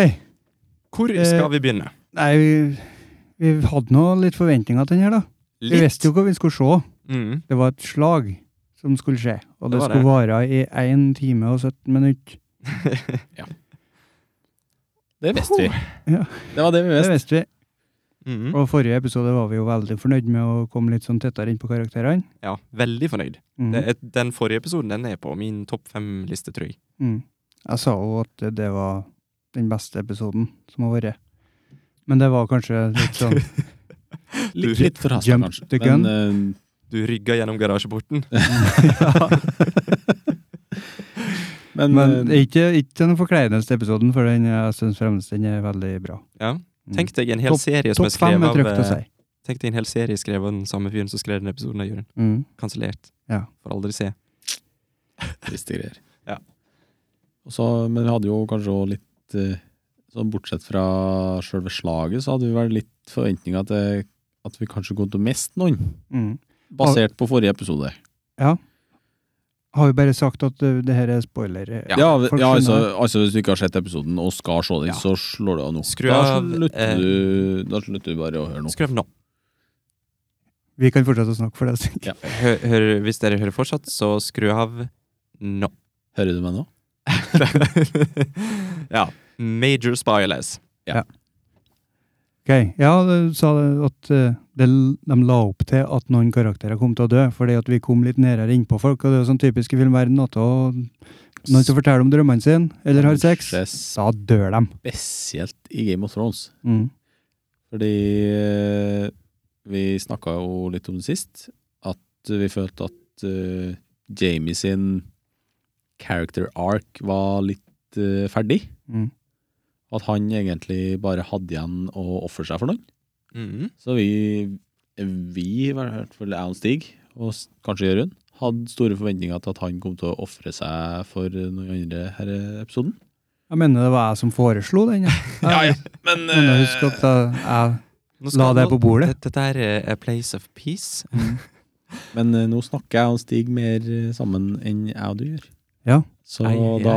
B: Hvor
A: Eh,
B: skal vi begynne?
A: Nei, vi, vi hadde nå litt forventninger til den her, da. Vi visste jo hva vi skulle se.
B: Mm.
A: Det var et slag som skulle skje. Og
B: Det
A: det,
B: var
A: skulle vare i 1 time og 17 minutter.
C: Det visste vi.
A: Ja.
C: Det var det vi
A: Det
C: visste.
A: visste vi.
B: Mm.
A: Og forrige episode var vi jo veldig fornøyd med å komme litt sånn tettere inn på karakterene.
B: Ja, veldig fornøyd.
A: Mm.
B: Det, er- den forrige episoden den er på min topp fem-liste, tror jeg.
A: Mm. Jeg sa jo at det var den beste episoden som har vært. Men det var kanskje litt sånn
C: Litt, litt for hastig,
A: Jump
C: kanskje.
A: the
C: Men
A: gun.
C: eh,
B: Du rygga gjennom garasjeporten.
A: Mm.
C: men,
A: Men
C: eh,
A: ikke, ikke den forkleineste episoden, for den, eh, jeg syns fremdeles den er veldig bra.
B: Ja.
A: Mm.
B: Tenk deg en hel
A: Topp-
B: serie som er
A: Topp fem
B: skrevet
A: er
B: av
A: trygt å
B: eh,
A: si.
B: Tenk deg en hel serie skrevet av den samme fyren som skrev den episoden av Jørund.
A: Mm.
B: Kansellert.
A: Ja.
B: Får aldri se.
C: triste greier.
B: Ja.
C: Og så, men vi hadde jo kanskje også litt eh, sånn Bortsett fra selve slaget, så hadde vi vel litt forventninger til at vi kanskje kom til å miste noen,
A: Mm.
C: basert på forrige episode.
A: Ja. har jo bare sagt at eh, det her er spoiler. eh,
B: Ja,
C: Ja,
A: folk
C: ja altså,
A: skjønner
C: altså Hvis du ikke har sett episoden og skal se den,
B: Ja.
C: så slår du av nå.
B: Skru
C: da,
B: av, eh,
C: slutter du, da slutter du bare å høre nå.
B: Skrev nå.
A: Vi kan fortsette å snakke for det.
C: Ja.
B: Hø hør- hvis dere hører fortsatt, så skru av nå.
C: Hører du meg nå?
B: ja. Major spoilers.
A: Ok, Ja, du sa det at eh, det, de la opp til at noen karakterer kom til å dø, fordi at vi kom litt nærere innpå folk, og det er jo sånn typisk i filmverdenen at å- noen som forteller om drømmene sine, eller har sex,
C: Kanskje
A: da dør de.
C: Spesielt i Game of Thrones.
A: Mm.
C: Fordi eh, vi snakka jo litt om det sist, at vi følte at eh, Jamie sin character arc var litt eh, ferdig.
A: Mm.
C: At han egentlig bare hadde igjen å ofre seg for noen.
B: Mhm.
C: Så vi, vi i hvert fall jeg og Stig, og s- kanskje Jørund, hadde store forventninger til at han kom til å ofre seg for noen andre her i episoden.
A: Jeg mener det var jeg som foreslo den. jeg. Jeg-
C: men
A: Men jeg husker at jeg, jeg
B: Nå
A: la det på bordet.
B: Dette her er a place of peace.
A: mm,
C: Men eh, nå snakker jeg og Stig mer eh, sammen enn jeg og du gjør.
A: Ja.
C: Så
B: Ai, ai, ai.
C: da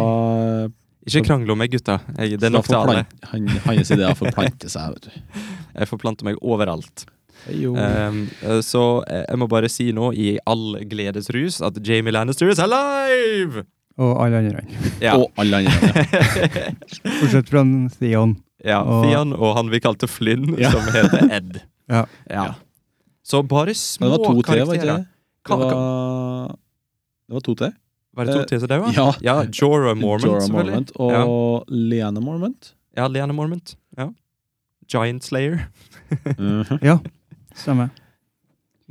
B: Ikke krangle om meg, gutta. Jeg, det
C: så
B: er
C: da
B: nok til alle.
C: forplan- Han, hans ideer forplanter seg, vet du.
B: Jeg forplanter meg overalt.
C: Jo.
B: Um, eh, så eh, jeg må bare si nå, i all gledesrus, at Jamie Lannister is alive!
A: og alle andre.
B: Ja.
C: Og alle andre.
A: Fortsett fra den Theon.
B: ja
A: Og-
B: Fian og han vi kalte Flynn,
C: Ja.
B: som heter Ed.
A: Ja.
B: Ja. Så bare
C: Men
B: små
C: det var to til, var
B: karakterer.
C: ikke det? Det
B: Hva- hva-
C: var, det var to til.
B: Var det to
C: Eh,
B: til som daua?
C: ja.
B: ja. Jorah Mormont,
C: Jorah
B: selvfølgelig.
C: Mormont og Liana Mormont.
B: Ja, Leanna Mormont. Ja. Giant Slayer.
C: Mhm.
A: Stemmer.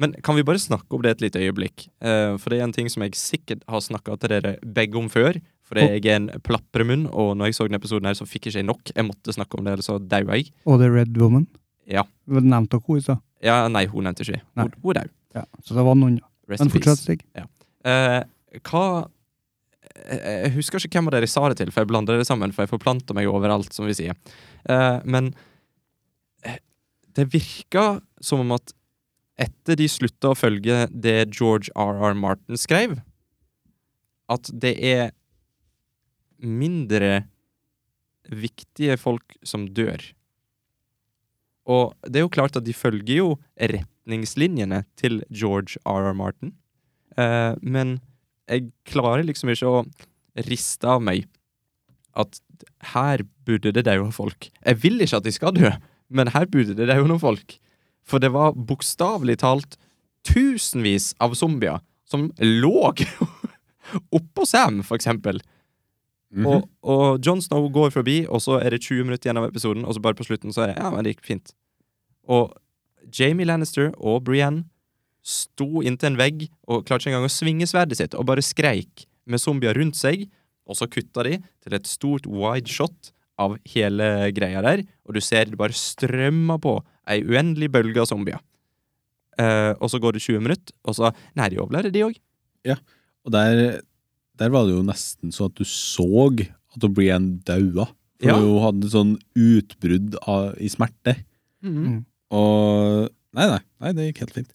B: Men kan vi bare snakke om det et lite øyeblikk? Eh, for det er en ting som jeg sikkert har snakka til dere begge om før. For jeg er en plapremunn, og når jeg så denne episoden her, så fikk jeg ikke nok. Jeg måtte snakke om det, ellers så daua jeg.
A: Og The Red Woman.
B: Ja.
A: Vi Nevnte dere henne i stad.
B: Ja, nei, hun nevnte ikke.
A: Nei.
B: Hun, hun dau.
A: Ja. Så det var noen, ja.
B: Rest
A: Men
B: in
A: fortsatt,
B: peace.
A: Stig.
B: Eh, hva jeg, jeg husker ikke hvem av dere jeg sa det til, for jeg blander det sammen, for jeg forplanter meg overalt, som vi sier. Eh, men eh, det virka som om at etter de slutta å følge det George R.R. Martin skrev, at det er mindre viktige folk som dør. Og det er jo klart at de følger jo retningslinjene til George R.R. Martin, eh, men jeg klarer liksom ikke å riste av meg at her burde det daue folk. Jeg vil ikke at de skal dø, men her burde det daue noen folk. For det var bokstavelig talt tusenvis av zombier som lå oppå Sam, for eksempel. Og, og John Snow går forbi, og så er det 20 minutter igjen av episoden, og så bare på slutten så er det Ja, men det gikk fint. Og Jamie Lannister og Brienne sto inntil en vegg og klarte ikke engang å svinge sverdet sitt, og bare skreik med zombier rundt seg, og så kutta de til et stort wide shot av hele greia der, og du ser det bare strømmer på ei uendelig bølge av zombier. Eh, og så går det 20 minutter, og så Nei, de overlevde, de òg.
C: Og der, der var det jo nesten så at du så at Brienne daua. For
B: Ja.
C: hun hadde sånn utbrudd av, i smerte. Og Nei, nei, nei, det gikk helt fint.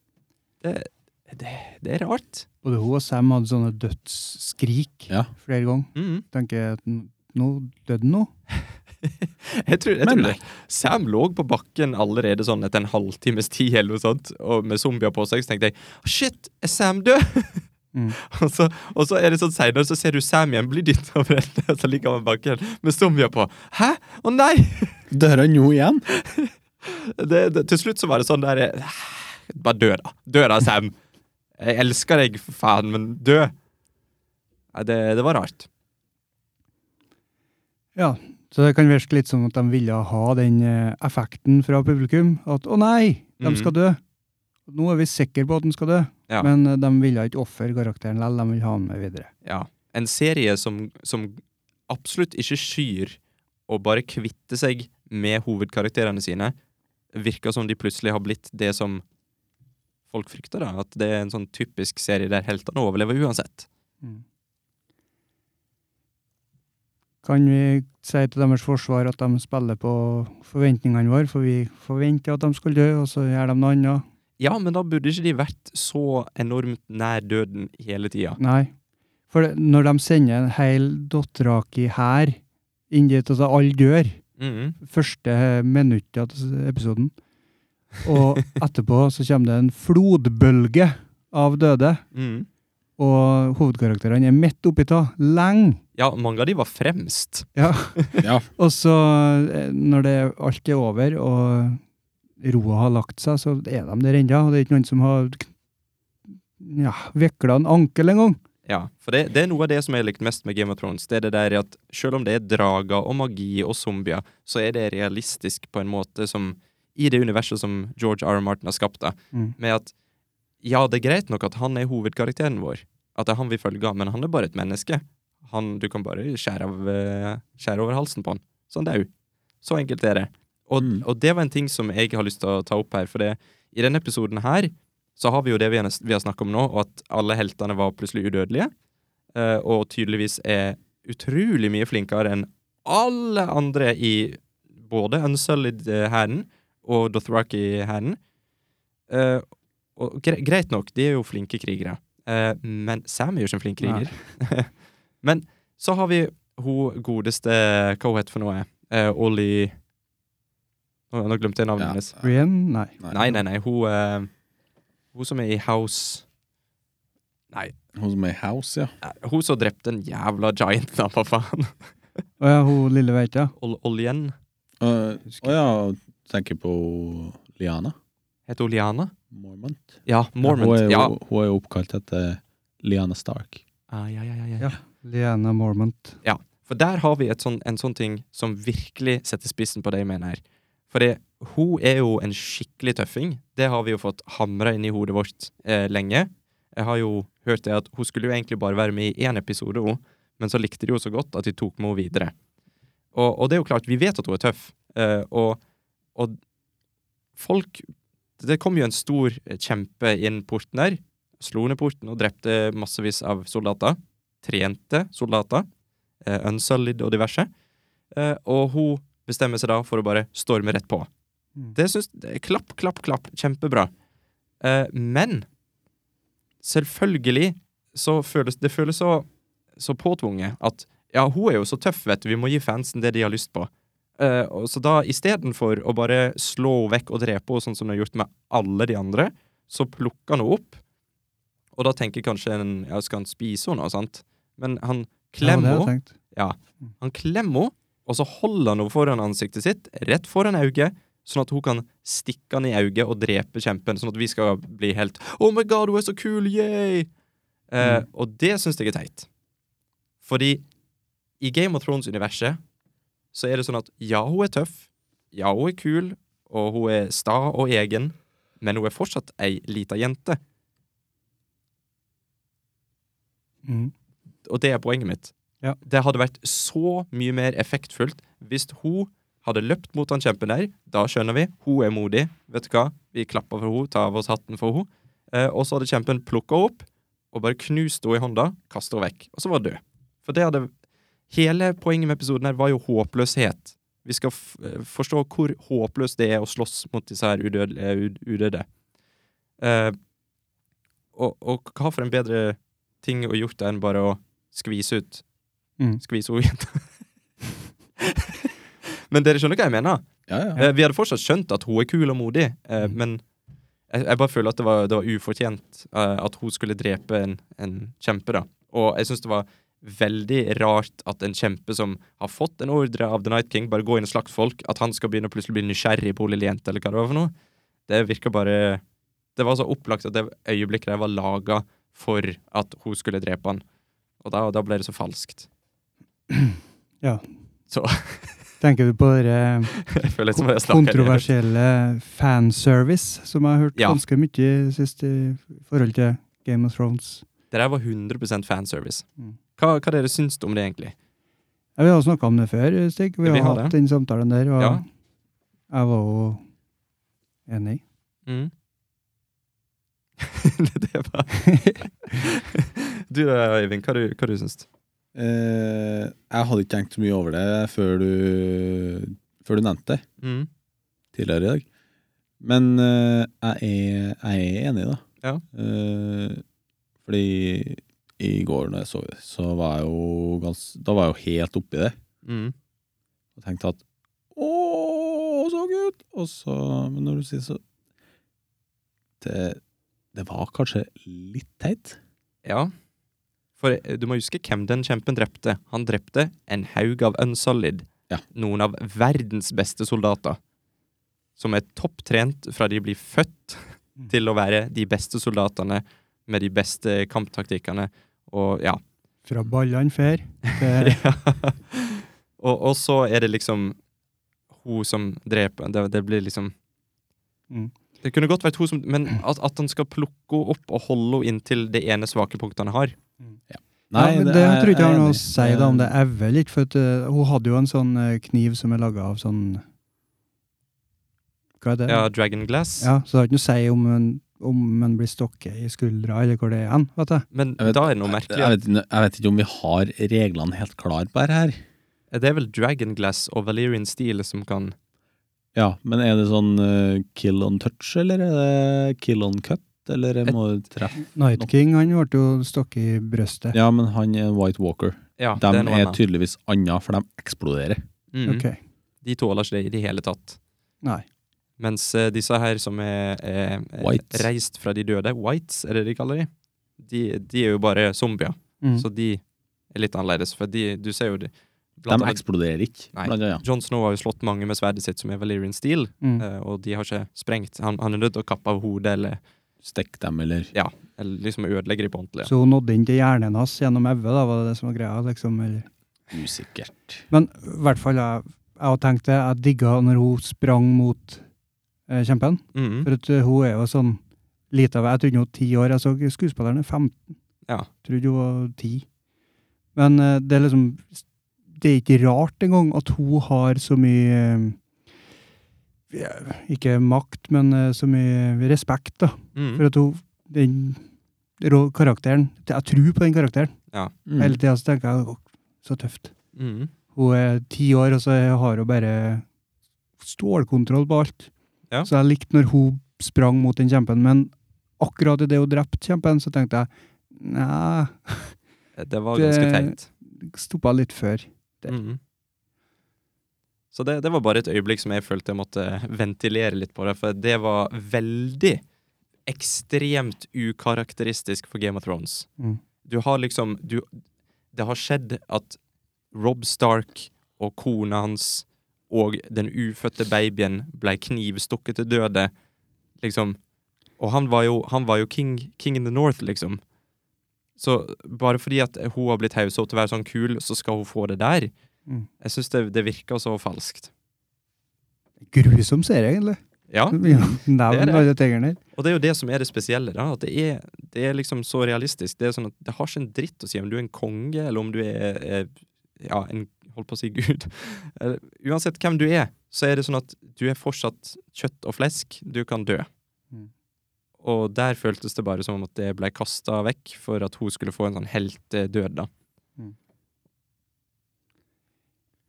B: Det er rart.
A: Både hun og Sam hadde sånne dødsskrik
C: Ja.
A: flere ganger.
B: Mhm.
A: Tenker jeg at n- nå døde han nå.
B: Jeg tror, jeg
C: Men
B: tror
C: nei.
B: det. Sam lå på bakken allerede sånn etter en halvtimes tid eller noe sånt, og med zombier på seg. Så tenkte jeg «Ah, shit, er Sam død?
A: Mm.
B: og, så, og så er det sånn senere, så ser du Sam igjen bli dytta over ende, og så ligger han på bakken med zombier på. Hæ? Å nei!
C: Dør han nå igjen?
B: Det, det, til slutt så var det sånn der eh, Bare dø, da. Dø da, Sam. Jeg elsker deg, for faen, men dø. Nei, Det, det var rart.
A: Ja. Så det kan virke litt som at de ville ha den eh, effekten fra publikum. At 'å nei, de
B: Mhm.
A: skal dø'. Nå er vi sikre på at den skal dø,
B: Ja.
A: men eh, de ville ikke ofre karakteren likevel. De vil ha den med videre.
B: Ja. En serie som, som absolutt ikke skyr å bare kvitte seg med hovedkarakterene sine, virker som de plutselig har blitt det som folk frykter, da. At det er en sånn typisk serie der heltene overlever uansett.
A: Kan vi si til deres forsvar at de spiller på forventningene våre, for vi forventer at de skal dø, og så gjør de noe annet?
B: Ja, men da burde ikke de vært så enormt nær døden hele tida.
A: Nei. For det- når de sender en hel Dothraki her inn dit, altså alle dør
B: Mhm.
A: første minuttet av episoden, og etterpå så kommer det en flodbølge av døde,
B: Mhm.
A: og hovedkarakterene er midt oppi ta, lenge.
B: Ja, mange av de var fremst.
C: Ja.
A: Og så, eh, når det, alt er over, og roa har lagt seg, så er de der ennå. Og det er ikke noen som har ja, vikla en ankel engang.
B: Ja, for det, det er noe av det som jeg likte mest med Game of Thrones. Det er det der at selv om det er drager og magi og zombier, så er det realistisk på en måte som i det universet som George R. R. Martin har skapt. Da,
A: Mm.
B: med at ja, det er greit nok at han er hovedkarakteren vår, at det er han vi følger, men han er bare et menneske. Han, du kan bare skjære, av, eh, skjære over halsen på han. Så han dau. Så enkelt er det. Og,
C: Mm.
B: og det var en ting som jeg har lyst til å ta opp her, for det, i denne episoden her så har vi jo det vi har, vi har snakket om nå, og at alle heltene var plutselig udødelige, eh, og tydeligvis er utrolig mye flinkere enn alle andre i både Unsullied-hæren og Dothraki-hæren. Eh, og gre greit nok, de er jo flinke krigere, Eh, men Sam er jo ikke en flink kriger. men så har vi hun godeste Hva hun heter for noe? Uh, Ollie Nå nå glemte jeg navnet
C: Ja.
B: hennes.
A: Brienne? Nei.
B: Nei, nei, nei. Hun, eh, hun som er i House
C: Hun som er i House, ja.
B: Nei, Hun som drepte den jævla gianten, da, for faen.
A: Å ja, hun lille veita.
B: Ol Oljen.
C: Eh, Å ja, tenker på Liana
B: Heter hun Liana?
C: Mormont.
B: Ja, Mormont.
C: Hun er, jo,
B: Ja.
C: hun er jo oppkalt etter Liana Stark.
B: Ah, ja, ja, ja, ja.
A: Ja. Liana Mormont.
B: For der har vi et sånn, en sånn ting som virkelig setter spissen på det jeg mener her. For det, hun er jo en skikkelig tøffing. Det har vi jo fått hamra inn i hodet vårt eh, lenge. Jeg har jo hørt det at hun skulle jo egentlig bare være med i én episode, hun. Men så likte de jo så godt at de tok med henne videre. Og, og det er jo klart, vi vet at hun er tøff. Eh, og, og folk Det kom jo en stor eh, kjempe inn porten her. Slo ned porten og drepte massevis av soldater. Trente soldater eh, Unsullied og diverse. Eh, og hun bestemmer seg da for å bare storme rett på.
A: Mm.
B: Det syns det- Klapp, klapp, klapp. Kjempebra. Eh, men selvfølgelig så føles det føles så, så påtvunget at ja, hun er jo så tøff, vet du, vi må gi fansen det de har lyst på. Eh, og så da istedenfor å bare slå henne vekk og drepe henne, sånn som de har gjort med alle de andre, så plukker han henne opp. Og da tenker kanskje en ja, skal han spise henne, og sant? Men han
A: Ja, det
B: klemmer
A: har jeg
B: henne.
A: tenkt.
B: Han klemmer henne, og så holder han henne foran ansiktet sitt, rett foran øyet, sånn at hun kan stikke han i øyet og drepe kjempen, sånn at vi skal bli helt Oh my god, hun er så kul, yay! Eh, og det syns jeg er teit. Fordi i Game of Thrones-universet så er det sånn at ja, hun er tøff, ja, hun er kul, og hun er sta og egen, men hun er fortsatt ei lita jente.
A: Mm.
B: og det er poenget mitt.
A: Ja.
B: Det hadde vært så mye mer effektfullt hvis hun hadde løpt mot han kjempen der. Da skjønner vi. Hun er modig. Vet du hva? Vi klapper for henne, tar av oss hatten for henne. Eh, og så hadde kjempen plukka henne opp og bare knust henne i hånda, kasta henne vekk. Og så var hun død. For det hadde Hele poenget med episoden her var jo håpløshet. Vi skal f eh, forstå hvor håpløst det er å slåss mot disse her udøde. eh, ud- udøde. Eh, og, og hva for en bedre ting å gjort enn bare å skvise ut
A: Mm.
B: Skvise henne igjen. men dere skjønner hva jeg mener?
C: Ja, ja.
B: Eh, Vi hadde fortsatt skjønt at hun er kul og modig, eh,
A: Mm.
B: men jeg, jeg bare føler at det var, det var ufortjent eh, at hun skulle drepe en, en kjempe, da. Og jeg syns det var veldig rart at en kjempe som har fått en ordre av The Night King, bare gå inn og slakte folk, at han skal begynne å plutselig bli nysgjerrig på hun lille jenta, eller hva det var for noe. Det virka bare Det var så opplagt at det øyeblikket der var laga for at hun skulle drepe han. Og da, da ble det så falskt.
A: Tenker du på dere
B: Jeg føler som jeg snakker-
A: kontroversielle fanservice som jeg har hørt
B: Ja.
A: ganske mye sist i forhold til Game of Thrones?
B: Det der var 100 fanservice.
A: Mm.
B: Hva, hva dere syns om det, egentlig?
A: Ja, vi har snakka om det før, Stig. Vi
B: Ja,
A: har,
B: vi har
A: hatt
B: det.
A: den samtalen der, og
B: Ja.
A: jeg var jo enig.
B: Mm. det var Du eh, Øyvind, hva, du, hva du syns du?
C: Eh, jeg hadde ikke tenkt så mye over det før du, før du nevnte det
B: Mm,
C: tidligere i dag. Men eh, jeg, er, jeg er enig, da.
B: Ja.
C: Eh, fordi i går når jeg så det, så var jeg jo gans, da var jeg jo helt oppi det.
B: Mm.
C: Og tenkte at Å, så gutt! Og så Men når du sier så Det, det var kanskje litt teit.
B: Ja. For eh, du må huske hvem den kjempen drepte. Han drepte en haug av Unsolid.
C: Ja.
B: Noen av verdens beste soldater. Som er topptrent fra de blir født
A: Mm.
B: til å være de beste soldatene med de beste kamptaktikkene. Og ja.
A: Fra ballene fer til
B: ja. Og, og så er det liksom hun som dreper Det, det blir liksom
A: Mm.
B: Det kunne godt vært hun som Men at, at han skal plukke henne opp og holde henne inntil det ene svake punktet han har.
A: ja, men det,
C: er-
A: jeg tror ikke jeg
C: er
A: har noe å
C: enig.
A: si da, om det er vel ikke, for at, eh, hun hadde jo en sånn eh, kniv som er laga av sånn Hva er det?
B: Ja, Dragon Glass.
A: Ja, så det har ikke noe å si om en, om en blir stokket i skuldra, eller hvor det er hen. vet du.
B: Men
C: Jeg vet-
B: da er det noe merkelig.
C: Jeg vet, jeg vet ikke om vi har reglene helt klar på det her.
B: Det er vel Dragonglass og Valerian Steel som kan
C: Ja, men er det sånn eh, kill on touch, eller er det kill on cut? Eller jeg må treffe
A: Night
C: Nå-
A: King han ble jo stokket i brøstet.
C: Ja, men han er en White Walker.
B: Ja,
C: De
B: det er
C: er,
B: noe annet.
C: tydeligvis anna, for de eksploderer.
B: Mm.
A: Ok,
B: De tåler ikke det i det hele tatt.
A: Nei.
B: Mens eh, disse her som er, er, er
C: Whites.
B: reist fra de døde, whites er det de kaller de, de, de er jo bare zombier.
A: Mm.
B: Så de er litt annerledes, for de, du ser jo de,
C: De
B: blant annet,
C: eksploderer ikke,
B: Nei.
C: blant annet.
B: John Snow har jo slått mange med sverdet sitt, som er Valerian Steel,
A: Mm.
B: eh, og de har ikke sprengt. Han, han er nødt til å kappe av hodet, eller,
C: Stikk dem, eller
B: eller liksom ødelegge de på ordentlig.
A: Så hun nådde inn til hjernen hans gjennom øyet, da, var det det som var greia? liksom. Eller.
C: Usikkert.
A: Men i hvert fall, jeg, jeg tenkte jeg digga når hun sprang mot eh, kjempen.
B: Mhm.
A: For at eh, hun er jo sånn lite av Jeg trodde hun var ti år. Jeg så skuespilleren er 15.
B: Ja.
A: Trodde hun var ti. Men eh, det er liksom Det er ikke rart engang at hun har så mye eh, ja, Ikke makt, men eh, så mye respekt, da.
B: Mhm.
A: For at hun Den rå karakteren Jeg tror på den karakteren.
C: Mm.
A: Hele tida så tenker jeg «Å, så tøft.
B: Mhm.
A: Hun er ti år, og så har hun bare stålkontroll på alt.
B: Ja.
A: Så jeg likte når hun sprang mot den kjempen, men akkurat idet hun drepte kjempen, så tenkte jeg Nei,
B: Eh, Det var ganske
A: Det-
B: teit.
A: stoppa litt før. der.
B: Mhm. Så det, det var bare et øyeblikk som jeg følte jeg måtte ventilere litt på det, for det var veldig ekstremt ukarakteristisk for Game of Thrones.
A: Mhm.
B: Du har liksom du, Det har skjedd at Rob Stark og kona hans og den ufødte babyen ble knivstukket til døde, liksom. Og han var jo, han var jo king, king in the north, liksom. Så bare fordi at hun har blitt hausa opp til å være sånn kul, så skal hun få det der?
A: Mm.
B: Jeg syns det, det virker så falskt.
A: Grusom serie, egentlig.
B: Ja,
A: Ja.
B: Det er
A: Nevn
B: det.
A: alle tingene der.
B: og det er jo det som er det spesielle, da. At det er, det er liksom så realistisk. Det er sånn at det har ikke en dritt å si om du er en konge, eller om du er, er ja, en Holdt på å si Gud. Eller, Uansett hvem du er, så er det sånn at du er fortsatt kjøtt og flesk. Du kan dø.
A: Mm.
B: Og der føltes det bare som om at det ble kasta vekk for at hun skulle få en sånn heltedød, da.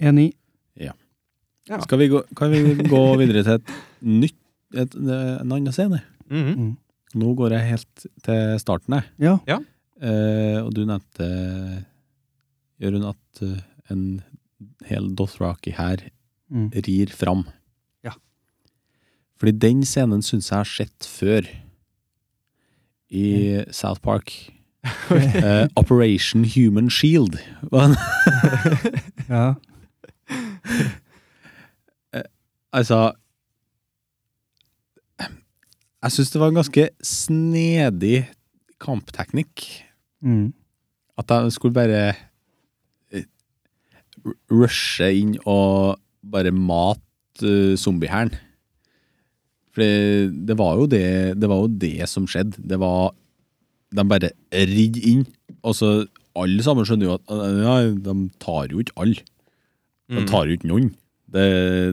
A: Enig.
B: Ja.
C: Skal vi gå, kan vi gå videre til et nytt et, En annen scene?
B: Mhm.
A: Mm.
C: Nå går jeg helt til starten, jeg.
A: Ja.
C: Eh, og du nevnte, Jørund, at eh, en hel Dothraki her
A: Mm.
C: rir fram.
A: Ja.
C: Fordi den scenen syns jeg har sett før. I South Park. Eh, Operation Human Shield. var den.
A: Ja.
C: altså Jeg syns det var en ganske snedig kampteknikk.
A: Mm.
C: At de skulle bare eh, r- rushe inn og bare mate uh, zombiehæren. For det, det var jo det Det var jo det som skjedde. Det var De bare ridde inn, og så alle sammen skjønner jo at eh, ja, de tar jo ikke alle. De
B: Mhm.
C: tar jo ikke noen. Det,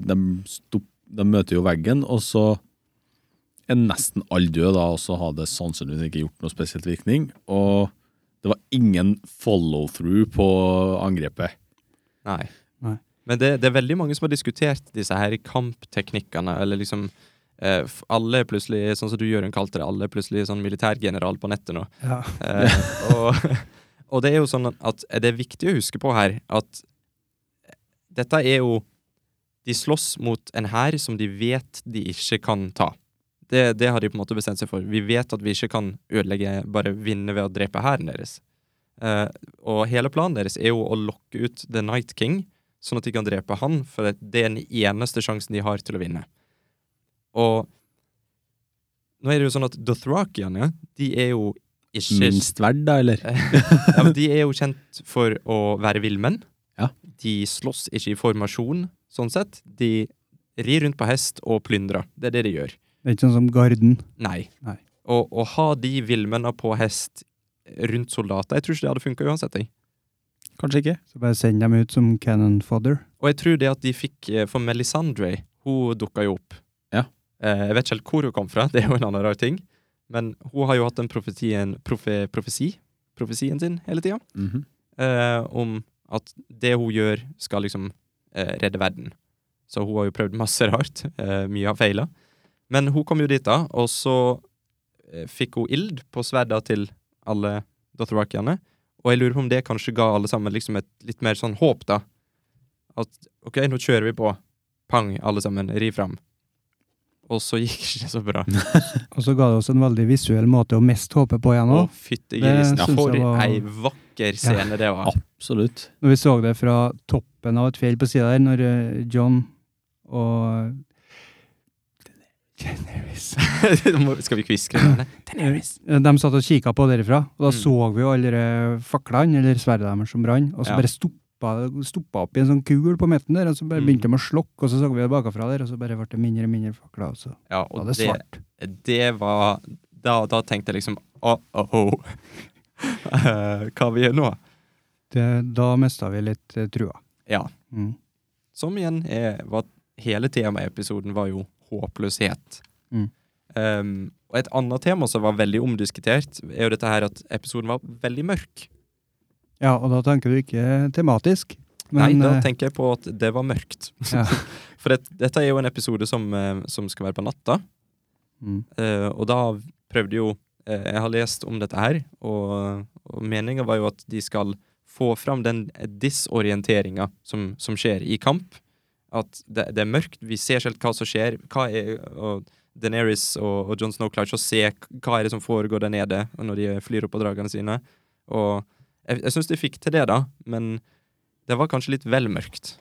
C: de, stopp, de møter jo veggen, og så er nesten alle døde da, og så har det sannsynligvis ikke gjort noe spesielt virkning. Og det var ingen follow-through på angrepet.
B: Nei.
A: Nei.
B: Men det, det er veldig mange som har diskutert disse her kampteknikkene, eller liksom eh, f- alle er plutselig, sånn som du Jørund kalte det, alle er plutselig sånn militærgeneral på nettet nå.
A: ja.
B: Eh, og Og det er jo sånn at det er viktig å huske på her at dette er jo De slåss mot en hær som de vet de ikke kan ta. Det, det har de på en måte bestemt seg for. Vi vet at vi ikke kan ødelegge, bare vinne ved å drepe hæren deres. Eh, og hele planen deres er jo å lokke ut The Night King, sånn at de kan drepe han, for det det er den eneste sjansen de har til å vinne. Og nå er det jo sånn at Dothrakiane, de er jo ikke
C: Minst verd, da, eller?
B: ja, men de er jo kjent for å være villmenn.
C: Ja.
B: De slåss ikke i formasjon, sånn sett. De rir rundt på hest og plyndrer. Det er det de gjør.
A: Det er ikke sånn som Garden.
B: Nei.
A: Nei.
B: Og å ha de villmennene på hest rundt soldater Jeg tror ikke det hadde funka uansett. Jeg.
C: Kanskje ikke.
A: Så bare send dem ut som cannon fodder.
B: Og jeg tror det at de fikk eh, For Melisandre, hun dukka jo opp.
C: Ja.
B: Eh, Jeg vet ikke helt hvor hun kom fra, det er jo en annen rar ting. Men hun har jo hatt den profetien, profe, profesi, profesien sin hele tida.
C: Mhm.
B: eh, om at det hun gjør, skal liksom eh, redde verden. Så hun har jo prøvd masse rart. Eh, mye har feila. Men hun kom jo dit, da, og så eh, fikk hun ild på sverda til alle Dotherakiene. Og jeg lurer på om det kanskje ga alle sammen liksom et litt mer sånn håp, da. At OK, nå kjører vi på. Pang, alle sammen. Ri fram. Og så gikk det ikke så bra.
A: Og så ga det oss en veldig visuell måte å mest håpe på igjen
B: Å,
A: òg. Det
B: fytti grisen.
A: synes jeg
B: For
A: var-
B: ei vakker scene det var.
C: Absolutt.
A: Når vi så det fra toppen av et fjell på sida der, når eh, John og Daenerys.
B: Må- Skal vi kviskre med henne? Daenerys.
A: Eh, De satt og kikka på derifra, og da
B: Mm.
A: så vi jo alle de faklene, eller sverdet deres som brant, og så
B: Ja.
A: bare stoppa, stoppa opp i en sånn kul på midten der, og så bare
B: Mm.
A: begynte de å slokke, og så så vi det bakafra der, og så bare ble det mindre og mindre fakler, og så
B: Ja,
A: var
B: og
A: det
B: det,
A: svart.
B: det var da, da tenkte jeg liksom oh, oh, oh. Eh, Hva vi gjør nå?
A: Det, da mista vi litt eh, trua.
B: Ja.
A: Mm.
B: Som igjen er var, Hele temaepisoden var jo håpløshet.
A: Mm.
B: Ehm, og et annet tema som var veldig omdiskutert, er jo dette her at episoden var veldig mørk.
A: Ja, og da tenker du ikke tematisk,
B: Nei,
A: men
B: da
A: eh,
B: tenker jeg på at det var mørkt.
A: Ja.
B: For det, dette er jo en episode som, eh, som skal være på natta.
A: mm.
B: Eh, og da prøvde jo eh, Jeg har lest om dette her, og, og meninga var jo at de skal få fram den disorienteringa som, som skjer i kamp. At det, det er mørkt, vi ser ikke helt hva som skjer. Hva er, og Daenerys og, og John Snow klarer ikke å se k- hva er det som foregår der nede og når de flyr opp på dragene sine. Og jeg, jeg syns de fikk til det, da, men det var kanskje litt vel mørkt.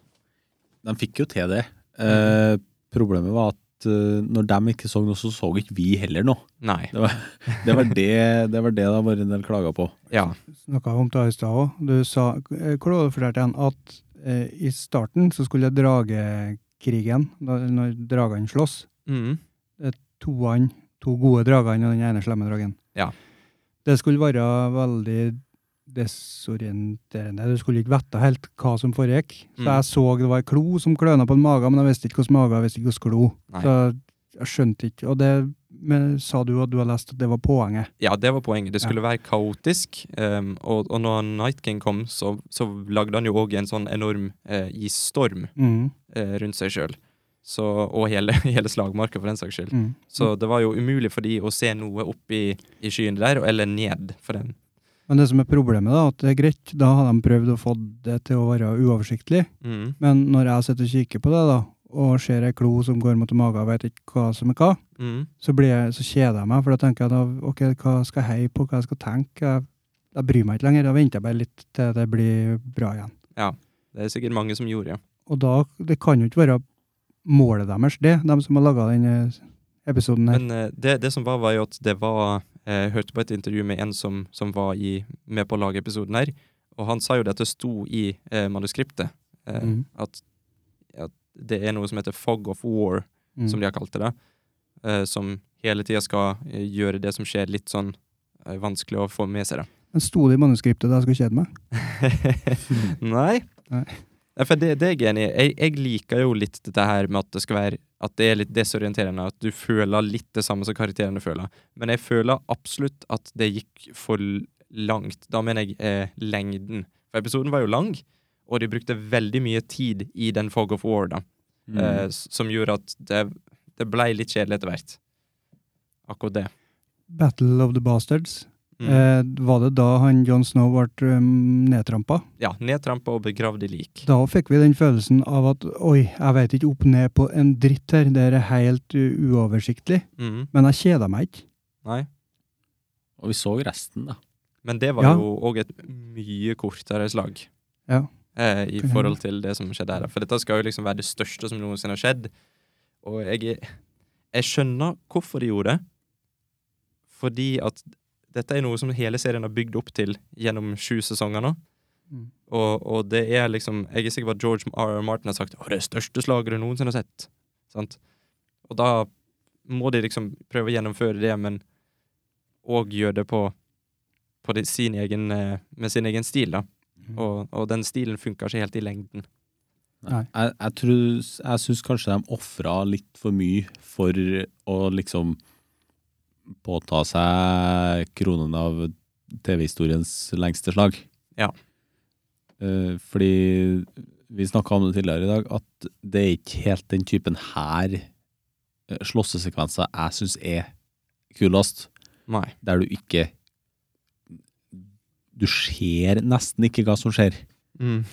C: De fikk jo til det. Eh, problemet var at eh, når de ikke så noe, så så ikke vi heller noe.
B: Nei.
C: Det var det det var det det var en del klager på.
B: Ja.
A: snakka om det i stad òg. Du sa eh, Hvor var det du fortalte igjen at eh, i starten så skulle dragekrigen, da, når dragene slåss
B: Mm.
A: toene, to gode dragene og den ene slemme dragen.
B: Ja.
A: Det skulle være veldig desorienterende. Du skulle ikke vite helt hva som foregikk. Så
B: Mm.
A: jeg så det var ei klo som kløna på en mage, men jeg visste ikke hvilken mage, jeg visste ikke hvilken klo.
B: Nei.
A: Så jeg skjønte ikke. Og det men, sa du at du har lest at det var poenget.
B: Ja, det var poenget. Det skulle være kaotisk. ehm, og, og når Night King kom, så, så lagde han jo òg en sånn enorm eh, isstorm
A: Mm.
B: eh, rundt seg sjøl. Og hele, hele slagmarka, for den saks skyld.
A: Mm.
B: Så det var jo umulig for de å se noe opp i, i skyene der, og- eller ned. for den.
A: Men det som er problemet, da, at det er greit, da har de prøvd å få det til å være uoversiktlig.
B: Mhm,
A: Men når jeg sitter og kikker på det, da, og ser ei klo som går mot en mage, og vet ikke hva som er hva,
B: mhm.
A: så, blir jeg, så kjeder jeg meg, for da tenker jeg da, ok, hva skal jeg heie på, hva jeg skal tenke, jeg, jeg bryr meg ikke lenger, da venter jeg bare litt til det blir bra igjen.
B: Det er sikkert mange som gjorde, ja.
A: Og da, det kan jo ikke være målet deres, det, de som har laget denne episoden her.
B: Men eh, det, det som var, var jo at det var eh, Jeg hørte på et intervju med en som, som var i, med på å lage episoden her, og han sa jo dette sto i eh, manuskriptet. eh,
A: Mhm.
B: at, at det er noe som heter fog of war,
A: Mm.
B: som de har kalt det. da, eh, som hele tida skal eh, gjøre det som skjer, litt sånn eh, vanskelig å få med seg. da.
A: Men sto det i manuskriptet da jeg skulle kjede meg?
B: Nei.
A: Nei.
B: Nei, For det, det er jeg enig i. Jeg, jeg liker jo litt dette her med at det skal være at det er litt desorienterende, at du føler litt det samme som karakterene føler. Men jeg føler absolutt at det gikk for l- langt. Da mener jeg eh, lengden. For episoden var jo lang, og de brukte veldig mye tid i den Fog of War, da.
C: Mm.
A: Mm.
B: eh, s- som gjorde at det, det blei litt kjedelig etter hvert. Akkurat det.
A: Battle of the Bastards.
B: Mm.
A: Eh, var det da han John Snow ble um, nedtrampa?
B: Ja, nedtrampa og begravd i lik.
A: Da fikk vi den følelsen av at oi, jeg vet ikke opp ned på en dritt her, det her er helt u- uoversiktlig.
B: Mm.
A: Men jeg kjeda meg ikke.
B: Nei.
C: Og vi så resten, da.
B: Men det var
A: Ja.
B: jo òg et mye kortere slag.
A: Ja.
B: Eh, I forhold til det som skjedde her. For dette skal jo liksom være det største som noensinne har skjedd. Og jeg, jeg skjønner hvorfor de gjorde det. Fordi at dette er noe som hele serien har bygd opp til gjennom sju sesonger nå.
A: Mm.
B: Og, og det er liksom Jeg er sikker på at George R. R. Martin har sagt å, det er største slaget du noensinne har sett. Sant? Og da må de liksom prøve å gjennomføre det, men òg gjøre det på, på det, sin egen, eh, med sin egen stil, da. Og, og den stilen funka ikke helt i lengden.
A: Nei.
C: Jeg, jeg, tror- jeg syns kanskje de ofra litt for mye for å liksom påta seg kronen av TV-historiens lengste slag.
B: Ja.
C: Eh, fordi vi snakka om det tidligere i dag, at det er ikke helt den typen her eh, slåssesekvenser jeg syns er kulest.
B: Nei.
C: der du ikke Du ser nesten ikke hva som skjer.
B: Mm.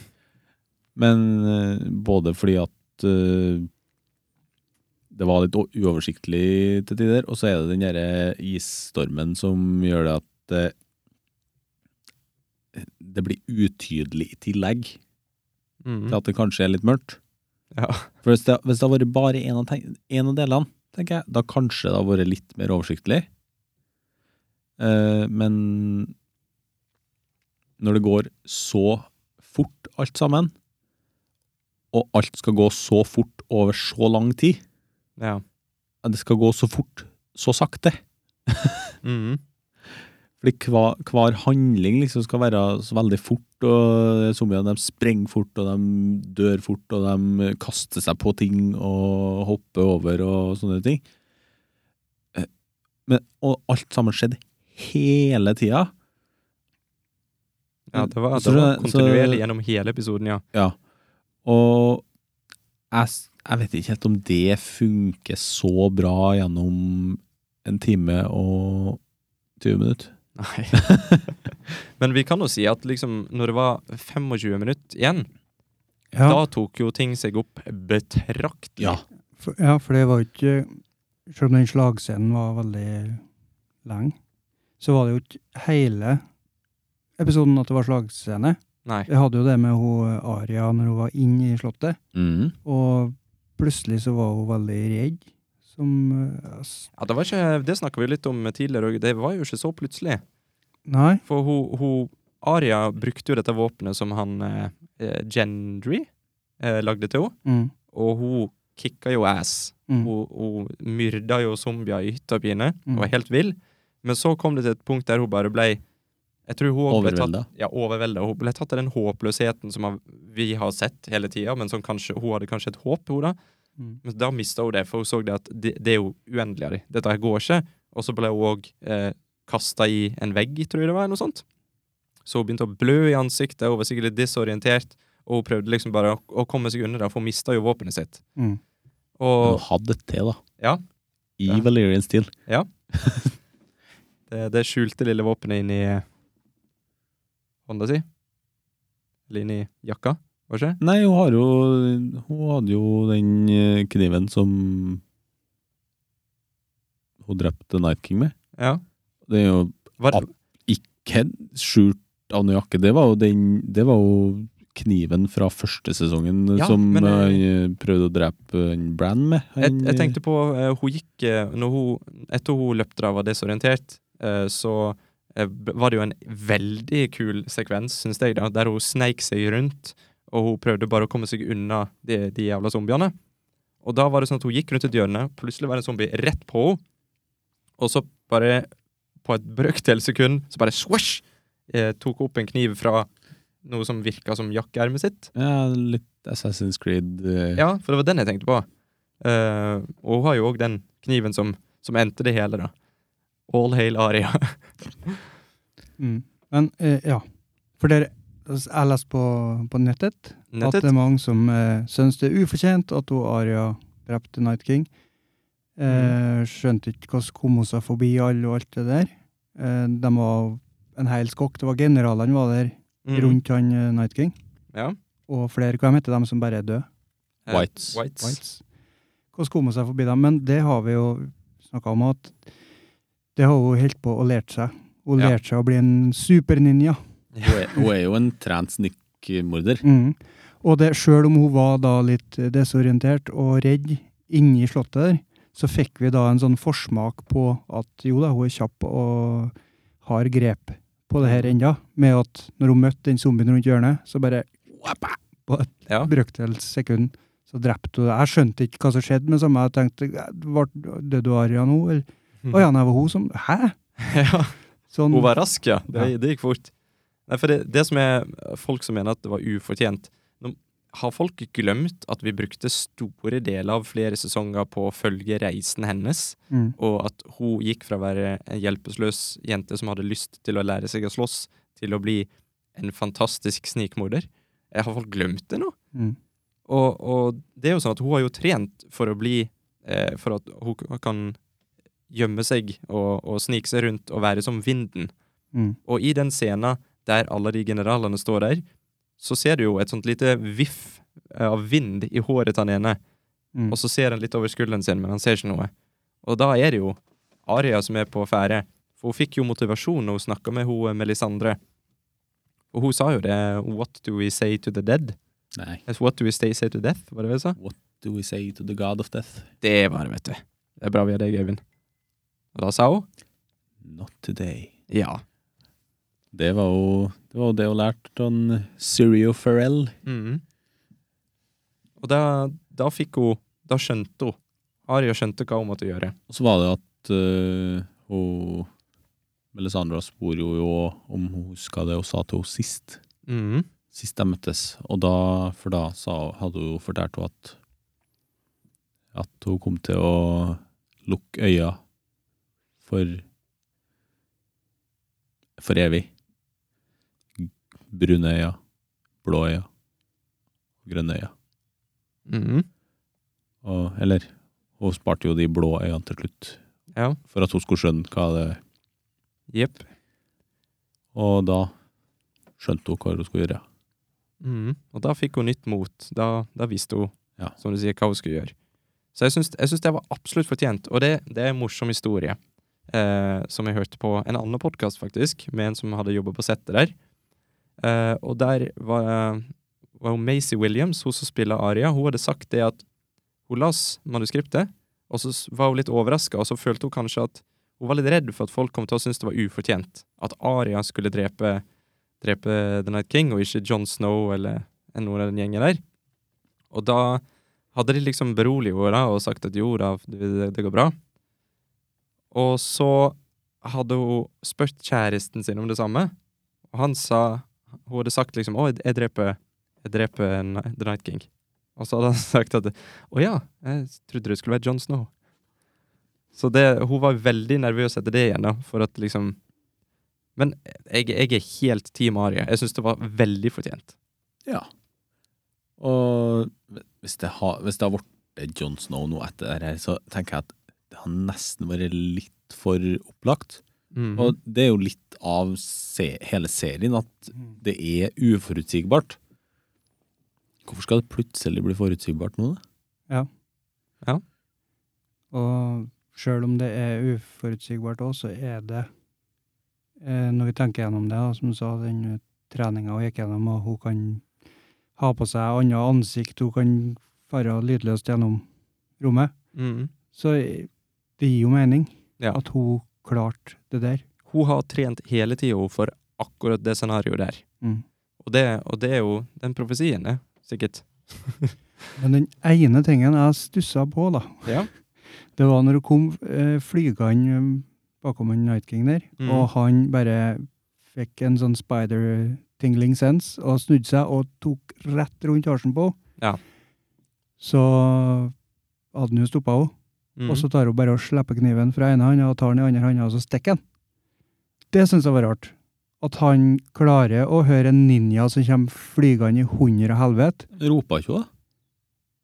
C: Men eh, både fordi at eh, det var litt o- uoversiktlig til tider, og så er det den derre isstormen som gjør det at eh, det blir utydelig i tillegg
B: Mm.
C: til at det kanskje er litt mørkt.
B: Ja.
C: For hvis det, hvis det har vært bare en av, teng- en av delene, tenker jeg, da kanskje det har vært litt mer oversiktlig. Eh, men når det går så fort alt sammen, og alt skal gå så fort over så lang tid,
B: ja.
C: at det skal gå så fort, så sakte,
B: Mm.
C: Fordi hver, hver handling liksom skal være så veldig fort, og zombiene de sprenger fort, og de dør fort, og de kaster seg på ting og hopper over og sånne ting. Eh, Men, og alt sammen skjedde hele tida.
B: ja det var,
C: Så
B: det var
C: det- så-
B: kontinuerlig gjennom hele episoden, ja.
C: Ja. Og jeg, s- jeg vet ikke helt om det funker så bra gjennom en time og 20 minutter.
B: Nei. Men vi kan jo si at liksom, når det var 25 minutter igjen,
A: Ja,
B: da tok jo ting seg opp betraktelig.
A: for, ja, for det var jo ikke Selv om den slagscenen var veldig lenge, så var det jo ikke hele episoden at det var slagscene.
B: Nei.
A: Jeg hadde jo det med hun Aria når hun var inne i Slottet,
C: Mm.
A: og plutselig så var hun veldig redd. Som eh, s-
B: Ja, det var ikke, det snakka vi jo litt om tidligere, og det var jo ikke så plutselig.
A: Nei,
B: For hun, hun Aria brukte jo dette våpenet som han eh, eh, Gendry eh, lagde til henne,
A: mm,
B: og hun kicka jo ass.
A: mm,
B: Hun, hun myrda jo zombier i hytta pine.
A: Mm.
B: Hun var helt vill. Men så kom det til et punkt der hun bare ble jeg tror hun også ble tatt-
C: Overveldet.
B: Ja, overveldet. Hun ble tatt av den håpløsheten som har- vi har sett hele tida, men som kanskje, hun hadde kanskje et håp, hun da.
A: mm.
B: Men da mista hun det, for hun så det at det, det er jo uendelig av dem. Dette her går ikke. Og så ble hun òg eh, kasta i en vegg, tror jeg det var, eller noe sånt. Så hun begynte å blø i ansiktet, hun var sikkert litt disorientert, og hun prøvde liksom bare å, å komme seg unna det, for hun mista jo våpenet sitt.
A: Mm.
C: Men
B: Og
C: hun hadde det til, da.
B: Ja.
C: I
B: Ja.
C: Valerian Steel.
B: Det, det skjulte lille våpenet inni hånda si. Eller inni jakka, var det ikke?
C: Nei, hun, har jo, hun hadde jo den eh, kniven som hun drepte Night King med.
B: Ja.
C: Det er jo
B: Var,
C: Ab- ikke skjult av noe jakke. Det var jo, den, det var jo kniven fra første sesongen eh,
B: Ja,
C: som
B: men, eh,
C: han eh, prøvde å drepe en Bran med.
B: jeg,
C: Han,
B: jeg tenkte på eh, Hun gikk eh, når hun, Etter hun løpte av og var desorientert, eh, så eh, b- var det jo en veldig kul sekvens, syns jeg, da, der hun sneik seg rundt, og hun prøvde bare å komme seg unna de, de jævla zombiene. Og da var det sånn at hun gikk rundt et hjørne, plutselig var det en zombie rett på henne, og så bare på et brøkdel sekund, så bare swash, eh, tok hun opp en kniv fra noe som virka som jakkeermet sitt.
C: eh, Ja, litt Assassin's Creed. eh,
B: Ja, for det var den jeg tenkte på. Eh, og hun har jo òg den kniven som, som endte det hele, da. All hail Aria.
A: Mm. Men, eh, ja. For dere, altså, jeg leste på, på nettet, at
B: Nettet.
A: det er mange som eh, syns det er ufortjent at hun Aria drepte
B: Mm.
A: Night King. Eh, skjønte ikke hvordan kom hun seg forbi alle og alt det der. Eh, de var en hel skokk. Det var generalene var der
B: Mm.
A: rundt han eh, Night King.
B: Ja.
A: Og flere, hva heter de som bare er døde?
B: Eh,
C: Whites.
B: Whites.
A: Whites. Hvordan kom hun seg forbi dem? Men det har vi jo snakka om, at det har hun holdt på og lært seg. Hun
B: Ja.
A: lærte seg å bli en superninja.
C: Hun er, hun er jo en trent snikkmorder.
A: Mm. Og det, selv om hun var da litt eh, desorientert og redd inni slottet der, så fikk vi da en sånn forsmak på at jo da, hun er kjapp og har grep på det her enda, med at når hun møtte den zombien rundt hjørnet, så bare wappa, på et
B: Ja.
A: brøkdels sekund, så drepte hun det. Jeg skjønte ikke hva som skjedde, men samme jeg tenkte, ble- døde hun Arya nå? Eller,
B: Mhm.
A: å ja, nei, det var hun som, hæ?
B: ja.
A: Sånn,
B: Hun var rask, ja. Det,
A: Ja.
B: det gikk fort. Nei, for det, det som er folk som mener at det var ufortjent Nå Har folk glemt at vi brukte store deler av flere sesonger på å følge reisen hennes?
A: Mm.
B: Og at hun gikk fra å være en hjelpeløs jente som hadde lyst til å lære seg å slåss, til å bli en fantastisk snikmorder? Eh, Har folk glemt det nå?
A: Mm.
B: Og, og det er jo sånn at hun har jo trent for å bli eh, For at hun k- kan gjemme seg og, og snike seg rundt og være som vinden.
A: Mm.
B: Og i den scenen der alle de generalene står der, så ser du jo et sånt lite viff eh, av vind i håret til han ene.
A: Mm.
B: Og så ser han litt over skulderen sin, men han ser ikke noe. Og da er det jo Aria som er på ferde. For hun fikk jo motivasjon når hun snakka med hun, eh, Melisandre. Og hun sa jo det What do we say to the dead?
C: Nei.
B: Yes, What do we stay, say to death? Var det det hun sa?
C: Do we say to the god of death?
B: Det var det, vet du. Det er bra vi har deg, Øyvind. Og da sa hun
C: Not today.
B: ja.
C: Det var jo det, var jo det hun lærte av en Syrio Farrell.
B: Mhm. Og da, da fikk hun Da skjønte hun. Aria skjønte hva hun måtte gjøre.
C: Og så var det at øh, hun Melisandra spor jo jo om hun huska det hun sa til henne sist.
B: Mhm.
C: Sist de møttes. Og da, for da sa, hun- hadde hun fortalt henne at at hun kom til å lukke øya for for evig. Brune øya, blå øya, grønne øya.
B: Mhm.
C: Og, eller hun sparte jo de blå øynene til slutt,
B: Ja.
C: for at hun skulle skjønne hva det
B: Jepp.
C: Og da skjønte hun hva hun skulle gjøre.
B: Mhm. Og da fikk hun nytt mot. Da, da visste hun,
C: Ja.
B: som du sier, hva hun skulle gjøre. Så jeg syns, jeg syns det var absolutt fortjent. Og det, det er en morsom historie eh, som jeg hørte på en annen podkast, faktisk, med en som hadde jobba på settet der. Eh, og der var, var hun Maisie Williams, hun som spiller Aria. Hun hadde sagt det at hun las manuskriptet, og så s- var hun litt overraska, og så følte hun kanskje at hun var litt redd for at folk kom til å synes det var ufortjent. At Aria skulle drepe, drepe The Night King, og ikke John Snow eller noen av den gjengen der. Og da hadde de liksom beroliget henne da, og sagt at jo da, det, det går bra. Og så hadde hun spurt kjæresten sin om det samme, og han sa Hun hadde sagt liksom 'Å, jeg- jeg dreper, jeg dreper Ni- The Night King'. Og så hadde han sagt at 'Å ja, jeg trodde det skulle være John Snow'. Så det, hun var veldig nervøs etter det igjen, da, for at liksom Men jeg, jeg er helt Team Aria. Jeg syns det var veldig fortjent.
C: Ja. Og hvis det har, hvis det har vært John Snow nå etter det her, så tenker jeg at det har nesten vært litt for opplagt. Og det er jo litt av se, hele serien at
A: mm.
C: det er uforutsigbart. Hvorfor skal det plutselig bli forutsigbart nå, da?
A: Og sjøl om det er uforutsigbart òg, så er det eh, Når vi tenker gjennom det, da, som du sa, den treninga hun gikk gjennom, og hun kan ha på seg annet ansikt, hun kan fare lydløst gjennom rommet,
B: Mhm.
A: så det gir jo mening
B: Ja.
A: at hun klarte det der.
B: Hun har trent hele tida for akkurat det scenarioet der.
A: Mm.
B: Og det, og det er jo den profesien, det. Sikkert.
A: Men den ene tingen jeg stussa på, da,
B: Ja.
A: det var når hun kom eh, flygende eh, bakom en Night King der,
B: Mm.
A: og han bare fikk en sånn spider-tingling sense, og snudde seg og tok rett rundt halsen på henne.
B: Ja.
A: Så hadde han jo stoppa henne,
B: Mhm.
A: og så tar hun bare og slipper kniven fra ene hånda og tar den i andre hånda, og så stikker han. Det syns jeg var rart. At han klarer å høre en ninja som kommer flygende i hundre og helvete,
C: Ropa ikke hun, da?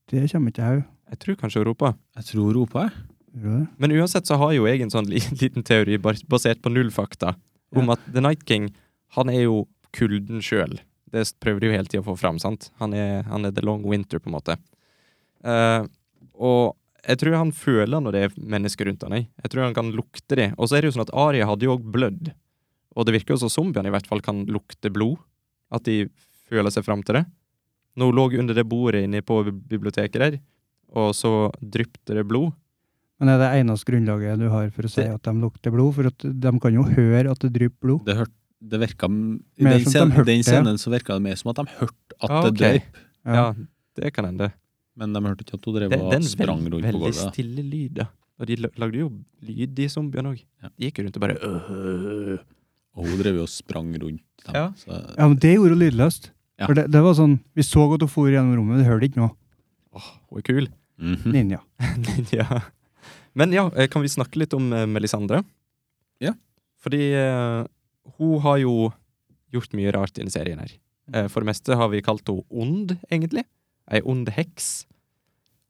A: det kommer ikke jeg.
B: Jeg tror kanskje hun roper.
C: Jeg tror hun ropa, jeg.
A: Gjør du det?
B: Men uansett så har jo jeg en sånn li- liten teori bas- basert på null fakta om at The Night King, han er jo kulden sjøl. Det s- prøver de jo hele tida å få fram, sant? Han er, han er the long winter, på en måte. Eh, og jeg tror han føler når det er mennesker rundt han jeg. Jeg tror han kan lukte det. Og så er det jo sånn at Aria hadde jo òg blødd. Og det virker jo som zombiene i hvert fall kan lukte blod. At de føler seg fram til det. Når hun lå under det bordet inne på bi- biblioteket der, og så dryppte det blod.
A: Men er det eneste grunnlaget du har for å si
B: Det-
A: at de lukter blod? For at de kan jo høre at det drypper blod.
C: Det, hørt, det virka m- I
A: Mer
C: den,
A: som at
C: scenen,
A: de hørte
C: den
A: det, ja.
C: scenen så virka det mer som at de hørte at
B: Ah,
C: det
B: ok.
C: døp,
B: Ja, det kan hende.
C: men de hørte ikke at hun
B: Det,
C: drev
B: det er
C: og
B: en
C: sprang
B: veld,
C: rundt på
B: veldig
C: gulvet.
B: stille lyd, da. Og de la- lagde jo lyd, de zombiene òg.
C: Ja.
B: De gikk jo rundt og bare øh.
C: Og hun drev jo og sprang rundt dem.
B: Ja.
C: Så,
A: Ja, men det gjorde lydløst.
C: Ja.
A: For det, det var sånn, Vi så at hun for gjennom rommet, vi hørte ikke noe.
B: Hun er kul.
C: mhm.
A: Ninja.
B: ja. Men ja, eh, kan vi snakke litt om eh, Melisandre?
C: Ja.
B: Fordi eh, hun har jo gjort mye rart i denne serien her.
C: Mm.
B: Eh, for det meste har vi kalt henne ond, egentlig. Ei ond heks.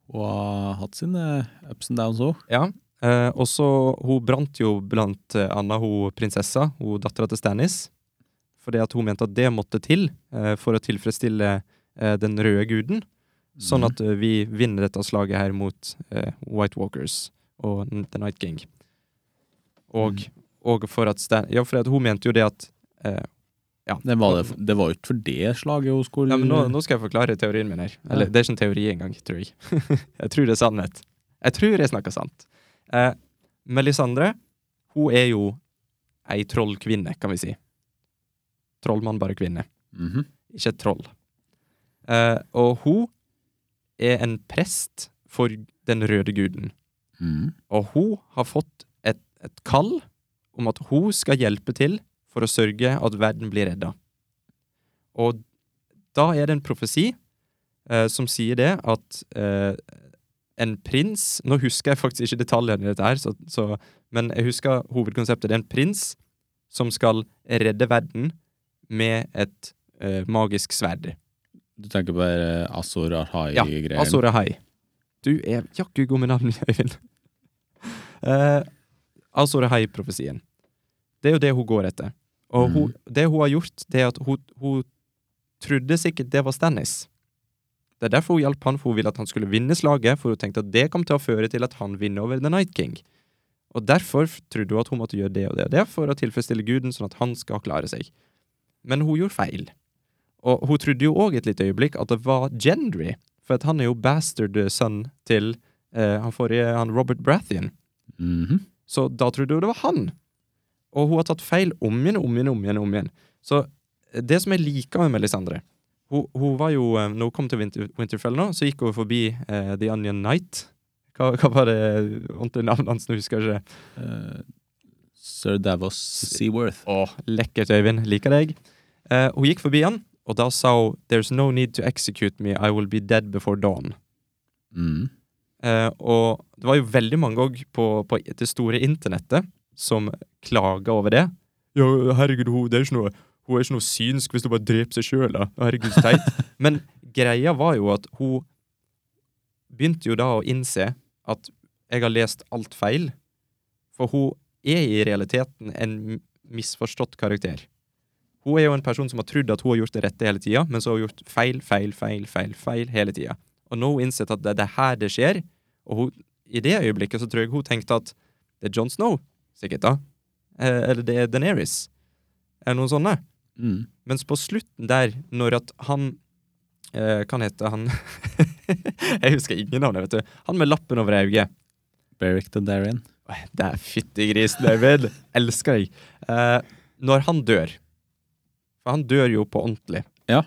C: Hun har hatt sine ups and downs òg.
B: Ja. Eh, og så Hun brant jo blant eh, annet hun prinsessa, hun dattera til Stannis, fordi at hun mente at det måtte til eh, for å tilfredsstille eh, den røde guden, sånn
C: Mhm.
B: at eh, vi vinner dette slaget her mot eh, White Walkers og N- The Night King. Og, og for at Stan... Ja, for at hun mente jo det at eh, ja.
C: Mhm. Det var, det, det var jo ikke for det slaget hun skulle
B: Ja, men nå, nå skal jeg forklare teorien min her. Eller,
C: Mm. Ja.
B: Det er ikke en teori engang, tror jeg. jeg tror det er sannhet. Jeg tror jeg snakker sant. Eh, Melisandre, hun er jo ei trollkvinne, kan vi si. Trollmann, bare kvinne.
C: Mhm.
B: Ikke et troll. Eh, og hun er en prest for den røde guden.
C: Mhm.
B: Og hun har fått et, et kall om at hun skal hjelpe til for å sørge at verden blir redda. Og da er det en profesi eh, som sier det at eh, en prins Nå husker jeg faktisk ikke detaljene i dette, her, så, så, men jeg husker hovedkonseptet. Det er en prins som skal redde verden med et eh, magisk sverd.
C: Du tenker på det eh, Azor Arhai-greier?
B: Ja, Azora Hei. Du er jakku god med navn, Øyvind. Uh, Azora Hei-profesien. Det er jo det hun går etter. Og hun, det hun har gjort, det er at hun, hun trodde sikkert det var Stannis. Det er derfor hun hjalp han, for hun ville at han skulle vinne slaget, for hun tenkte at det kom til å føre til at han vinner over The Night King. Og derfor f- trodde hun at hun måtte gjøre det og det og det for å tilfredsstille guden, sånn at han skal klare seg. Men hun gjorde feil. Og hun trodde jo òg et lite øyeblikk at det var Gendry for at han er jo bastard sønn til eh, han forrige, han Robert Brathian.
C: Mhm.
B: Så da trodde hun det var han. Og hun har tatt feil om igjen, om igjen, om igjen. om igjen. Så eh, det som jeg liker med Melisandre Hun, hun var jo, eh, når hun kom til Winter, Winterfell nå, så gikk hun forbi eh, The Onion Knight. Hva, hva var det ordentlige navnet hans? Nå husker jeg ikke.
C: Eh, Sir Davos Seaworth.
B: Åh, lekkert, Øyvind. Liker deg. Eh, hun gikk forbi han, og da sa hun There's no need to execute me, I will be dead before dawn.
C: Mhm.
B: Eh, og det var jo veldig mange òg på, på det store internettet som klaga over det. Ja, herregud, hun, det er ikke noe, hun er ikke noe synsk hvis hun bare dreper seg sjøl, da. Herregud, så teit. Men greia var jo at hun begynte jo da å innse at jeg har lest alt feil. For hun er i realiteten en m- misforstått karakter. Hun er jo en person som har trodd at hun har gjort det rette hele tida, men så har hun gjort feil, feil, feil, feil, feil hele tida. Og nå har hun innsett at det er det her det skjer, og hun, i det øyeblikket så tror jeg hun tenkte at det er Jon Snow, sikkert da, eh, eller det er Daenerys, eller noen sånne.
C: Mhm.
B: Mens på slutten der, når at han eh, Kan hete han Jeg husker ingen navn, vet du. Han med lappen over øyet.
C: Beric the Darien.
B: Det er fyttegrisen, David. Elsker deg. Eh, når han dør For han dør jo på ordentlig.
C: Ja.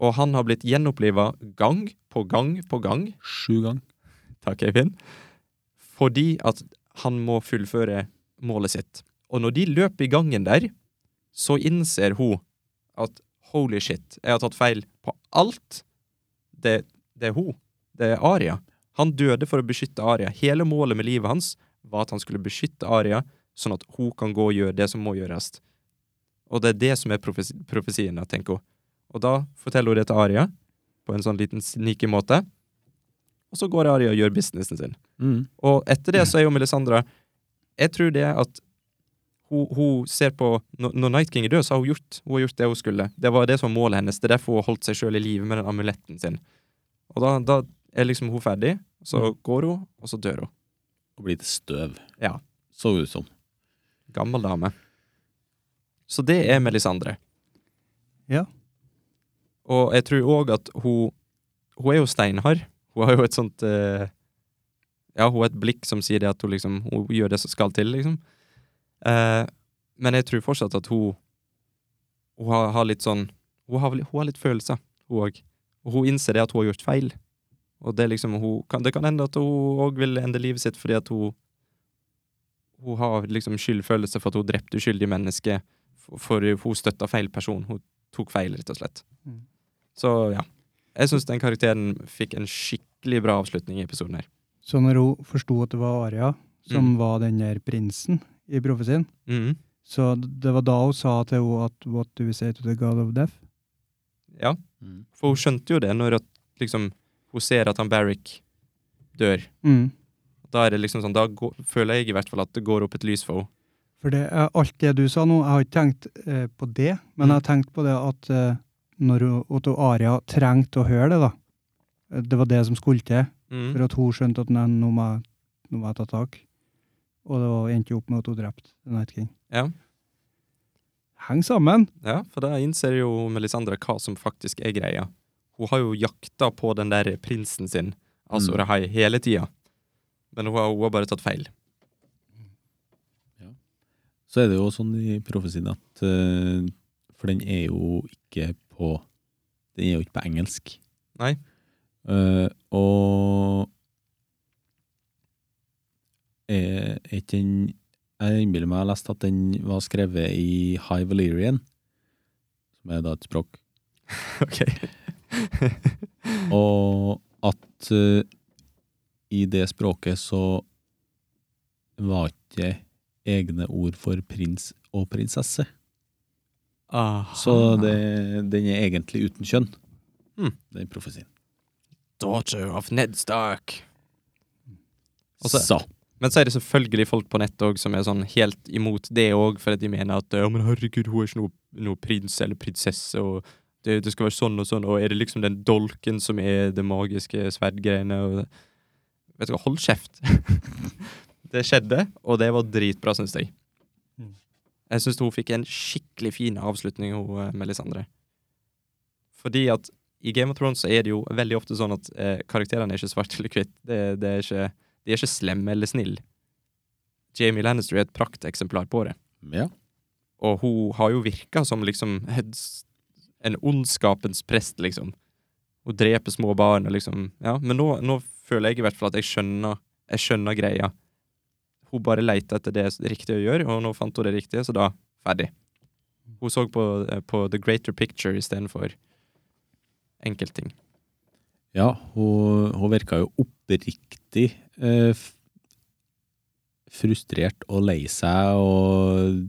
B: Og han har blitt gjenoppliva gang på gang på gang.
C: Sju ganger.
B: Takk, Eivind. Fordi at han må fullføre målet sitt. Og når de løper i gangen der, så innser hun at holy shit, jeg har tatt feil på alt. Det, det er hun. Det er Aria. Han døde for å beskytte Aria. Hele målet med livet hans var at han skulle beskytte Aria, sånn at hun kan gå og gjøre det som må gjøres. Og det er det som er profesi profesien, da, tenker hun. Og da forteller hun det til Aria, på en sånn liten sneaky måte. og så går Arya og gjør businessen sin.
C: Mm.
B: Og etter det så er jo Melisandra Jeg tror det er at hun, hun ser på når- Når Night King er død, så har hun gjort, hun har gjort det hun skulle. Det var det som var målet hennes. Det er derfor hun har holdt seg sjøl i live med den amuletten sin. Og da, da er liksom hun ferdig. Så går hun, og så dør hun.
C: Og blir til støv.
B: Ja.
C: Så ut som.
B: Gammel dame. Så det er Melisandre.
A: Ja.
B: Og jeg tror òg at hun Hun er jo steinhard. Hun har jo et sånt eh, Ja, hun har et blikk som sier det at hun liksom Hun gjør det som skal til, liksom. Eh, men jeg tror fortsatt at hun Hun har, har litt sånn Hun har, vel- hun har litt følelser, hun òg. Og hun innser det at hun har gjort feil. Og det er liksom hun kan, Det kan hende at hun òg vil ende livet sitt fordi at hun Hun har liksom skyldfølelse for at hun drepte uskyldige mennesker, for, for hun støtta feil person. Hun tok feil, rett og slett.
A: Mm.
B: Så ja. Jeg syns den karakteren fikk en skikkelig bra avslutning i episoden her.
A: Så når hun forsto at det var Arya som
B: Mm.
A: var den der prinsen i profesien,
B: Mhm.
A: så det var da hun sa til henne at what do we say to the god of death?
B: Ja, for hun skjønte jo det når at liksom hun ser at han Barrick dør.
A: Mm.
B: Da er det liksom sånn, da går, føler jeg i hvert fall at det går opp et lys for henne.
A: For det, er alt det du sa nå, jeg har ikke tenkt eh, på det, men jeg har tenkt på det at eh, når hun, at hun Arya trengte å høre det, da. Eh, Det var det som skulle til
B: Mhm.
A: for at hun skjønte at nei, nå må jeg, nå må jeg ta tak. Og det var- endte jo opp med at hun drepte The Night King.
B: Ja.
A: Heng sammen!
B: Ja, for da innser jo Melisandre hva som faktisk er greia. Hun har jo jakta på den der prinsen sin, altså
C: Mm.
B: Rahai, hele tida. Men hun har, hun har bare tatt feil.
C: Så er det jo sånn i profesien at eh, For den er jo ikke på Den er jo ikke på engelsk.
B: Nei.
C: Eh, og er ikke den Jeg innbiller meg jeg har lest at den var skrevet i High Valerian, som er da et språk
B: ok.
C: Og at eh, i det språket så var ikke egne ord for prins og prinsesse.
B: Ah,
C: Så det, den er egentlig uten kjønn,
B: Hmm.
C: den profesien.
B: Daughter of Ned Stark. Og så-
C: Så.
B: Men så er det selvfølgelig folk på nettet også som er sånn helt imot det òg, fordi de mener at ja, men herregud, hun er ikke noe, noe prins eller prinsesse, og det, det skal være sånn og sånn, og er det liksom den dolken som er det magiske sverdgreiene og Vet du hva, hold kjeft! det skjedde, og det var dritbra, syns jeg.
A: Mm.
B: Jeg syns hun fikk en skikkelig fin avslutning, hun eh, Melisandre. Fordi at i Game of Thrones så er det jo veldig ofte sånn at eh, karakterene er ikke svart eller hvitt. Det, det er ikke de er ikke slemme eller snille. Jamie Lannister er et prakteksemplar på det.
C: Ja.
B: Og hun har jo virka som liksom et, s- en ondskapens prest, liksom. Hun dreper små barn og liksom Ja, men nå, nå føler jeg i hvert fall at jeg skjønner, jeg skjønner greia. Hun bare leita etter det s- riktige å gjøre, og nå fant hun det riktige, så da ferdig. Hun så på, eh, på the greater picture istedenfor enkeltting.
C: Ja, hun, hun virka jo oppriktig eh, f- frustrert og lei seg og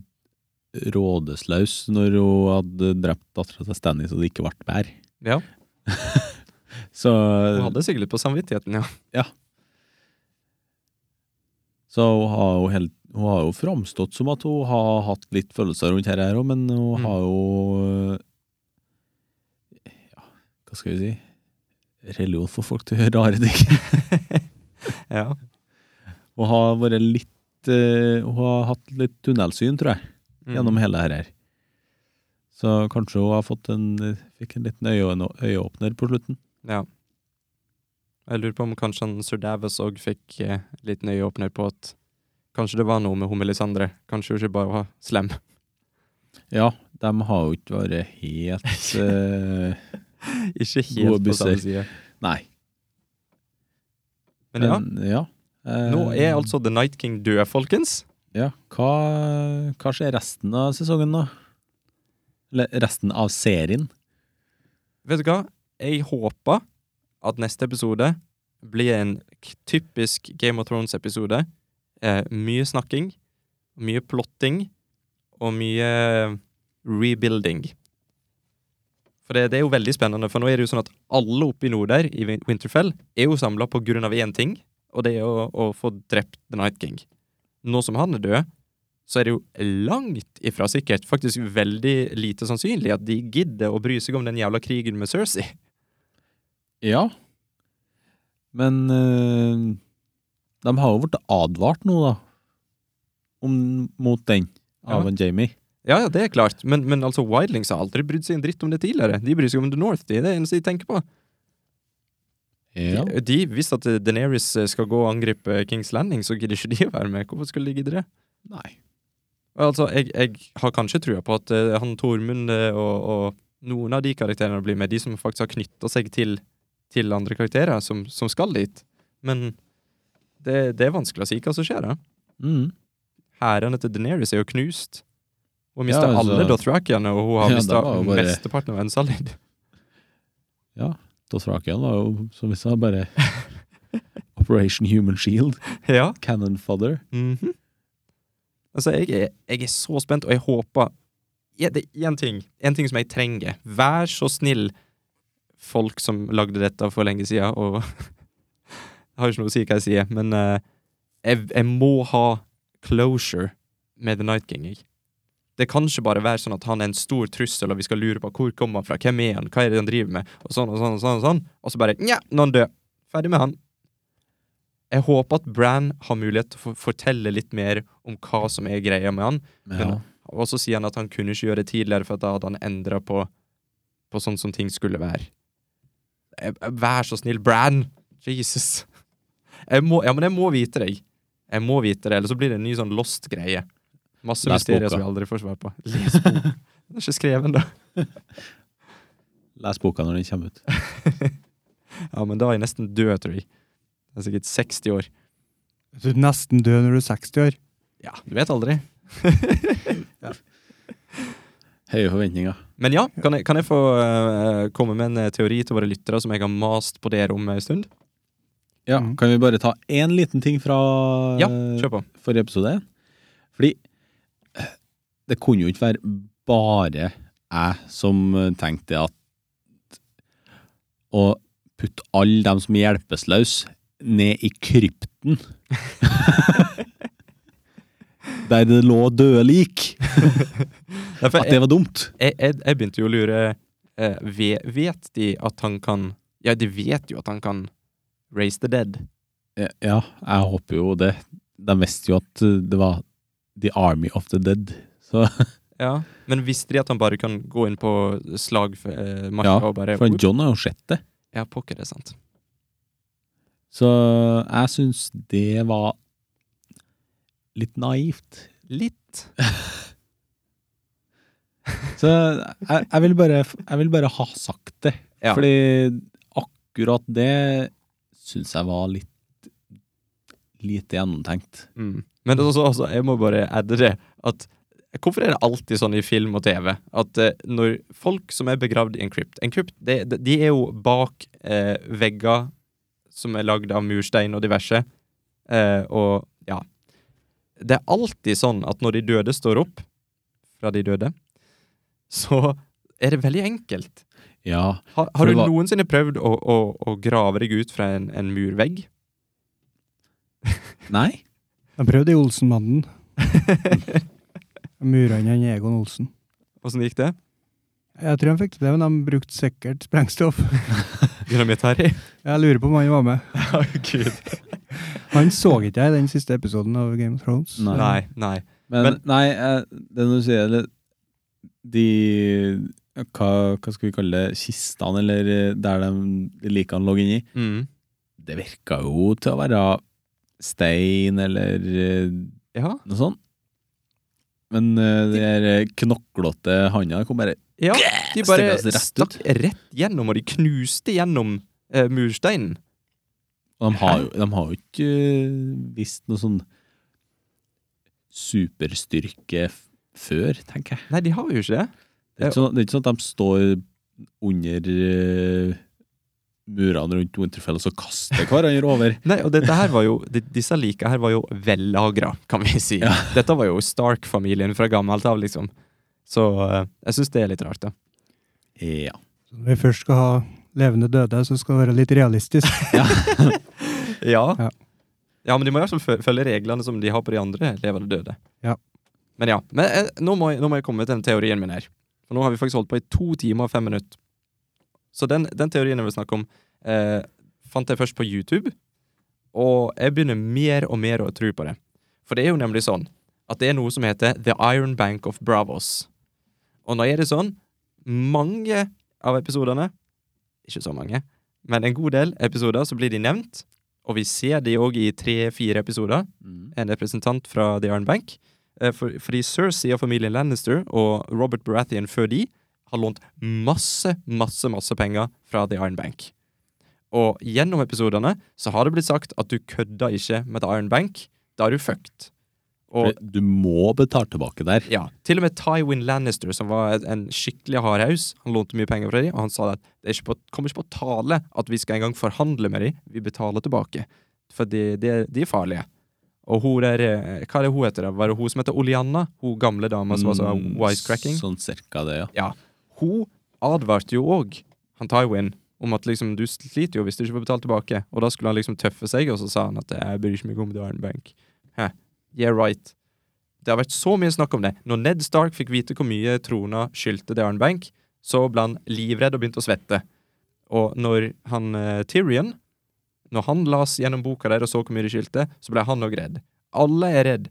C: rådesløs når hun hadde drept dattera til Stanley så det ikke ble bedre.
B: Ja,
C: Så,
B: hun hadde sikkert litt på samvittigheten, ja.
C: så hun, har jo helt, hun har jo framstått som at hun har hatt litt følelser rundt her òg, men
B: Mm.
C: hun har jo eh, ja, Hva skal vi si? Religion får folk til å gjøre rare ting.
B: ja.
C: Hun har vært litt eh, Hun har hatt litt tunnelsyn, tror jeg,
B: Mm.
C: gjennom hele dette her. Så kanskje hun har fått en, fikk en liten øyeåpne- øyeåpner på slutten.
B: Ja. Jeg lurer på om kanskje han Sir Davis òg fikk eh, en liten øyeåpner på at kanskje det var noe med hun Melisandre. Kanskje hun ikke bare var slem.
C: Ja, de har jo ikke vært helt eh,
B: ikke
C: Gode
B: helt på samme
C: busser.
B: side.
C: Nei.
B: Men ja,
C: Men, ja. Eh,
B: nå er altså The Night King død, folkens.
C: Ja, hva, hva skjer resten av sesongen nå? Eller resten av serien?
B: Vet du hva? Jeg håper at neste episode blir en k- typisk Game of Thrones-episode. Eh, mye snakking, mye plotting og mye rebuilding. eh, For det, det er jo veldig spennende, for nå er det jo sånn at alle oppe i nord der, i Win- Winterfell, er jo samla på grunn av én ting, og det er å, å få drept The Night King. Nå som han er død, så er det jo langt ifra sikkert, faktisk veldig lite sannsynlig, at de gidder å bry seg om den jævla krigen med Cersei.
C: Ja. Men eh, de har jo blitt advart nå, da. Om, mot den. Av
B: Ja.
C: en Jamie.
B: Ja, ja, det er klart, men, men altså, Wildlings har aldri brydd seg en dritt om det tidligere. De bryr seg om The North, de. det er det eneste de tenker på.
C: Ja.
B: De, de Hvis at eh, Daenerys eh, skal gå og angripe Kings Landing, så gidder ikke de å være med. Hvorfor skulle de gidde det?
C: Nei.
B: Altså, jeg, jeg har kanskje trua på at eh, han Tormund eh, og, og noen av de karakterene blir med, de som faktisk har knytta seg til, til andre karakterer som, som skal dit. Men det, det er vanskelig å si hva som skjer. da.
C: Mm.
B: Hærene til Deneris er jo knust. Hun
C: Ja,
B: mista
C: altså-
B: alle Dothrakiene, og hun har
C: Ja,
B: mistet
C: det var jo bare-
B: mesteparten av Ensalid.
C: Dothrakian var jo, som vi sa, bare Operation Human Shield.
B: ja.
C: Cannon fodder.
B: Mhm. Altså, jeg er, jeg er så spent, og jeg håper ja, Det er én ting, en ting som jeg trenger. Vær så snill, folk som lagde dette for lenge siden, og Jeg har jo ikke noe å si hva jeg sier, men eh, jeg, jeg må ha closure med The Night King. Jeg. Det kan ikke bare være sånn at han er en stor trussel, og vi skal lure på hvor kommer han fra, hvem er han, hva er det han driver med, og sånn og sånn og sånn, og, sånn. og så bare nja, nå er han død. Ferdig med han. Jeg håper at Bran har mulighet til å få- fortelle litt mer om hva som er greia med han.
C: Ja.
B: Og så sier han at han kunne ikke gjøre det tidligere, for at da hadde han endra på, på sånn som ting skulle være. Jeg, jeg- vær så snill, Bran! Jesus. Jeg må, ja, men jeg må vite det, jeg. Jeg må vite det, ellers så blir det en ny sånn lost-greie. Masse
C: Les
B: mysterier
C: boka.
B: som vi aldri får svar på. Les bok. Den er ikke skreven, da.
C: Les boka når den kommer ut.
B: Ja, men da er jeg nesten død, tror jeg. Jeg er sikkert 60 år.
A: Du er nesten død når du er 60 år.
B: Ja, du vet aldri.
C: Høye forventninger.
B: Men ja, kan jeg, kan jeg få eh, komme med en eh, teori til våre lyttere som jeg har mast på dere om en stund?
C: Ja,
A: Mhm.
C: Kan vi bare ta én liten ting fra
B: Ja, kjør på.
C: forrige episode? Fordi eh, det kunne jo ikke være bare jeg som eh, tenkte at å putte alle dem som er hjelpeløse, ned i krypten. Der det lå døde lik.
B: Ja, for
C: At det var dumt.
B: jeg, jeg, jeg begynte jo å lure eh, ve- Vet de at han kan Ja, de vet jo at han kan raise the dead.
C: Ja, jeg håper jo det. De visste jo at eh, det var The Army of the Dead. Så
B: Ja, Men visste de at han bare kan gå inn på slagmarka
C: Ja,
B: og bare
C: For John har jo sett det.
B: Ja, pokker, det er sant.
C: Så jeg syns det var litt naivt.
B: Litt.
C: Så jeg, jeg, vil, bare, jeg vil bare ha sagt det.
B: Ja.
C: Fordi akkurat det syns jeg var litt lite gjennomtenkt.
B: Mm. Men også, også, jeg må bare adde det at Hvorfor er det alltid sånn i film og TV at eh, når folk som er begravd i en krypt En krypt, det, det- de er jo bak eh, vegger som er lagd av murstein og diverse. Eh, og ja Det er alltid sånn at når de døde står opp fra de døde, så er det veldig enkelt.
C: Ja.
B: Har,
C: For
B: har
C: det
B: du
C: var-
B: noensinne prøvd å, å, å grave deg ut fra en, en murvegg?
C: Nei?
A: Jeg prøvde i Olsenmannen. Murene han Egon Olsen.
B: Åssen gikk det?
A: Jeg tror han fikk til det, men de brukte sikkert sprengstoff.
B: Dynamitt-Harry?
A: Jeg lurer på om han var med.
B: Å, Gud.
A: Han så ikke jeg i den siste episoden av Game of Thrones.
C: Nei.
B: Nei, nei.
C: Men,
B: Men-
C: nei, jeg, det du sier eller, De hva, hva skal vi kalle det? Kistene, eller der de likene lå inni?
B: Mm.
C: Det virka jo til å være stein eller eh,
B: Ja.
C: noe sånt. Men eh, de her eh, knoklete handa kom bare
B: ja. De bare
C: Stakk oss altså rett
B: stakk rett gjennom, og de knuste gjennom eh, mursteinen.
C: Og de har jo, de har jo ikke eh, visst noe sånn superstyrke f før, tenker jeg.
B: Nei, de har jo ikke det.
C: Det er ikke sånn, det er ikke sånn at de står under eh, murene rundt Winterfell og så kaster hverandre over.
B: Nei, og dette her var jo, de, Disse lika her var jo vellagra, kan vi si.
C: Ja.
B: Dette var jo Stark-familien fra gammelt av, liksom. Så eh, jeg syns det er litt rart, da.
C: Ja.
A: Så Når vi først skal ha levende døde, så skal det være litt realistisk.
B: Ja.
A: Ja.
B: ja. men de må i hvert fall fø- følge reglene som de har på de andre levende døde.
A: Ja.
B: Men ja. Men eh, nå må, jeg, nå må jeg komme til den teorien min her. For nå har vi faktisk holdt på i to timer og fem minutter. Så den, den teorien jeg vil snakke om, eh, fant jeg først på YouTube. Og jeg begynner mer og mer å tro på det. For det er jo nemlig sånn at det er noe som heter The Iron Bank of Bravos. Og nå er det sånn Mange av episodene Ikke så mange, men en god del episoder så blir de nevnt. Og vi ser de òg i tre-fire episoder.
C: Mm.
B: En representant fra The Iron Bank. Eh, For, fordi Cersei og familien Lannister og Robert Baratheon før de har lånt masse, masse, masse penger fra The Iron Bank. Og gjennom episodene så har det blitt sagt at du kødda ikke med The Iron Bank. Da er du fucked. Og
C: For Du må betale tilbake der.
B: ja, til og med Tywin Lannister, som var et- en skikkelig hardhaus, han lånte mye penger fra dem, og han sa at det er ikke på, kommer ikke på tale at vi skal engang forhandle med dem, vi betaler tilbake. For de, de, de er farlige. Og hun der, eh, hva er det hun heter da? Var det hun som heter Oleanna? Hun gamle dama som var så
C: Mm,
B: wisecracking?
C: Sånn cirka det, ja.
B: hun advarte jo òg han Tywin om at liksom, du sliter jo hvis du ikke får betalt tilbake. Og da skulle han liksom tøffe seg, og så sa han at jeg bryr ikke meg om The Iron Bank. Hæ, yeah right. Det har vært så mye snakk om det. Når Ned Stark fikk vite hvor mye trona skyldte The Iron Bank, så ble han livredd og begynte å svette. Og når han eh, Tyrion Når han las gjennom boka der og så hvor mye det skyldte, så ble han òg redd. Alle er redd.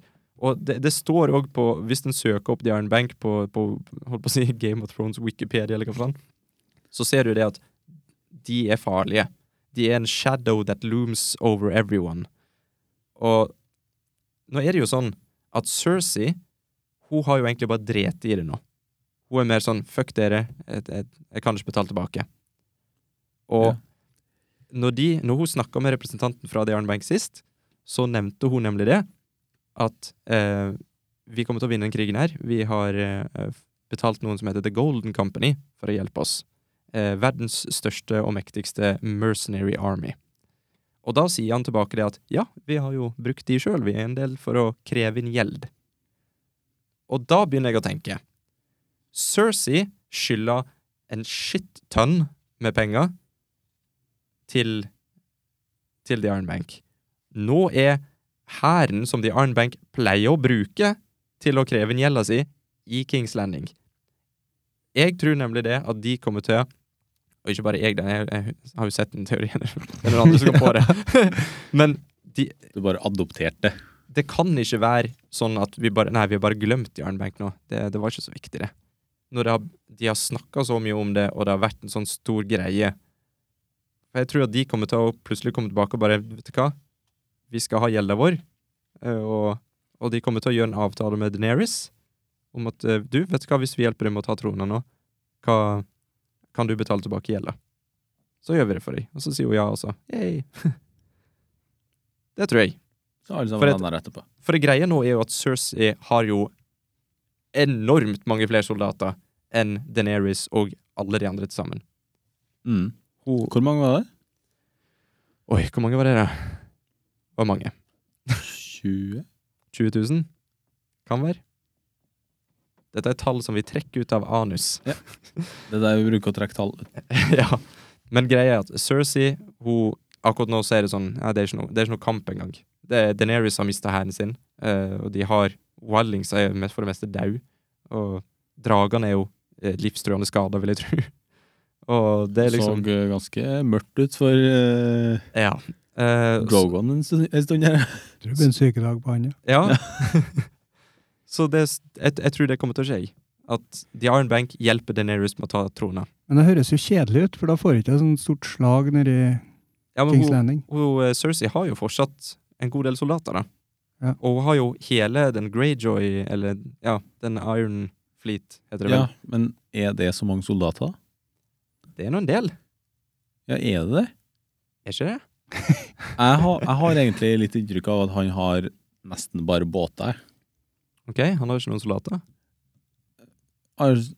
B: Og det, det står òg på Hvis en søker opp The Iron Bank på, på holdt på å si Game of Thrones Wikipedia, eller hva faen, så ser du det at de er farlige. De er en shadow that looms over everyone. Og nå er det jo sånn at Cersei hun har jo egentlig bare dreti i det nå. Hun er mer sånn 'fuck dere, jeg, jeg, jeg kan ikke betale tilbake'. Og
C: Ja.
B: når, de, når hun snakka med representanten fra The Iron Bank sist, så nevnte hun nemlig det at eh, vi kommer til å vinne den krigen her. Vi har eh, betalt noen som heter The Golden Company for å hjelpe oss. Eh, verdens største og mektigste mercenary army. Og da sier han tilbake det at ja, vi har jo brukt de sjøl, vi er en del for å kreve inn gjeld. Og da begynner jeg å tenke. Cersei skylder en shit-tonn med penger til, til The Iron Bank. Nå er hæren som The Iron Bank pleier å bruke til å kreve inn gjelda si, i Kings Landing. Jeg tror nemlig det at de kommer til Og ikke bare jeg, den, jeg, jeg har jo sett den teorien. Det er noen andre som går på det. Men
C: Du bare adopterte.
B: det kan ikke være sånn at vi bare Nei, vi har bare glemt Jaren Bank nå. Det, det var ikke så viktig, det. Når det har, de har snakka så mye om det, og det har vært en sånn stor greie For Jeg tror at de kommer til å plutselig komme tilbake og bare Vet du hva? Vi skal ha gjelda vår. eh, Og, og de kommer til å gjøre en avtale med Deneris om at eh, Du, vet du hva, hvis vi hjelper deg med å ta trona nå, hva, kan du betale tilbake gjelda? Så gjør vi det for deg. Og så sier hun ja også. Yay. det tror jeg.
C: Så
B: For
C: alle sammen
B: et-
C: havna der etterpå.
B: For det greia nå er jo at Cersei har jo enormt mange flere soldater enn Daenerys og alle de andre til sammen.
C: Mm.
B: Hun
C: Hvor mange var det?
B: Oi, hvor mange var det, da? Det var mange.
C: 20?
B: 20 000? Kan være. Dette er tall som vi trekker ut av anus.
C: Det er der vi bruker å trekke tall.
B: ja. Men greia er at Cersei, hun Akkurat nå så er det sånn ja, det, er ikke noe, det er ikke noe kamp engang. Det, Daenerys har mista hæren sin, eh, og de har Wildlings er mest for det meste dau. Og dragene er jo eh, livstruende skader, vil jeg tro. Og det
C: Det
B: er liksom
C: så eh, ganske mørkt ut for eh,
B: Ja. Eh, så,
C: Drogon en stund en stund her.
A: Tror det blir en sykedag på han, ja.
B: ja. så det, jeg, jeg tror det kommer til å skje. At The Iron Bank hjelper Daenerys med å ta trona.
A: Men det høres jo kjedelig ut, for da får jeg ikke et sånt stort slag nedi
B: Ja, men
A: Kings
B: hun,
A: Landing.
B: hun, eh, Cersei har jo fortsatt en god del soldater, da.
A: Ja.
B: Og hun har jo hele den Greyjoy, eller ja, den Iron Fleet, heter det
C: Ja, men er det så mange soldater, da?
B: vel. Det er nå en del,
C: Ja, er det det?
B: er ikke det?
C: Jeg har, jeg har egentlig litt inntrykk av at han har nesten bare båter.
B: Ok, han har jo ikke noen soldater.
C: Har- Jeg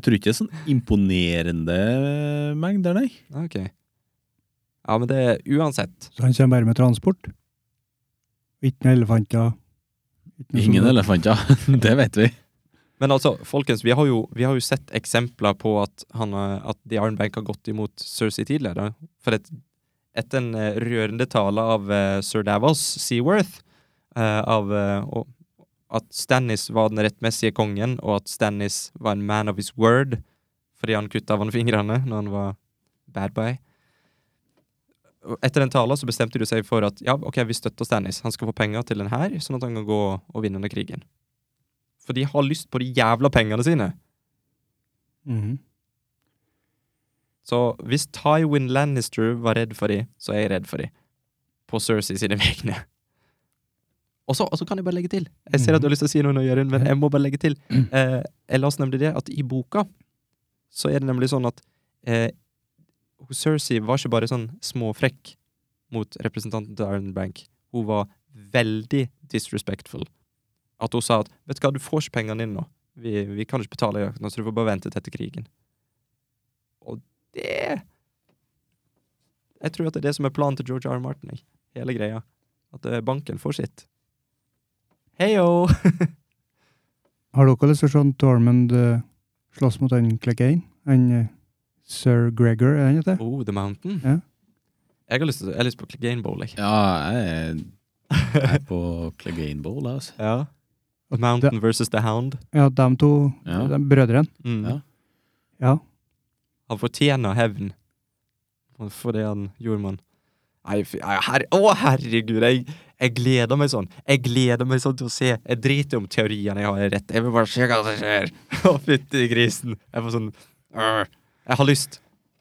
C: tror ikke det er sånn imponerende mengder, nei.
B: ok. Ja, men det er uansett.
A: Så han kommer bare med transport. Ikke noen elefanter. ikke noe
C: Ingen
A: sånt.
C: elefanter, det vet vi.
B: Men altså, folkens, vi har, jo, vi har jo sett eksempler på at, han, eh, at The Iron Bank har gått imot Cersei tidligere. For et, etter en eh, rørende tale av eh, sir Davos Seaworth eh, av eh, og, at Stannis var den rettmessige kongen, og at Stannis var en man of his word fordi han kutta av han fingrene når han var bad boy. Og Etter den talen så bestemte de seg for at ja, ok, vi støtter Stannis. Han skal få penger til den her, sånn at han kan gå og vinne denne krigen. For de har lyst på de jævla pengene sine.
A: Mhm.
B: Så hvis Tywin Lannister var redd for de, så er jeg redd for de. På Cersei sine vegne. Og så og så kan jeg bare legge til. Jeg ser at du har lyst til å si noe, nå, Jørund, men jeg må bare legge til. Eh, jeg leste nemlig det at i boka så er det nemlig sånn at eh, Cersei var ikke bare sånn småfrekk mot representanten til Iron Bank. Hun var veldig disrespectful. At hun sa at 'vet du hva, du får ikke pengene dine nå'. Vi, vi kan ikke betale jakten, så du får bare vente til etter krigen. Og det Jeg tror at det er det som er planen til George R. R. Martin. jeg. Hele greia. At eh, banken får sitt. Heio!
A: Har dere lyst til å se Tormund eh, slåss mot han Clegane? Han eh, sir Gregor, er han heter?
B: Oh, The Mountain.
A: Ja.
B: Jeg har lyst til, jeg har lyst på Game Bowl, jeg.
C: Ja, jeg er- jeg er på Clegane Bowl, jeg, altså.
B: Ja. The Mountain versus The Hound.
A: Ja, de to
C: Ja.
A: de brødrene.
B: Mm.
C: Ja.
A: Ja.
B: Han fortjener hevn for- for det han gjorde, mann. Nei, fy- nei, herre- Å, herregud! Jeg, jeg gleder meg sånn. Jeg gleder meg sånn til å se. Jeg driter om teoriene jeg har er rett. Jeg vil bare se hva som skjer. Å, fytti grisen. Jeg får sånn «Åh». Jeg har lyst.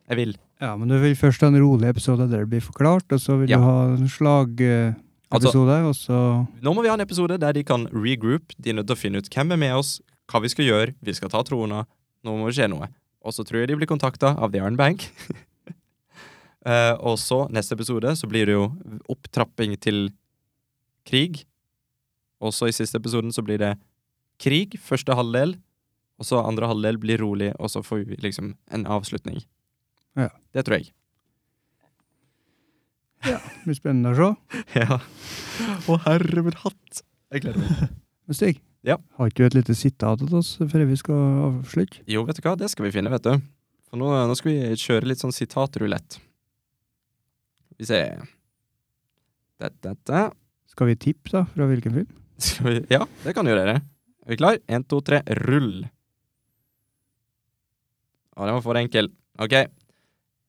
B: Jeg vil.
A: ja, men du vil først ha en rolig episode der det blir forklart, og så vil
B: Ja.
A: du ha en slagepisode,
C: Altså-
A: episode og så
B: Nå må vi ha en episode der de kan regroup. De er nødt til å finne ut hvem er med oss, hva vi skal gjøre, vi skal ta trona. Nå må det skje noe. Og så tror jeg de blir kontakta av The Iron Bank. Eh, og så, neste episode, så blir det jo opptrapping til krig. Og så i siste episoden så blir det krig, første halvdel. Og så andre halvdel blir rolig, og så får vi liksom en avslutning.
A: Ja.
B: Det tror jeg.
A: Det blir spennende å se.
B: Ja. Å, herre min hatt! Jeg gleder meg.
A: Men Stig,
B: Ja.
A: har ikke du et lite sitat til oss før vi skal avslutte?
B: Jo, vet du hva, det skal vi finne, vet du. For nå, nå skal vi kjøre litt sånn sitatrulett. Vi ser da, da, da.
A: Skal vi tippe, da, fra hvilken film?
B: Skal vi Ja, det kan jo dere. Er vi klar? Én, to, tre, rull. Å, den var for enkel. OK.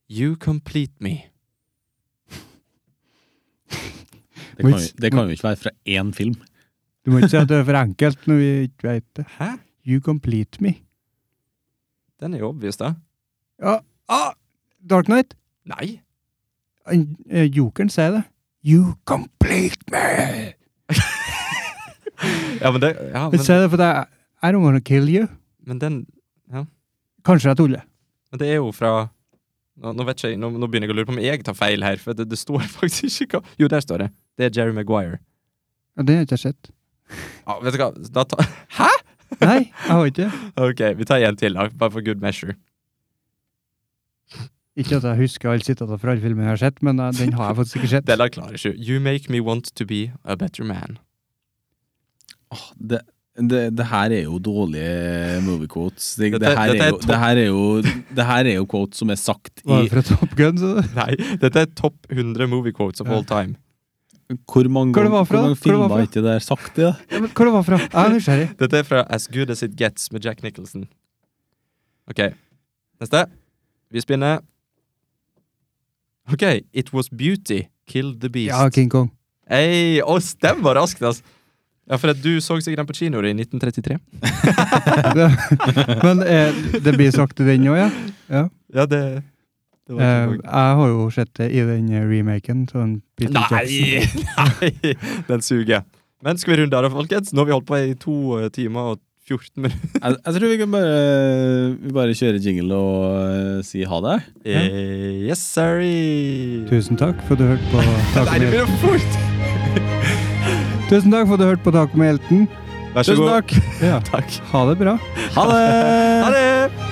B: You complete me.
C: Det kan, jo- det kan jo ikke være fra én film.
A: Du må ikke si at det er for enkelt når vi ikke vet det.
B: Hæ?
A: You complete me.
B: Den er jo obvious, da.
A: Ja. Ah, Dark Knight.
B: Nei.
A: Han, eh, Jokeren sier det. You complete me!
B: Ja, men det ja,
A: Han
B: men,
A: sier det for deg. I don't wanna kill you.
B: men den
A: Kanskje jeg tuller.
B: Men det er jo fra Nå, nå vet ikke jeg, nå, nå begynner jeg å lure på om jeg tar feil her, for det, det står faktisk ikke hva Jo, der står det. Det er Jerry Maguire.
A: Ja, det har jeg ikke sett.
B: Ja, vet du hva, da ta
A: Nei, jeg har ikke det.
B: Ok, vi tar en til, da. Bare for good measure.
A: Ikke at jeg husker alle sitatene fra alle filmene jeg har sett, men eh, den har jeg faktisk ikke sett.
B: Den der klarer ikke You make me want to be a better man.
C: Åh, Det, det, det her er jo dårlige movie quotes. Det,
B: Dette-
C: det, her,
B: dette er
C: er jo,
B: topp.
C: det, her, er jo, det her er jo quotes som er sagt i
A: Var det fra Top Gun? Så.
B: Nei, dette er topp 100 movie quotes of all time.
C: Hvor mange,
A: Hvor det var
C: ganger-
A: fra? Hvor
C: hvor mange
A: det var
C: filmer
A: fra?
C: har ikke det der sagt det?
A: Ja, men, hva det var fra? Jeg er nysgjerrig.
B: Dette er fra As Good As It Gets med Jack Nicholson. Ok, neste. Vi spinner. Ok, It Was Beauty Killed The Beast.
A: Ja, King Kong.
B: Hei, å, den var raskt, altså. Ja, for at du så sikkert den på kino i 1933.
A: Det, men eh, det blir sagt i den òg, ja.
B: Ja, det, det
A: Eh, jeg har jo sett det i den eh, remaken. Sånn Peter
B: Nei!
A: Jackson.
B: Nei! Den suger. Men skal vi runde av, da, folkens? Nå har vi holdt på i to eh, timer og 14 minutter.
C: Jeg, jeg tror vi kan bare, vi bare kjøre jingle og eh, si ha det.
B: Eh, yes, sorry!
A: Tusen takk for at du hørte på
B: Nei, det
A: Taket med,
B: blir for fort!
A: Tusen takk for at du hørte på Taket med helten.
B: Vær så
C: Tusen
B: god.
C: takk.
A: Ja.
B: Takk.
A: Ha det bra.
C: Ha det!
B: Ha det!